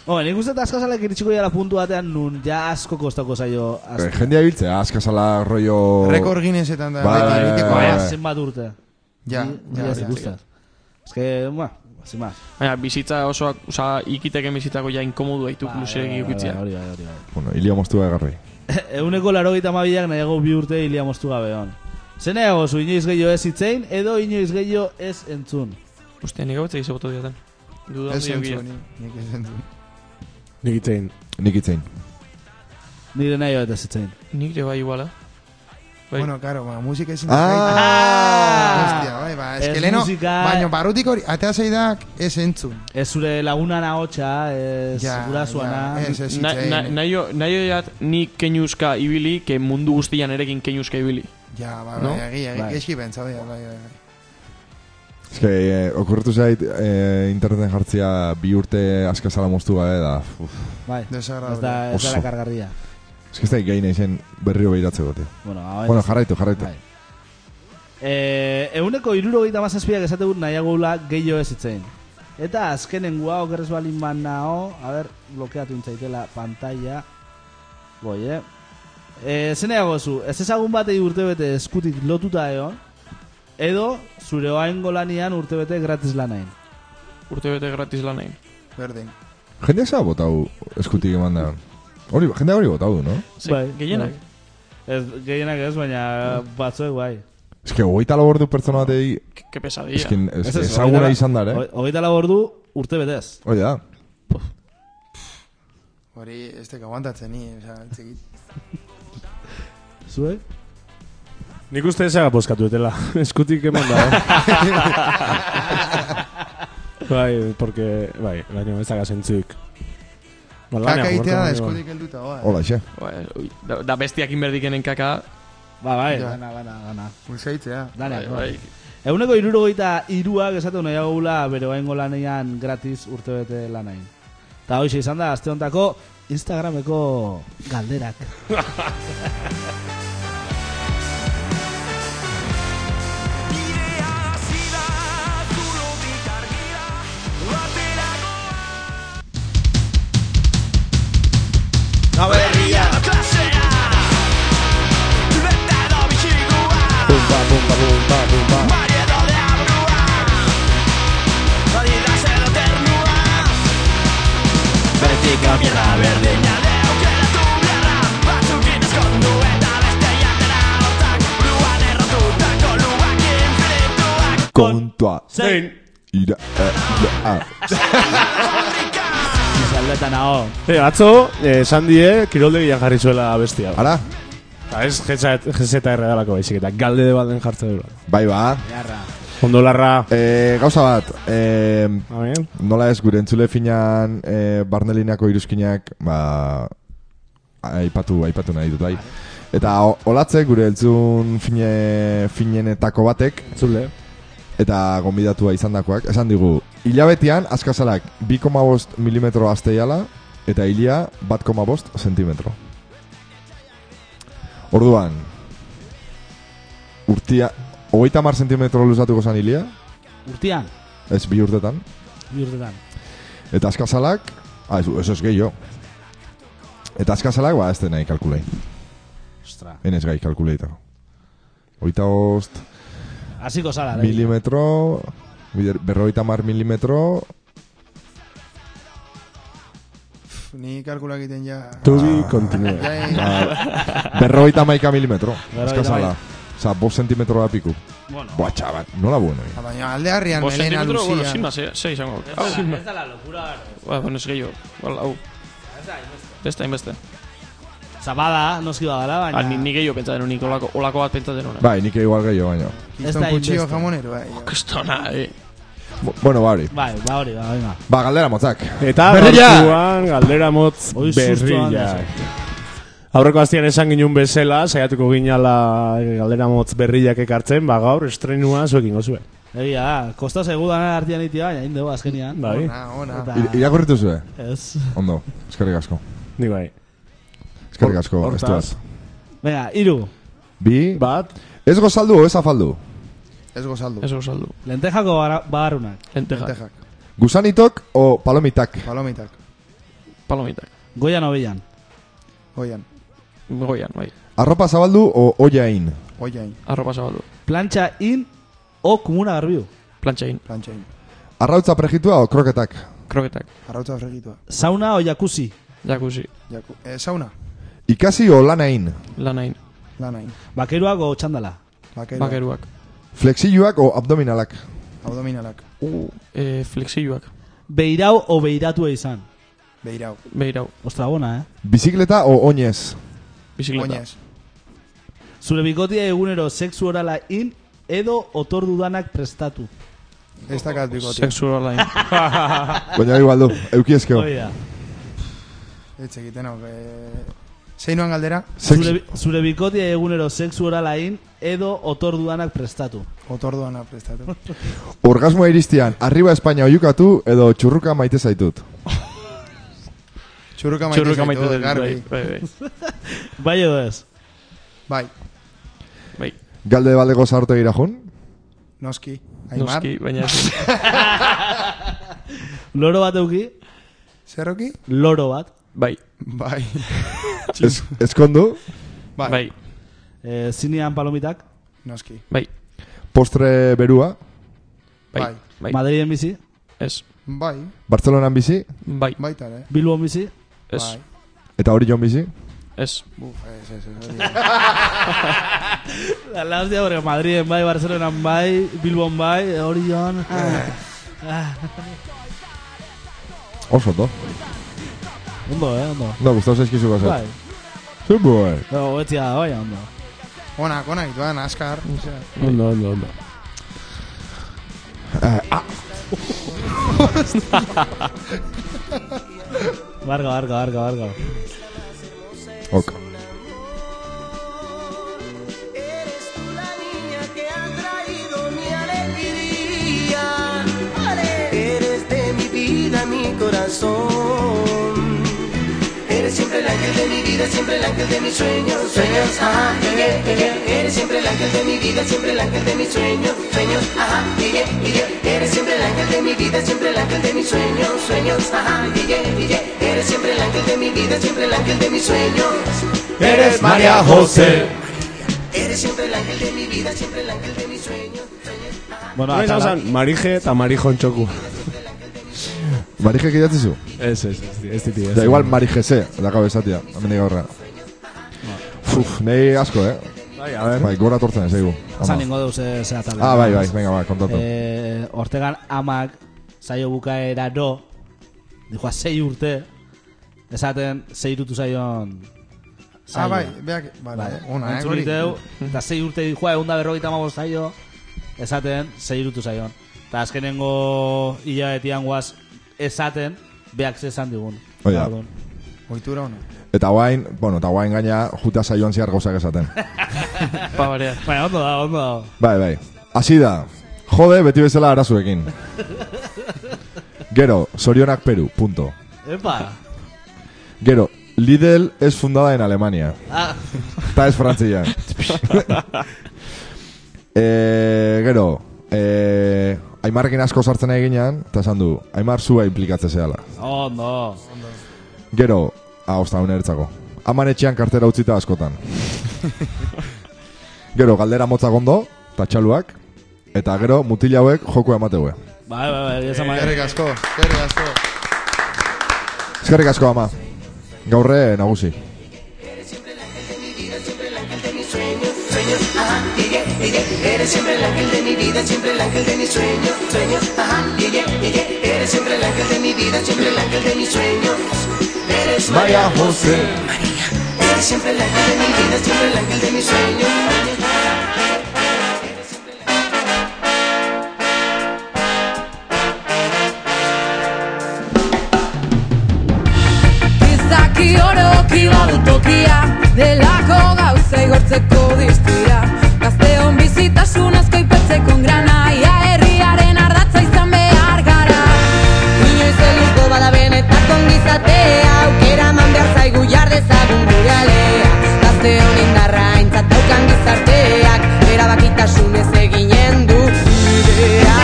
Speaker 1: Hombre, nik uste eta azkazalak iritsiko jala puntu batean nun ja asko kostako zaio
Speaker 2: Eh,
Speaker 1: azkazalak.
Speaker 2: Jendea biltzea, askazala rollo...
Speaker 4: Rekor ginesetan da.
Speaker 2: Bai,
Speaker 4: beti
Speaker 2: bai,
Speaker 4: egiteko.
Speaker 2: bai,
Speaker 1: Baina,
Speaker 2: bai.
Speaker 1: zenbat urte.
Speaker 4: Ja,
Speaker 1: Ni- ni
Speaker 4: ja,
Speaker 1: ez
Speaker 4: ja.
Speaker 1: gustas. Ez que, bueno, sin más.
Speaker 5: Baina, bizitza oso, oza, ikiteken bizitzako ja inkomodu daitu
Speaker 1: Ba,
Speaker 5: luzerek
Speaker 1: bai, bai,
Speaker 5: ikutzia.
Speaker 1: bai, Hori, bai, hori, bai.
Speaker 2: Bueno, hilia moztu gabe garbi.
Speaker 1: *laughs* Euneko laro gita mabilak nahiago bi urte hilia moztu gabe hon. Zer nahiago zu inoiz gehiago ez itzein, edo inoiz gehiago ez entzun.
Speaker 5: Hostia, nik hau etzai zegoetu diotan. Duda
Speaker 4: Ez
Speaker 5: handi eukila.
Speaker 4: entzun, nik- nik ez entzun.
Speaker 3: Nik itzein.
Speaker 2: Nik itzein.
Speaker 1: Nire nahiago eta ez itzein.
Speaker 5: Nik ere bai iguala. Bai.
Speaker 4: Bueno, karo, ba, musika ezin
Speaker 2: Ah!
Speaker 4: Hostia, bai, ba,
Speaker 1: Ez
Speaker 4: eskeleno,
Speaker 1: musika-
Speaker 4: baino barrutik hori, atea zeidak ez entzun.
Speaker 1: Ez zure laguna nahotxa, ez
Speaker 4: Ja,
Speaker 1: gurasoana.
Speaker 4: ja, ez, ez
Speaker 5: Na-
Speaker 4: hitzein,
Speaker 5: na-
Speaker 4: eh.
Speaker 5: Naio naio jat nik keinuzka ibili, que mundu guztian erekin keinuzka ibili.
Speaker 4: Ja, ba,
Speaker 5: No?
Speaker 4: bai, egia, egia,
Speaker 1: Bai.
Speaker 4: eski pentsau, ja, bai, bai, bai.
Speaker 2: Ez que, eh, okurretu zait, eh, interneten jartzia bi urte askazala moztu gabe da. Uf.
Speaker 1: Bai,
Speaker 4: Desagradable.
Speaker 1: ez da, ez da
Speaker 2: Oso.
Speaker 1: la kargarria.
Speaker 2: Ez que ez da gehi nahi zen berriro behiratzeko, tio.
Speaker 1: Bueno, hau
Speaker 2: Bueno, jarraitu, jarraitu.
Speaker 1: Bai. Eh, euneko irurogeita mazazpiak esategut nahiago gula gehiago ez itzein. Eta azkenengoa, okerrez balin banao, a ber, blokeatu intzaitela pantalla. Boi, eh? E, zeneago zu, ez ezagun batei urtebete eskutik lotuta egon, edo zure oain golanian urtebete gratis lanain.
Speaker 5: Urte bete gratis lan egin.
Speaker 4: Berdin.
Speaker 2: Jendeak zea botau eskutik eman da. Hori, jendeak hori botau du, no?
Speaker 5: Ze,
Speaker 1: Bai,
Speaker 5: gehienak.
Speaker 1: Ez, gehienak ez, baina batzuek bai.
Speaker 2: Ez que hogeita labordu pertsona batei,
Speaker 5: Ke- Ke
Speaker 2: ez
Speaker 5: pesadilla.
Speaker 2: que
Speaker 1: Ez, ez,
Speaker 2: ezaguna
Speaker 1: hogeita-
Speaker 2: izan dara, eh?
Speaker 1: ho- Hogeita lau ordu urte betez.
Speaker 2: Hori da.
Speaker 4: Hori, ez teka aguantatzen ni, oza, txiki.
Speaker 1: Zuek?
Speaker 3: Nik uste ezaga boskatu etela. *laughs* Eskutik eman da.
Speaker 1: *laughs*
Speaker 3: eh? *laughs* bai, porque... Bai, baina ez daga zentzuik. Ba,
Speaker 2: Bai,
Speaker 3: lanean
Speaker 4: Kaka
Speaker 3: jokatu
Speaker 4: itea da
Speaker 3: baino.
Speaker 4: eskutik helduta, oa.
Speaker 2: Hola, xe.
Speaker 5: Ba, ui, Da, da bestiak inberdikenen kaka.
Speaker 1: Ba, bai,
Speaker 4: Ja.
Speaker 1: gana, gana, gana.
Speaker 4: Ulsaitzea.
Speaker 1: Dana,
Speaker 5: Bai, bai.
Speaker 1: Eguneko irurogeita iruak esaten nahi gula bere oaingo lanean gratis urtebete lanain. Eta hoxe izan da, azte hontako Instagrameko galderak.
Speaker 2: Kontua.
Speaker 3: Zein!
Speaker 2: Ira, eh, ira, ah.
Speaker 1: Zaldetan hau.
Speaker 3: Eh, atzo, eh, Sandie, kiroldegia jarri zuela bestia.
Speaker 2: Ara?
Speaker 3: Eta Ba, ez GZR dalako baizik, eta galde de balden jartze dura.
Speaker 2: Bai, ba.
Speaker 1: Garra.
Speaker 3: Ondo larra, Ba,
Speaker 2: Eh, gauza bat, eh,
Speaker 3: amen.
Speaker 2: nola ez gure entzule finan eh, barnelineako iruzkinak, ba, aipatu, aipatu nahi dut, bai. Eta o- olatze gure entzun fine, finenetako batek,
Speaker 3: Zule.
Speaker 2: eta gonbidatua izandakoak esan digu, hilabetean askazalak 2,5 mm azteiala, eta hilia 1,5 sentimetro. Orduan, urtia, hogeita mar sentimetro luzatuko zan hilia,
Speaker 1: Urtian,
Speaker 2: ez bi urtetan,
Speaker 1: bi urtetan.
Speaker 2: eta askazalak, ah, ez, eso ez gehiago. Eta askazalak, ba, ez den nahi kalkulei,
Speaker 1: Ostra.
Speaker 2: enez gai kalkuleitako. Oita ost,
Speaker 1: Hasiko zara, lehen.
Speaker 2: milimetro, bider- berrogeita mar milimetro,
Speaker 4: Pff, Ni kalkula egiten ja...
Speaker 3: To be continued.
Speaker 4: Ja, ja, ja.
Speaker 2: Ba, berrogeita maika milimetro.
Speaker 1: Berrogeita
Speaker 2: Eskazala.
Speaker 1: hamaika.
Speaker 2: Osa, bost zentimetro da piku.
Speaker 1: Bueno.
Speaker 2: Boa, txabat, nola bueno. eh.
Speaker 4: Baina alde harrian
Speaker 5: Bost
Speaker 4: melena
Speaker 5: zentimetro, bueno,
Speaker 4: luzia.
Speaker 5: sin más, eh? Sei izango. Hau,
Speaker 1: Ez da la locura.
Speaker 5: ba, bueno, ez gehiago. Ba, hau. Beste, hainbeste.
Speaker 1: Zabada, noski badala,
Speaker 5: Ah,
Speaker 1: baina...
Speaker 5: ni, ni gehiago pentsatzen unik, olako, olako bat eh. pentsatzen unik.
Speaker 2: Bai, nik igual gehiago baina.
Speaker 1: Ez da
Speaker 4: Kiston kutxio
Speaker 1: hainbeste.
Speaker 4: jamonero, bai. ja.
Speaker 5: Kostona, eh.
Speaker 2: Bu- Bueno, ba hori.
Speaker 1: Bai, ba hori, ba, venga.
Speaker 2: Ba, galdera motzak.
Speaker 3: Eta
Speaker 2: Berria!
Speaker 3: gaurkoan galdera motz
Speaker 1: Oi, susto
Speaker 3: berriak.
Speaker 1: handia.
Speaker 3: Aurreko aztian esan ginen bezala, saiatuko ginala eh, galdera motz berriak ekartzen, ba gaur estrenua zuekin gozue.
Speaker 1: Egia da, kosta zaigu dana artian itia, baina indego azkenian.
Speaker 3: Bai,
Speaker 4: Ona, Ah, ona.
Speaker 1: Eta-
Speaker 2: Ir- Irakurritu zue?
Speaker 1: Ez.
Speaker 2: Ondo, eskerrik asko.
Speaker 3: nik bai.
Speaker 2: Eskerrik asko,
Speaker 3: Hortaz,
Speaker 2: estu bat.
Speaker 1: Venga, iru.
Speaker 2: Bi,
Speaker 1: Ba.
Speaker 3: Bat,
Speaker 2: ez gozaldu o ez afaldu.
Speaker 4: Ez gozaldu.
Speaker 5: Ez osaldu.
Speaker 1: Lentejako bara- babarrunak.
Speaker 5: Lenteja,
Speaker 4: Tejak,
Speaker 2: Gusanitok o palomitak.
Speaker 4: palomitak,
Speaker 5: palomitak.
Speaker 1: Goian obilan.
Speaker 4: oian,
Speaker 5: Goian, bai.
Speaker 2: Arropa zabaldu o oiain.
Speaker 4: oian,
Speaker 5: Arropa zabaldu.
Speaker 1: Plantxa in o komuna garbiu.
Speaker 5: Plantxain,
Speaker 4: plantxain,
Speaker 2: Arrautza prejitua o kroketak.
Speaker 5: kroketak,
Speaker 4: jarrautza fregitua.
Speaker 1: Sauna o jacuzzi.
Speaker 5: jacuzzi,
Speaker 4: Jaku, eh, sauna,
Speaker 2: Ikasi o lanain.
Speaker 5: lanain,
Speaker 4: lanain,
Speaker 1: Bakeruak o txandala.
Speaker 4: bakeruak,
Speaker 5: bakeruak,
Speaker 2: Flexilluak o abdominalak.
Speaker 4: abdominalak,
Speaker 5: uh, e, flexioak,
Speaker 1: Beirau o beiratua izan.
Speaker 4: beirau,
Speaker 5: behirau,
Speaker 1: Ostra bona, eh?
Speaker 2: Bizikleta o oinez.
Speaker 5: bizikleta,
Speaker 4: oinez,
Speaker 1: Zure bikotia egunero sexu orala in edo otordudanak prestatu.
Speaker 4: ez dakat bikote,
Speaker 5: sexu online,
Speaker 2: Baina igual du, euki ezkeo.
Speaker 1: Hoi da.
Speaker 4: ez egiten hau, eh, zeinuan galdera,
Speaker 2: Sex-
Speaker 1: Zure, bi- zure bikotia egunero sexu orala in edo otordudanak prestatu.
Speaker 4: otorduan aprestatu,
Speaker 2: Orgasmoa iristian, arriba Espainia oiukatu edo txurruka maite zaitut.
Speaker 4: txurruka maite
Speaker 5: txurruka
Speaker 4: zaitu,
Speaker 5: maite dut, bai,
Speaker 4: garbi,
Speaker 5: bai, bai,
Speaker 1: Bai edo ez.
Speaker 4: bai,
Speaker 5: bai,
Speaker 2: Galde balego zartegira jun?
Speaker 4: noski, Aimar,
Speaker 5: noski, baina ez,
Speaker 1: Loro bat euki,
Speaker 4: zerroki,
Speaker 1: loro bat.
Speaker 5: bai,
Speaker 4: bai,
Speaker 2: Ez, ezkondu?
Speaker 4: bai,
Speaker 5: bai,
Speaker 1: E, zinean palomitak.
Speaker 4: noski,
Speaker 5: bai,
Speaker 2: Postre berua?
Speaker 5: bai,
Speaker 4: bai,
Speaker 5: bai,
Speaker 1: Madriden bizi.
Speaker 5: ez,
Speaker 4: Bai,
Speaker 2: Bartzelonan bizi,
Speaker 5: Bai,
Speaker 4: baita eh. ere.
Speaker 1: Bilbon bizi?
Speaker 5: ez,
Speaker 4: Bai.
Speaker 2: eta hori joan bizi.
Speaker 5: ez.
Speaker 4: Buf, ez, ez, ez.
Speaker 1: La lastia, porque Madriden bai, Barcelonan bai, Bilbon bai, hori joan.
Speaker 2: Oso, ondo.
Speaker 1: Ondo, eh, ondo.
Speaker 2: No, gustau zaizkizu gozat.
Speaker 1: Bai,
Speaker 2: Sí, bai.
Speaker 1: no, hobetzia da, bai, ondo.
Speaker 4: Onak, onak, duan, askar. Osea,
Speaker 3: Ondo, ondo, ondo.
Speaker 1: Barga, barga, barga, barga.
Speaker 2: Ok.
Speaker 6: Eres tú la niña que ha traído mi alegría. Eres de mi vida, mi corazón. Eres siempre el ángel de mi vida, siempre el ángel de mis sueños, sueños, ajá, llegué, llegué. Eres siempre el ángel de mi vida, siempre el ángel de mis sueños, sueños, ajá, llegué, llegué. Eres siempre el ángel de mi vida, siempre el ángel de mis sueños, sueños, ajá, llegué, llegué. Eres siempre el ángel de mi vida, siempre el ángel de mis sueños.
Speaker 3: Eres María José.
Speaker 6: Eres siempre el ángel de mi vida, siempre el ángel de mis sueños.
Speaker 1: Bueno,
Speaker 3: Nola izan
Speaker 1: atala.
Speaker 3: zen, marije eta marijon txoku.
Speaker 2: Marijek idatzizu?
Speaker 3: Ez, ez, ez, ez diti, ez.
Speaker 2: Da igual marijese, da gabe esatia, amendik aurra. Uf, nahi asko, eh?
Speaker 3: Bai, a ber.
Speaker 2: Bai, gora tortzen ez dugu.
Speaker 1: Esan ningo deuz, eh, zea talde.
Speaker 2: Ah, bai, bai, venga, bai, kontatu.
Speaker 1: Eh, Ortegan amak, zaio bukaera do, dijoa zei urte, esaten zei irutu zaion...
Speaker 4: Ah,
Speaker 1: zaioa.
Speaker 4: bai, beak, bale,
Speaker 1: Bai,
Speaker 4: ona, eh,
Speaker 1: entzun
Speaker 4: hori.
Speaker 1: diteu, eta zei urte dijoa, egun da berrogeita amabost zaio, esaten, zei irutu zaion. Eta azkenengo hilabetian guaz, esaten, beak zesan digun.
Speaker 2: Hoi da.
Speaker 1: Orduan.
Speaker 4: Oitura ona.
Speaker 2: Eta guain, bueno, eta guain gaina juta saioan zehar gauzak esaten.
Speaker 5: Pa barear.
Speaker 1: Baina, Bai, ondo da, ondo da.
Speaker 2: Bai, bai. Hasi da, jode beti bezala arazuekin. Gero, sorionak Peru, punto.
Speaker 1: Epa!
Speaker 2: Gero, Lidl es fundada en Alemania.
Speaker 1: Ah,
Speaker 2: Eta ez Frantzia. eh, gero, eh, Aimarrekin asko sartzen eginean, eta esan du, Aimar zua implikatze zehala.
Speaker 1: ondo.
Speaker 2: Gero, ahosta hone ertzako. Aman etxean kartera utzita askotan. gero, galdera motza gondo, eta txaluak, eta gero, mutil hauek joko emateue.
Speaker 1: Bai, bai, bai, egia esan bai.
Speaker 4: Eskerrik asko, eskerrik asko.
Speaker 2: Eskerrik asko ama. Gaurre nagusi.
Speaker 6: Eres siempre el ángel de mi vida, siempre el ángel de mis sueños, sueños, ajá, yeah, yeah, yeah, yeah. Eres siempre el ángel de mi vida, siempre el ángel de mis sueños. Eres María José. María. Eres siempre el ángel de mi vida, siempre el ángel de mis sueños.
Speaker 8: Gizaki oroki badu tokia Delako gauza igortzeko distira Gazteon bizitasun asko ipetzeko grana Ia herriaren ardatza izan behar gara Inoiz helduko bada benetako ongizatea Aukera eman behar zaigu jardezagun gure alea Gazteon indarra aintzat daukan gizarteak Erabakitasunez eginen du bidea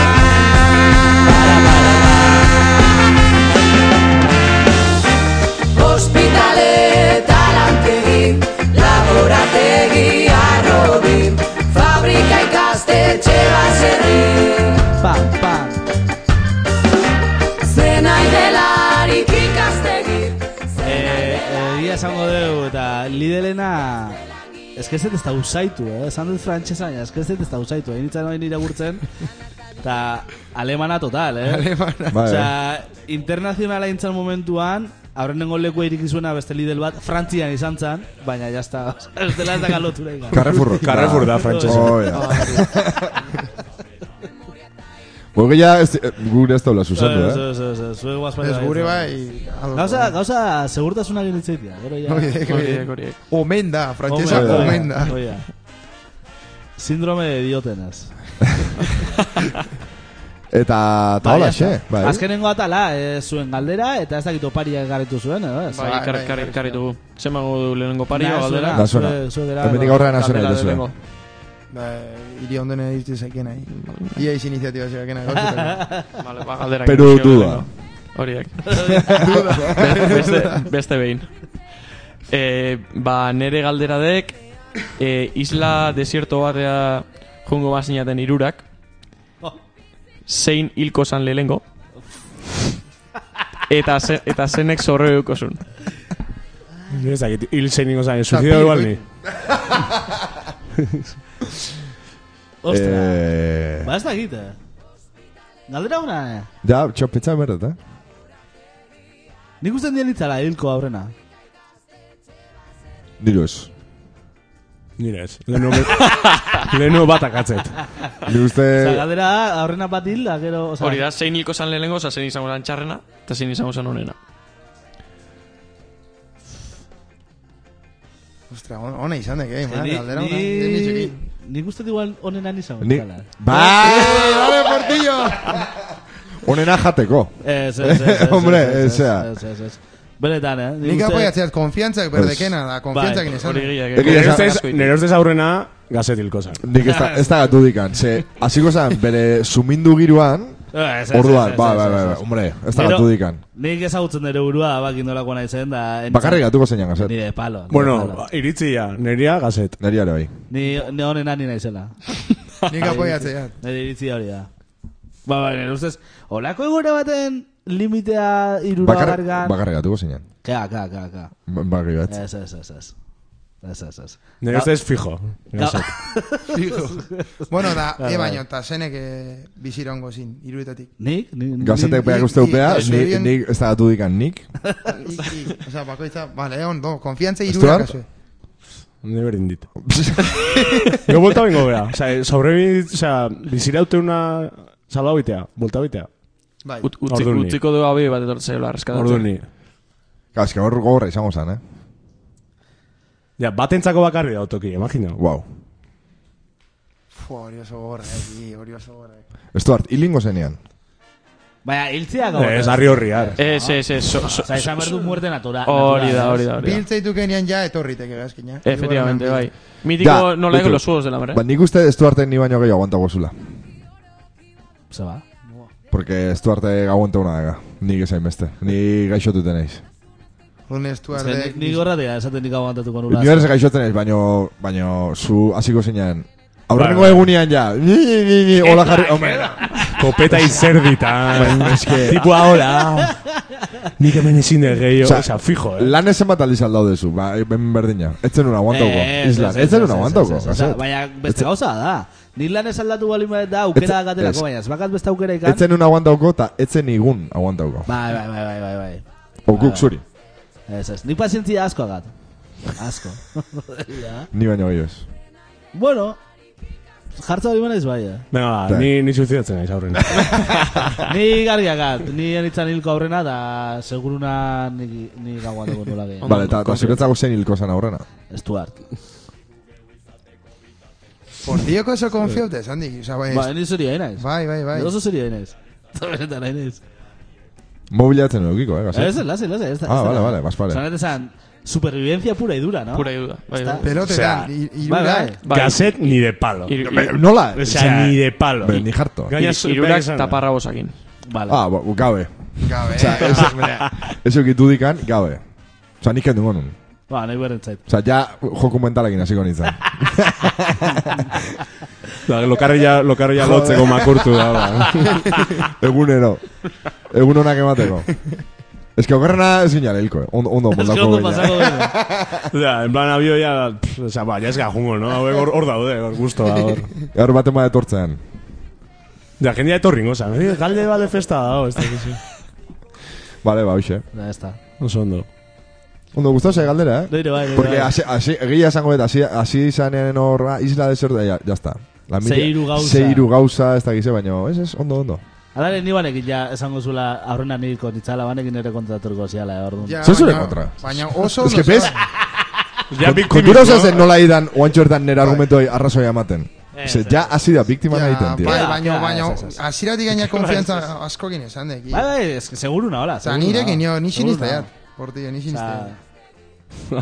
Speaker 8: Ospitale, talantegi, laborategi, arrobi, fabrika ikastetxe baserri.
Speaker 1: Pam, pam.
Speaker 8: Zena idelarik ikastegi,
Speaker 1: Eh, egia esango dugu eta lidelena eskezet ez da usaitu, eh? Esan dut frantxesa, baina eskezet ez da usaitu. Egin itzan hori irakurtzen, eta alemana total, eh?
Speaker 4: Alemana.
Speaker 2: Bai,
Speaker 1: Osea, internazionala intzan momentuan, aurrenengo leku irikizuena beste lidel bat, frantzian izan zan, baina jazta, ez dela ez da galotura ikan.
Speaker 2: Carrefour.
Speaker 3: Carrefour da, frantsesa.
Speaker 2: Oh, ja, ez, eh, gure ez daula zuzendu, eh?
Speaker 4: Ez gure bai, ados.
Speaker 1: Gauza, gauza, segurtasuna gero itzaitia, gero ja.
Speaker 4: Hori, hori.
Speaker 5: Horiek, horiek.
Speaker 4: Omen da, frantsesa
Speaker 2: Omen da.
Speaker 4: omen da.
Speaker 1: Oia. Síndrome de diotenas.
Speaker 2: Eta, eta hola, xe. Bai.
Speaker 1: Ba, Azkenengo atala, eh, zuen galdera, eta ez dakit opariak garritu zuen, edo ez?
Speaker 5: Bai,
Speaker 4: Bai,
Speaker 5: kar,
Speaker 4: bai,
Speaker 5: kar,
Speaker 4: bai,
Speaker 5: karri dugu. Zemango du lehenengo pari,
Speaker 1: Nahi,
Speaker 5: galdera.
Speaker 1: zuena,
Speaker 2: Da, zuena.
Speaker 1: zue- zue bera,
Speaker 2: Hemendik
Speaker 1: no.
Speaker 2: aurrera nazioa
Speaker 5: Galdera
Speaker 2: nahi duzue.
Speaker 5: lehenengo.
Speaker 4: Ba, hiri ondone irti zaikena. Ia iz iniziatiba zaikena. gauzutako.
Speaker 5: Vale, ba, galdera.
Speaker 2: Pero
Speaker 5: gero,
Speaker 2: duda.
Speaker 5: lehenengo. Horiek. Be- beste, beste behin. Eh, ba, nere galderadek, eh, isla desierto batea jungo bazinaten irurak,
Speaker 1: Oh.
Speaker 5: zein hilko zan lehenengo. Eta, ze, eta zenek zorre dukuzun.
Speaker 3: Ez dakit, hil zein ingo zaren, suizidio igual ni.
Speaker 1: Ostra,
Speaker 2: Eh,
Speaker 1: ba ez dakit, eh? Galdera una, eh?
Speaker 2: da, txopetza berdet, eh?
Speaker 1: Nik usten dien litzala hilko aurrena.
Speaker 2: Diruz.
Speaker 3: Nire ez. Lehenu, *laughs* lehenu bat akatzet.
Speaker 2: Ni
Speaker 1: Osa,
Speaker 2: uste...
Speaker 1: galdera da, aurrena bat hil, da, gero... Osa,
Speaker 5: Hori da, zein hilko zan lehenengo, oza, zein izango zan txarrena, eta zein izango zan onena.
Speaker 4: Ostra, on- ona izan dek, eh, man,
Speaker 1: Ah, Ni,
Speaker 4: galdera ona. Ez ni
Speaker 1: ni,
Speaker 4: txiki.
Speaker 1: nik uste igual onena nizan.
Speaker 2: Ni... Bai, dale, portillo! Onena jateko.
Speaker 1: Ez, ez, ez, ez, ez,
Speaker 2: Hombre,
Speaker 1: ez, ez,
Speaker 2: osea.
Speaker 1: ez, ez, ez. Benetan, eh? Nik
Speaker 4: Nik
Speaker 1: uste- Bai.
Speaker 4: apoiatzeaz, konfiantzak berdekena da, konfiantzak izan
Speaker 5: Hori
Speaker 4: dek.
Speaker 5: gila,
Speaker 2: Egia
Speaker 3: Nire
Speaker 5: gero.
Speaker 2: esan-
Speaker 3: ustez, nire ustez aurrena gazetilko zan.
Speaker 2: Nik ez da, ez da gatu dikan. Ze, hasiko zen, bere sumindu giruan,
Speaker 1: Ah, Ez, ez, ez,
Speaker 2: orduan,
Speaker 1: ez,
Speaker 2: ba,
Speaker 1: ez,
Speaker 2: ba,
Speaker 1: ez,
Speaker 2: ba,
Speaker 1: ez,
Speaker 2: ba,
Speaker 1: ez.
Speaker 2: hombre, ez da
Speaker 1: Gero-
Speaker 2: gatu dikan.
Speaker 1: Nik ezagutzen nire burua, baki nolako nahi zen, da... entzat-
Speaker 2: Bakarrik gatuko zeinan gazet.
Speaker 1: Ni de palo. ni de palo.
Speaker 5: ba-
Speaker 3: Bueno, ba, iritzia, nirea gazet.
Speaker 2: Neri ere bai.
Speaker 1: Ni, ni onena ni naizela.
Speaker 4: Nik apoiatzeaz.
Speaker 1: Nire iritzi hori da. Ba, ba, nire ustez, olako egure baten limitea irura
Speaker 2: Bakar,
Speaker 1: bargan...
Speaker 2: bakarrik gatuko zeinan.
Speaker 1: Ka, ka, ka, ka.
Speaker 2: Bakarrik bat.
Speaker 1: Ez, ez, ez, ez. Ez, ez, ez.
Speaker 3: Nire ustez fijo.
Speaker 1: Ga-
Speaker 3: Gazet.
Speaker 4: Bueno, da, e baino, eta zenek eh, bizirongo zin, iruditatik.
Speaker 1: Nik? Nik? nik-
Speaker 2: Gazetek beak uste upea,
Speaker 4: Ni-
Speaker 2: ni,
Speaker 4: ni-
Speaker 2: nik ez da gatu dikan nik.
Speaker 4: Osa, bakoitza, bale, ondo, konfiantza
Speaker 2: Estuar?
Speaker 4: irurak azue.
Speaker 3: Nire berdin dit. Gero volta bingo bera. Osa, sobrebit, osa, biziraute una salba bitea, volta bitea.
Speaker 4: Bai,
Speaker 5: Ut, utzi,
Speaker 3: Ordu ni.
Speaker 5: utziko dugu abe bat etortzeiloa arreskatatzen.
Speaker 3: Ordu ni.
Speaker 2: Kaske hor gogorra izango zen, eh?
Speaker 3: Ja, batentzako bakarri da autoki, imagina.
Speaker 2: Wow.
Speaker 4: Fua, hori oso gorra, egi, hori oso gorra. eh.
Speaker 2: Estuart, hilingo zenean.
Speaker 1: Baina, hiltziak hau.
Speaker 3: Eh, Ez, arri horriar.
Speaker 5: Ez, ez, ez. so- so-
Speaker 1: Osa, izan behar du muerte natura.
Speaker 5: Hori da,
Speaker 1: natural,
Speaker 5: hori da,
Speaker 1: ez?
Speaker 5: hori da.
Speaker 4: Biltzeituk enian ja etorriteke gazkina.
Speaker 5: Efectivamente, bai. Mitiko
Speaker 2: Ja,
Speaker 5: nola ego
Speaker 2: bitu.
Speaker 5: los juegos del
Speaker 1: Eh?
Speaker 5: hambre.
Speaker 2: Ba, nik uste Estuarten ni baino gehiago aguanta gozula.
Speaker 1: Ze ba.
Speaker 2: Porque Estuarte aguanta una daga. Nik esain beste. Ni gaixotuten naiz.
Speaker 4: Un estuar
Speaker 1: Ze,
Speaker 4: de...
Speaker 1: nik- Nik horra dira, esaten nik aguantatuko nula.
Speaker 2: Ni horrez gaixotuten naiz, baino, baino, zu hasiko zenean. Aurrengo egunean ja. Ni, ni, ni, ni, hola jarri. Hombre,
Speaker 3: Kopeta izerditan. Tipua hola. Nik hemen ezin de gehiago.
Speaker 2: Osea,
Speaker 3: Osa, fijo, eh.
Speaker 2: lan esen bat aldiz aldaudezu. Ba, ben berdina. Ez zen una aguantauko.
Speaker 1: Eh, ez,
Speaker 2: Islan,
Speaker 1: ez,
Speaker 2: ez zen
Speaker 1: ez,
Speaker 2: una
Speaker 1: ez,
Speaker 2: aguantauko.
Speaker 1: ez, ez, ez,
Speaker 2: gazet.
Speaker 1: Baina, beste gauza da. Nik lan ez aldatu bali da
Speaker 2: Ez,
Speaker 1: aukera gatelako,
Speaker 2: ez.
Speaker 1: baina ez bakat beste aukera ikan.
Speaker 2: Ez zen una aguantauko eta ez zen igun aguantauko.
Speaker 1: Bai, bai, bai, bai, bai, bai.
Speaker 2: Okuk zuri.
Speaker 1: Ez, ez. Nik pazientzia asko agat. Asko. ja.
Speaker 2: Ni baino gehiago ez.
Speaker 1: Bueno, jartza hori manez bai, eh.
Speaker 3: Venga, ba, ni, ni suizidatzen naiz aurrena.
Speaker 1: Ni garbi agat. Ni anitzan hilko aurrena da seguruna ni, ni gaua dugu nola gehiago.
Speaker 2: Bale, eta zuretzako zen hilko zen aurrena.
Speaker 1: Stuart.
Speaker 4: Por dioko oso konfiaute, Sandik. Osa, bai,
Speaker 1: Ba, ni zuri hain naiz.
Speaker 4: bai, bai, bai.
Speaker 1: Ni Oso zuri hain *laughs* naiz. Eta benetan hain naiz.
Speaker 2: Mobilatzen edukiko, eh, gazet?
Speaker 1: Ez, ez, lase, lase. Ez, da-
Speaker 2: Ah,
Speaker 1: ez da-
Speaker 2: bale, bale, bazpale.
Speaker 1: Esan, esan, supervivencia pura y dura, ¿no?
Speaker 5: Pura iuda. Bai,
Speaker 1: Está.
Speaker 5: bai.
Speaker 4: Pelotetan, i-
Speaker 1: Bai,
Speaker 4: irurak...
Speaker 1: bai.
Speaker 5: Bai.
Speaker 3: Gazet ni de palo.
Speaker 5: Ir- ir-
Speaker 2: Eh, Nola?
Speaker 3: Osa, ni de palo.
Speaker 2: Be, ni jarto.
Speaker 3: Gaina
Speaker 5: ir-
Speaker 3: zu-
Speaker 5: Irurak
Speaker 3: berak esan.
Speaker 5: taparra bozakin.
Speaker 1: Vale.
Speaker 2: Ah, ba, gabe.
Speaker 4: Gabe,
Speaker 2: Osa, ez,
Speaker 4: *laughs*
Speaker 2: ez eukitu dikan, gabe. Osa, nik kendu gonun.
Speaker 1: Ba, nahi beren zait.
Speaker 2: Osa, ja joku mentalekin hasiko nintzen.
Speaker 3: *laughs* Da, Ba, Lokarria, lokarria lotzeko *laughs* makurtu da. Ba.
Speaker 2: *laughs* Egunero. Egun honak emateko. Ez que okerrena ez ginen hilko, eh. Ondo, ondo,
Speaker 1: Ez que
Speaker 2: moldako
Speaker 1: ondo
Speaker 2: baina.
Speaker 1: pasako dugu. *laughs*
Speaker 3: Da, en plan abio ya, pff, osa, ba, ya eska jungo, no? Hauek Hor hor daude, hor gusto da, hor.
Speaker 2: Gaur baten bat etortzean.
Speaker 3: Da, jendea etorri ingo, osa, "Eh, galde bat de festa da, hor, ez dakiz.
Speaker 2: Bale, ba, hoxe.
Speaker 1: Ya está.
Speaker 3: Oso ondo.
Speaker 2: Ondo, guztau zei galdera, eh?
Speaker 1: Leire, bai, leire,
Speaker 2: Porque
Speaker 1: bai.
Speaker 2: así, así, egia esango eta así, así izanen horra, isla deserta, ya, ya está. La mili-
Speaker 1: Seiru gauza.
Speaker 2: Seiru gauza, ez dakize, baino, ez, ez, ondo, ondo.
Speaker 1: Hala ere, ni banekin ja esango zula aurrena niko nitzala banekin ere kontraturko ziala, eh, *laughs* orduan.
Speaker 4: Ja,
Speaker 2: Zer zure
Speaker 4: baina-
Speaker 2: kontra?
Speaker 4: Baina oso...
Speaker 2: Ez que
Speaker 4: ondo
Speaker 2: bez,
Speaker 4: zela.
Speaker 3: Ja,
Speaker 2: kontura osa zen nola idan, oantxo ertan nera argumentoi arrazoia ematen.
Speaker 1: Ez,
Speaker 2: Ze, ja, hasi da, biktima nahi
Speaker 4: Ja,
Speaker 2: ten, tío.
Speaker 4: bai,
Speaker 1: Ja,
Speaker 4: baino,
Speaker 1: ja,
Speaker 4: baino,
Speaker 1: ez, ez, ez.
Speaker 4: aziratik gaina konfiantza askokin esan dek.
Speaker 1: Bai, bai, es que seguruna, hola.
Speaker 4: Osa,
Speaker 1: seguruna.
Speaker 4: nirekin jo, ni
Speaker 1: Seguruna.
Speaker 4: sinizteat. Portillo, ni sinizteat.
Speaker 1: Osea,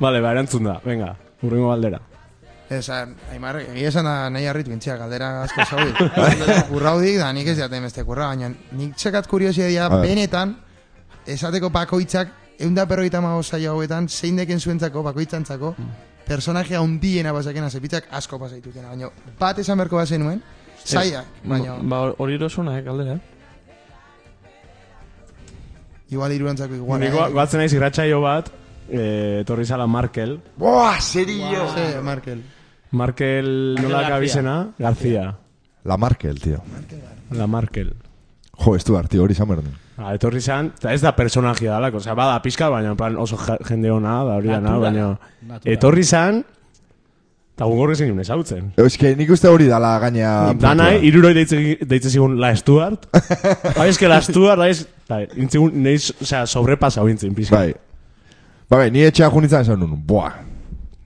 Speaker 3: Vale, ba, erantzun da, venga, urrengo galdera.
Speaker 4: Esa, Aimar, egia esan da nahi harritu intziak, galdera
Speaker 2: *laughs*
Speaker 4: asko zaudi.
Speaker 2: Bai.
Speaker 4: Kurraudik, da nik ez jaten beste kurra, baina nik txekat kuriosia
Speaker 2: A ber.
Speaker 4: benetan, esateko bakoitzak, eunda perroita mago zaila hauetan, zein deken zuentzako, bakoitzantzako,
Speaker 2: Hmm.
Speaker 4: personajea undiena bazakena, zepitzak asko pasaitutena, baina bat esan berko bazenuen, zaila, baina...
Speaker 5: Ba, hor- hori erosuna, eh, galdera. eh?
Speaker 4: Igual irurantzako igual. eh.
Speaker 3: Niko, guatzen naiz irratxaio bat, eh, torri zala Markel.
Speaker 2: Boa, serio!
Speaker 4: Sí, Markel.
Speaker 3: Markel nola kabizena? García.
Speaker 2: La Markel, tío.
Speaker 3: La Markel.
Speaker 2: Jo, ez du harti hori izan behar du.
Speaker 3: Ah, etorri zan, eta ez da personajia dalako, osea, bada pixka, baina en plan oso ja- jende ona, da hori dana,
Speaker 1: Naturala.
Speaker 3: baina...
Speaker 1: Naturala.
Speaker 3: Etorri zan, eta gugorri zinun ezautzen.
Speaker 2: Euske, nik uste hori dala gaina...
Speaker 3: Dana, eh,
Speaker 2: puntua.
Speaker 3: iruroi deitze, deitze zigun La
Speaker 2: *laughs*
Speaker 3: Stuart. Bai, eske La Stuart, bai, ez- bai, intzigun, neiz, osea, sobrepasa intzin, pixka.
Speaker 2: Bai. Ba, bai, ni etxea junitzen esan nun. Boa.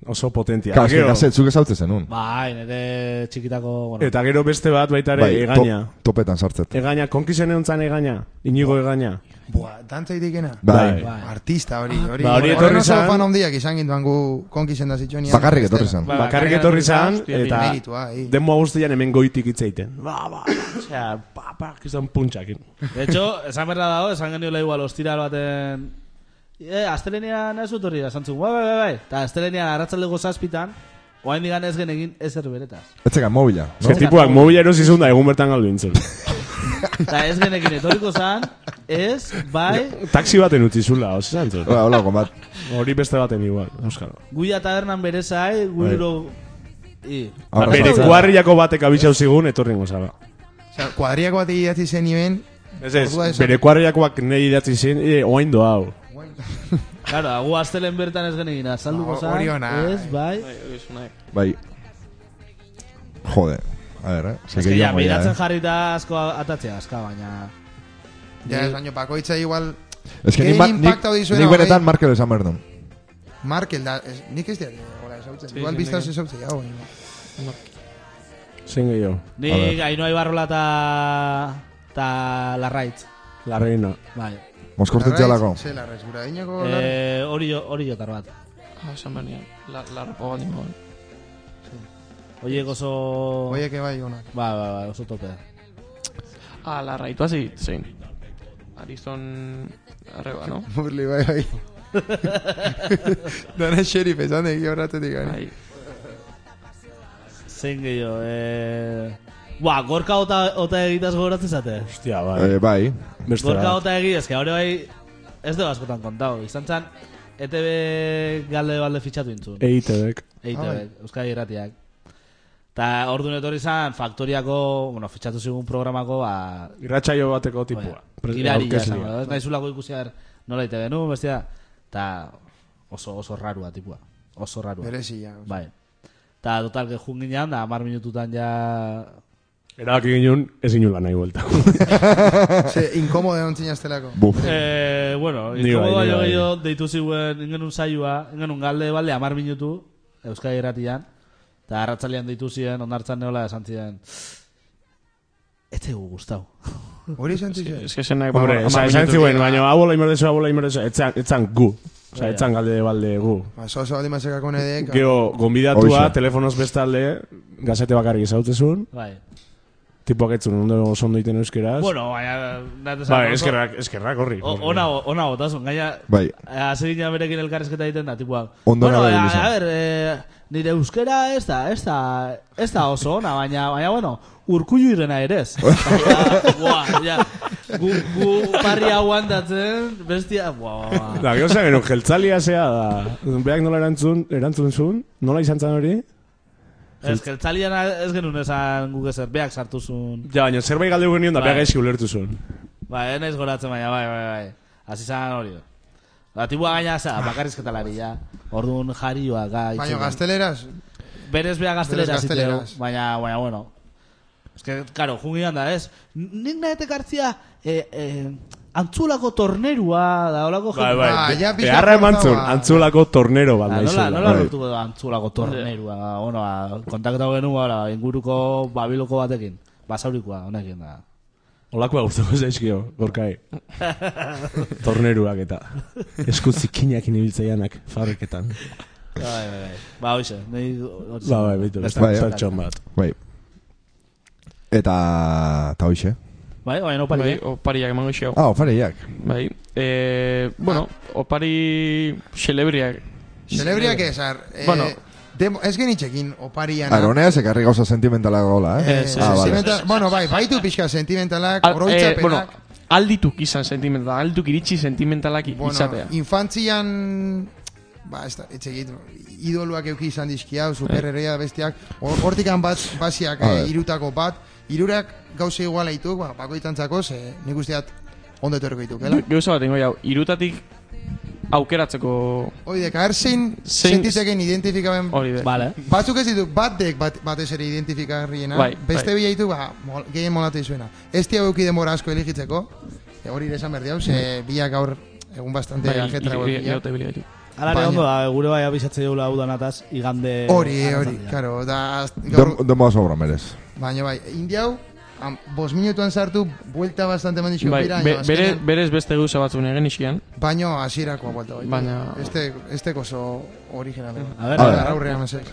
Speaker 3: Oso potentia.
Speaker 2: Claro,
Speaker 3: Gero-
Speaker 2: gero... zuk ezautze zenun.
Speaker 1: Bai, nire txikitako... Bueno,
Speaker 3: Eta gero beste bat baita ere
Speaker 2: Bai, to-
Speaker 3: egaina.
Speaker 2: topetan sartzet.
Speaker 3: Egaina, konkizen egon zan egaina. Inigo egaina.
Speaker 4: Buah, dantza itikena.
Speaker 2: Bai.
Speaker 1: bai.
Speaker 4: Artista hori, hori.
Speaker 3: Ba, hori etorri
Speaker 4: Horren oso
Speaker 3: zan-
Speaker 4: fan handiak izan gintuan gu konkisen da zitxonian.
Speaker 2: Bakarrik etorri zen.
Speaker 5: Ba,
Speaker 3: Bakarrik
Speaker 5: bakarrik
Speaker 3: etorri
Speaker 5: etorri zan,
Speaker 3: zan,
Speaker 5: hostia,
Speaker 3: eta
Speaker 4: meritua, ahi.
Speaker 3: denboa guztian hemen goitik itzeiten. Ba, ba, osea, ba, ba, kizan puntxakin.
Speaker 2: Bai.
Speaker 1: De hecho, esan berra dago, esan geniola igual ostiral baten... E, astelenian ez utorri da, zantzun, bai, bai, bai, bai. Eta astelenian arratzalego zazpitan, oain digan ez genegin ezer beretaz.
Speaker 2: Etzekan mobila,
Speaker 3: Ez
Speaker 2: no?
Speaker 3: tipuak mobila erosi zuen da egun bertan galdu intzen.
Speaker 1: Eta ez genekin etorriko zan, ez, bai,
Speaker 3: Taxi baten utzi zula, osea, zantzun.
Speaker 2: Ba, hola, gomat.
Speaker 3: Hori beste baten igual, euskalo.
Speaker 1: guia tabernan berezai, guiro... I,
Speaker 2: Ahora
Speaker 3: Bere
Speaker 2: sartzen.
Speaker 3: kuarriako batek abitxau zigun, etorri ingo zara.
Speaker 4: Osea, kuadriako bat idatzi zen iben.
Speaker 3: Ez ez,
Speaker 4: Ordua esan.
Speaker 3: bere kuarriakoak nahi idatzi zin, e, oain doa hau.
Speaker 1: Claro, agu astelen bertan ez genegin, azalduko
Speaker 4: Ba,
Speaker 1: zan,
Speaker 4: hori ona.
Speaker 1: ez, bai.
Speaker 2: Bai. Jode. A ver, eh.
Speaker 1: Ez que ja,
Speaker 2: gehiago
Speaker 1: miratzen
Speaker 2: eh.
Speaker 1: jarri eta asko atatzea, aska, baina...
Speaker 4: Ja, ez baino, bakoitza igual
Speaker 2: Ez que nik,
Speaker 4: Gehien
Speaker 2: bat- nik,
Speaker 4: impacta hori zuena,
Speaker 2: nik benetan
Speaker 4: hogei.
Speaker 2: Markel esan behar duen.
Speaker 4: Markel da, ez, nik ez diat, eh, hola, esautzen.
Speaker 5: Sí,
Speaker 4: igual
Speaker 5: sí,
Speaker 4: biztaz
Speaker 5: nik-
Speaker 4: esautzen, ja, hori.
Speaker 3: Zein gehiago.
Speaker 1: Nik Ainhoa Ibarrola eta... eta Larraitz,
Speaker 3: La reina.
Speaker 1: bai.
Speaker 2: Moskorten txalako.
Speaker 4: Zela, res, gura dinako.
Speaker 1: Eh, hori, jo- hori jotar bat.
Speaker 5: Ah, esan behar nian. La, la ropa bat nimo.
Speaker 1: Oiek oso...
Speaker 4: Oie, que bai,
Speaker 5: *laughs*
Speaker 4: onak.
Speaker 1: Ba, ba, ba, oso tope.
Speaker 5: Ah, la raitu hazi zein. Ariston arreba, no?
Speaker 4: Burli, bai, bai. Dana xerif, esan egi horratetik gani.
Speaker 5: Bai.
Speaker 1: Zein gehiago, eh... Ba, gorka ota, ota egitaz gogoratzen zate.
Speaker 3: Hostia, bai.
Speaker 2: Eh, bai.
Speaker 3: Beste
Speaker 1: Gorka
Speaker 3: bat.
Speaker 1: ota egi, ezke, hori bai... Ez dugu askotan kontau, izan zan... ETB galde balde fitxatu E intzun.
Speaker 3: E Eitebek.
Speaker 1: Eite,
Speaker 4: Eh, Ah, bai.
Speaker 1: Euskadi irratiak. Eta ordu etorri izan faktoriako, bueno, fitxatu zigun programako, ba...
Speaker 3: Irratxaio bateko
Speaker 4: Ba,
Speaker 3: tipua. Pres-
Speaker 1: Irari
Speaker 3: aurkezlea.
Speaker 1: jasan, ez naizulako ikusi behar nola E ite genuen, bestia, eta oso, oso rarua tipua, oso rarua.
Speaker 4: Berezi, ja.
Speaker 1: Bai. Eta total, que jun ginean, da, mar minututan ja... eh?
Speaker 3: Erabaki ginen, ez inula nahi buelta.
Speaker 4: Ze, inkomodo egon zinaztelako.
Speaker 2: Buf.
Speaker 1: Eh, bueno,
Speaker 3: Ni
Speaker 1: inkomodo
Speaker 3: bai, ni
Speaker 1: baino
Speaker 3: bai.
Speaker 1: gehiago deitu ziuen ingenun saioa, ingenun galde balde amar minutu, Euskadi erratian, eta arratzalean deitu ziren, ondartzan neola esan ziren, ez tegu gustau.
Speaker 4: Hori esan zitzen.
Speaker 5: Ez que zen nahi
Speaker 3: Hombre,
Speaker 5: hamar
Speaker 3: esan esan
Speaker 5: minutu.
Speaker 3: zuen, baina hau bola imerdezu, hau bola imerdezu, etzan, etzan gu. Osa,
Speaker 1: Bai,
Speaker 3: etzan galde balde gu.
Speaker 4: Oso oso Ba, aldi mazekako nedek.
Speaker 3: Geo, gonbidatua,
Speaker 2: Hoxe.
Speaker 3: telefonoz bestalde, gazete bakarrik izautezun,
Speaker 1: Bai.
Speaker 3: tipuak etzun ondo oso ondo iten euskeraz.
Speaker 1: Bueno, baina... nahi esan
Speaker 3: Ba,
Speaker 1: oso-
Speaker 3: eskerrak, eskerrak horri.
Speaker 1: O- Ona, ona botasun, gaina...
Speaker 2: Bai.
Speaker 1: Hasi ginen Eh, berekin elkarrezketa egiten da, tipua.
Speaker 2: Ondo
Speaker 1: bueno,
Speaker 2: nago
Speaker 1: a,
Speaker 2: egin
Speaker 1: a ber, eh, nire euskera ez da, ez da, ez da oso ona, baina, baina, bueno, urkullu irena ere ez. Baina, buah, ja, gu, gu parri aguantatzen, bestia, buah, buah, buah.
Speaker 3: Da, gero zen, gero, jeltzalia zea da. Beak nola erantzun, erantzun zuen, nola izan zen hori?
Speaker 1: Ez, jeltzalian ez genuen esan guk ezer, beak sartu zuen.
Speaker 3: Ja, baina zerbait galde guen da,
Speaker 1: Bai.
Speaker 3: beak eski ulertu zuen.
Speaker 1: Ba, ez naiz goratzen, baina, bai, bai, bai. Hasi zan hori. Ba, tipua gaina, za, bakarrizketalari, ja. Orduan jarioa, gai.
Speaker 4: ba. Baina gazteleraz,
Speaker 1: Berez bea gaztelera
Speaker 4: Berez
Speaker 1: ziteu,
Speaker 4: gazteleraz.
Speaker 1: baina, baina, bueno. Ez que, karo, jungian da, ez? Nik nahetek hartzia, eh, eh, antzulako tornerua, da, holako
Speaker 3: Bai,
Speaker 1: jende-
Speaker 3: bai,
Speaker 4: Ah, ja pixka
Speaker 3: beharra eman zuen,
Speaker 4: forzaua.
Speaker 3: antzulako tornero bat
Speaker 1: Da,
Speaker 3: naizela.
Speaker 1: Ah, nola, nola
Speaker 2: bai.
Speaker 1: lortuko da antzulako tornerua, ba, bueno, ba, kontaktatu genuen, ba, inguruko babiloko batekin, basaurikoa, honekin da.
Speaker 3: Olakoa gustatu zaizkio, gorkai. Torneruak eta eskuzikinak inibiltzaianak fabriketan.
Speaker 1: Bai, bai, bai. Ba, hoxe, nahi...
Speaker 3: Ba, bai, bitu,
Speaker 1: Beste-
Speaker 2: Bai,
Speaker 3: zertxon bat.
Speaker 2: Bai. Eta... Eta hoxe.
Speaker 1: Bai, baina opari,
Speaker 5: Bai,
Speaker 1: eh?
Speaker 5: opariak emango xeo.
Speaker 2: Ah, ofareiak.
Speaker 5: Bai. Eh, bueno, opari celebriak.
Speaker 4: Celebriak ez, ar, eh,
Speaker 5: Bueno.
Speaker 4: demo, ez genitxekin oparian.
Speaker 2: Aronea ekarri gauza sentimentalak gola, eh?
Speaker 4: Eh,
Speaker 5: Ez, ez,
Speaker 2: ah,
Speaker 5: ez,
Speaker 2: vale.
Speaker 5: ez.
Speaker 4: sentimenta- Bueno, bai, baitu pixka sentimentalak,
Speaker 5: Al- eh,
Speaker 4: oroitzapenak.
Speaker 5: bueno, aldituk izan sentimental, aldituk iritsi sentimentalak i-
Speaker 4: Bueno,
Speaker 5: izatea.
Speaker 4: infantzian ba, ez da, etxe egit, idoloak euki izan dizkia,
Speaker 5: Bai.
Speaker 4: superherria bestiak, hor- hortik han bat, basiak
Speaker 2: A
Speaker 4: eh,
Speaker 2: ver.
Speaker 4: irutako bat, irurak gauze iguala ditu, ba, bakoitzantzako, ze nik usteat ondo etorriko ditukela.
Speaker 5: Gauza bat ingo jau, irutatik aukeratzeko
Speaker 4: Hoi deka, er zein
Speaker 5: Zein-
Speaker 4: sentiteken identifikaben
Speaker 5: hori da.
Speaker 1: Vale.
Speaker 4: Batzuk ez ditu, batek bat, batez ere identifikarriena,
Speaker 5: Bai,
Speaker 4: beste
Speaker 5: bai.
Speaker 4: bila ditu, ba, mol, gehien molatu izuena. Ez tia euki denbora asko eligitzeko, e, hori ere esan behar diau, ze bila gaur egun bastante
Speaker 5: Bai,
Speaker 4: ajetra
Speaker 5: ir-
Speaker 4: hauek
Speaker 5: ir-
Speaker 4: bila.
Speaker 5: iraute biligaitu.
Speaker 1: Hala ere
Speaker 4: Baina-
Speaker 1: ondo da, gure bai abizatze deula udanataz, igande...
Speaker 5: Eh,
Speaker 4: Hori, eh, hori,
Speaker 1: arratzaldean.
Speaker 4: karo, da, az- gaur,
Speaker 2: Den, denbora sobra merez.
Speaker 4: baina bai, indiau, am, bos minutuan sartu, buelta bastante eman dixo,
Speaker 5: Bai,
Speaker 4: bira,
Speaker 5: be- bere, berez beste gauza batzun egin isian,
Speaker 4: baino hasierakoa buelta bai.
Speaker 5: Baina-
Speaker 4: Este, este oso original. eh.
Speaker 1: A ber,
Speaker 2: A
Speaker 1: a
Speaker 2: ber.
Speaker 1: ber.
Speaker 4: Aurrean, mesez.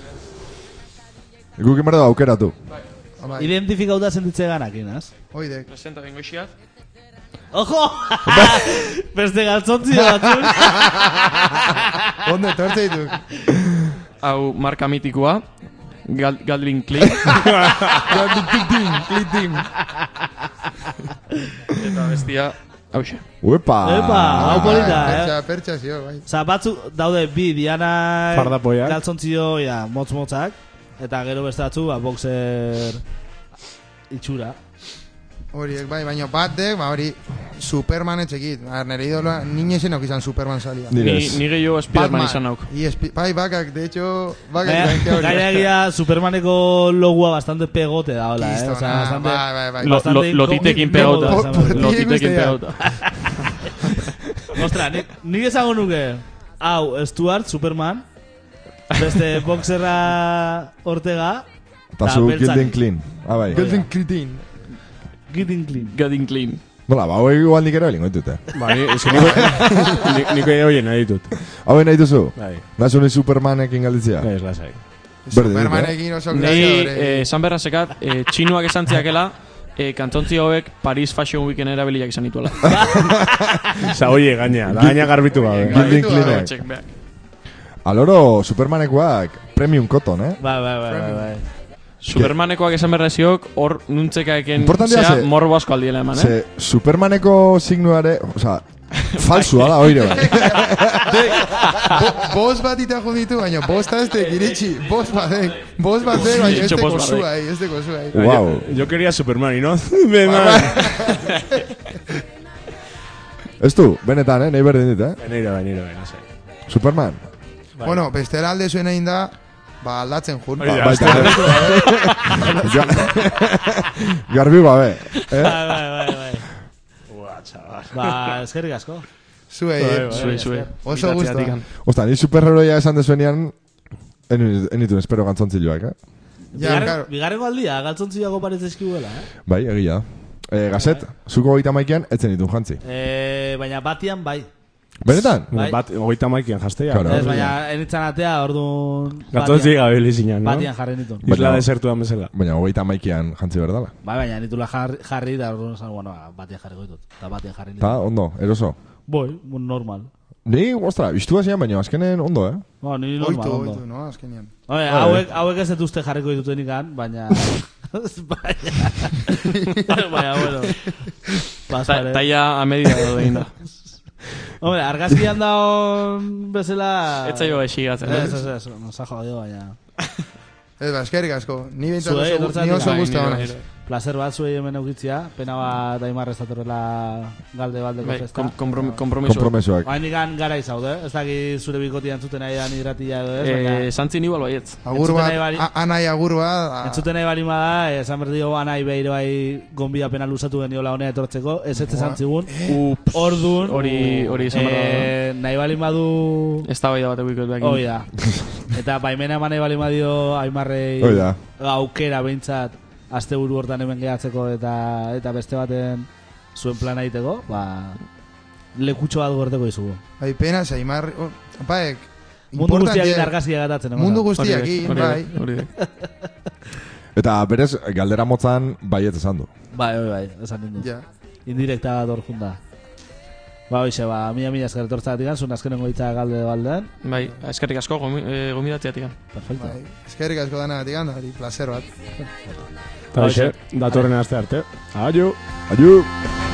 Speaker 2: Guk inbar da aukeratu.
Speaker 4: Bai,
Speaker 1: Identifikauta sentitze ganakin, az?
Speaker 4: oidek.
Speaker 5: presenta dengo
Speaker 1: *laughs* Ojo! Beste galtzontzi batzun.
Speaker 4: Ondo etortze
Speaker 5: *laughs*
Speaker 4: ditu.
Speaker 5: hau marka mitikoa, Gal Galdrin Klein, eta bestia, hauxe.
Speaker 2: Uepa!
Speaker 1: Epa, hau polita, eh?
Speaker 4: Pertsa, pertsa zio, bai.
Speaker 1: Osa, batzuk daude bi diana...
Speaker 3: Fardapoiak.
Speaker 1: Galtzontzio, ja, motz-motzak. Eta gero beste batzu, ba, boxer... Itxura.
Speaker 4: Horiek, bai, baina bat dek, ba hori, Superman etxekit. A, nere idoloa, nine zen izan Superman salia.
Speaker 5: Ni,
Speaker 2: Direz.
Speaker 5: ni gehiago Spiderman izan nauk. Eh.
Speaker 4: Y espi- bai, bakak, de hecho, bakak,
Speaker 1: Gaina
Speaker 4: gainera
Speaker 5: *laughs*
Speaker 4: hori.
Speaker 1: gaina egia Supermaneko logua bastante pegote da, hola, eh?
Speaker 4: Kistona,
Speaker 1: Osa, bastante...
Speaker 4: bai, bai, bai.
Speaker 5: Lo,
Speaker 1: Bastante
Speaker 5: lo, lotitekin
Speaker 1: inkognito
Speaker 5: pegauta.
Speaker 1: da, esan behar
Speaker 4: dut.
Speaker 5: Lotitekin
Speaker 4: Guztia.
Speaker 5: pegauta.
Speaker 1: Ostra, nik, nik esango nuke. Hau, Stuart, Superman.
Speaker 4: *laughs*
Speaker 1: Beste boxerra Ortega.
Speaker 2: Eta
Speaker 1: Da,
Speaker 2: zu
Speaker 1: beltzak.
Speaker 2: Gilden Clean. Ah, bai.
Speaker 4: Golden Critin.
Speaker 1: Getting clean.
Speaker 5: Galdrin Klein.
Speaker 2: Bola, ba, hau igual nik erabelingo ditute.
Speaker 3: Ba, ni, ez que niko, ni, niko ere hoien nahi ditut.
Speaker 2: Hau nahi duzu?
Speaker 3: Bai,
Speaker 2: Nazu ni Supermanekin galditzea?
Speaker 3: ez lasai.
Speaker 2: Berdin,
Speaker 4: Supermanekin oso
Speaker 5: Nei,
Speaker 4: gladiadore.
Speaker 5: eh, esan berra sekat, eh, txinuak esan ziakela, eh, kantontzi hauek Paris Fashion Weekend erabiliak izan dituela.
Speaker 3: Za hoie gaina, da gaina garbitu gabe.
Speaker 2: Gilden
Speaker 4: Bai,
Speaker 2: Cleanek.
Speaker 5: Check back.
Speaker 2: Aloro, Supermanekoak premium koton, eh?
Speaker 1: Bai, bai, bai, bai, bai.
Speaker 5: Supermanekoak esan berra ziok, hor nuntzekaeken
Speaker 2: Importantea
Speaker 5: zea
Speaker 2: ze-
Speaker 5: morbo asko aldiela eman, eh?
Speaker 2: Ze, Supermaneko signuare, oza, falsua da, oire bai.
Speaker 4: Bost bat ita ditu, baina bost aztek iritsi, bost batek, bost batek, baina ez
Speaker 5: Itxo
Speaker 4: teko
Speaker 5: bost batek.
Speaker 4: zua, eh, ez teko zua. eh.
Speaker 2: Wow.
Speaker 3: Yo, yo quería Superman, y no? Beman.
Speaker 2: Ez du, benetan, eh? Nahi berdin dit, eh?
Speaker 3: Neira, bai, neira, bai, lasai.
Speaker 2: Superman.
Speaker 1: Bai.
Speaker 4: Bueno, bestera alde zuen egin da, ba, aldatzen jun.
Speaker 3: Hori da,
Speaker 2: Ba-
Speaker 3: hasta-
Speaker 2: *laughs* Ga- Garbi gabe. Eh?
Speaker 1: Bai, bai, bai, bai. Ba, eskerrik asko.
Speaker 4: Zuei,
Speaker 1: Bai.
Speaker 4: eh.
Speaker 5: Zue, zue.
Speaker 4: Oso
Speaker 5: Bitatzeatik
Speaker 4: gustoa.
Speaker 5: han.
Speaker 2: Osta, ni superheroia esan dezuenean, enu- enitun espero gantzontziluak, eh?
Speaker 4: Ja,
Speaker 1: Bigarren,
Speaker 4: claro.
Speaker 1: bigarrengo aldia, galtzontziago parez eskibuela, eh?
Speaker 2: Bai, egia. da. Eh, gazet, zuko gaita maikian, etzen ditun jantzi.
Speaker 1: eh? Baina batian, bai.
Speaker 2: Benetan?
Speaker 1: Bai.
Speaker 3: Bat, hogeita maikian jaztea.
Speaker 2: Claro.
Speaker 1: Ez, baina enitzan atea, orduan...
Speaker 3: Gatontzi
Speaker 1: batian-
Speaker 3: gabe lizinan, no?
Speaker 1: Batian jarri nitun.
Speaker 3: Isla
Speaker 2: Baina-
Speaker 3: desertuan bezala.
Speaker 2: Baina hogeita maikian jantzi berdala.
Speaker 1: Bai, baina nitula jarri, jarri da orduan esan, bueno, ba, batian jarri goitut. Eta batian jarri nitun.
Speaker 2: Ta, ondo, eroso.
Speaker 1: Boi, normal.
Speaker 2: Ni, ostra, biztua zian, baina azkenen ondo, eh?
Speaker 1: Ba, niri normal,
Speaker 4: Oitu,
Speaker 1: ondo.
Speaker 4: oitu, no, azkenean.
Speaker 5: Bai.
Speaker 1: Oe, hauek, hauek ez dut uste jarriko ditutenik han, baina... baina... baina, bueno...
Speaker 5: Ta-
Speaker 1: Paspare.
Speaker 5: Taia a media edo egin da.
Speaker 1: Hombre, argazkian daun bezala...
Speaker 5: Ez zaio esigatzen,
Speaker 1: Ah. Ez,
Speaker 5: eh?
Speaker 1: ez, ez, nos ha jodido, baina...
Speaker 4: Ez, ba, eskerrik asko. Ni behintzat
Speaker 1: Zuei,
Speaker 4: oso, gu- ni oso
Speaker 1: etortzatik.
Speaker 4: guztua
Speaker 5: Bai,
Speaker 4: ona.
Speaker 5: nire-
Speaker 1: Placer bat zuei hemen eukitzia, pena bat aimarrez datorrela galde baldeko
Speaker 5: Bai,
Speaker 1: festa.
Speaker 5: kom- komprom- kompromiso.
Speaker 2: Kompromesoak.
Speaker 1: Bain ikan gara izaude, ez daki zure bikotia entzuten nahi dan hidratia edo ez, baina... Ah.
Speaker 5: Eh, Santzin igual baietz.
Speaker 4: Agur
Speaker 1: Entzuten
Speaker 4: bat,
Speaker 1: nahi bari-
Speaker 4: a- anai agur bat. a-
Speaker 1: Entzuten nahi bali bada, esan behar diogu anai behir bai gombia pena luzatu geniola honea etortzeko, ez ez esan zigun.
Speaker 5: Ups.
Speaker 1: Ordun
Speaker 5: Hori- hori izan behar da,
Speaker 1: eh, nahi balin badu
Speaker 5: Ez da bai da bat eukiko duak.
Speaker 1: Hoi da Eta baimena eman nahi balin badio Aimarrei
Speaker 2: Hoi da.
Speaker 1: aukera behintzat Azte buru hortan hemen gehatzeko eta eta beste baten zuen plana egiteko ba, Lekutxo bat gorteko izugu
Speaker 4: Bai, pena, zaimar... Baek,
Speaker 1: Mundu guztiak
Speaker 4: importante-
Speaker 1: argazia gatatzen egon
Speaker 4: Mundu
Speaker 1: da.
Speaker 4: guztiak, bai.
Speaker 5: Hori da.
Speaker 2: Eta berez, galdera motzan baiet esan du.
Speaker 1: Bai, bai, bai, esan nindu
Speaker 4: Ja.
Speaker 1: Indirekta bat hor junda Ba, hoxe, ba, mila mila esker etortzatik zuen azkenengo hitza galde baldean
Speaker 5: Bai, eskerrik asko gomi- eh, gomidatzeatik. han.
Speaker 1: Perfecto
Speaker 4: Bai, eskerrik asko dana gatik handa, hori, placer bat.
Speaker 3: Eta hoxe, datorren aste arte. Aio!
Speaker 2: Adiu!
Speaker 1: Aio.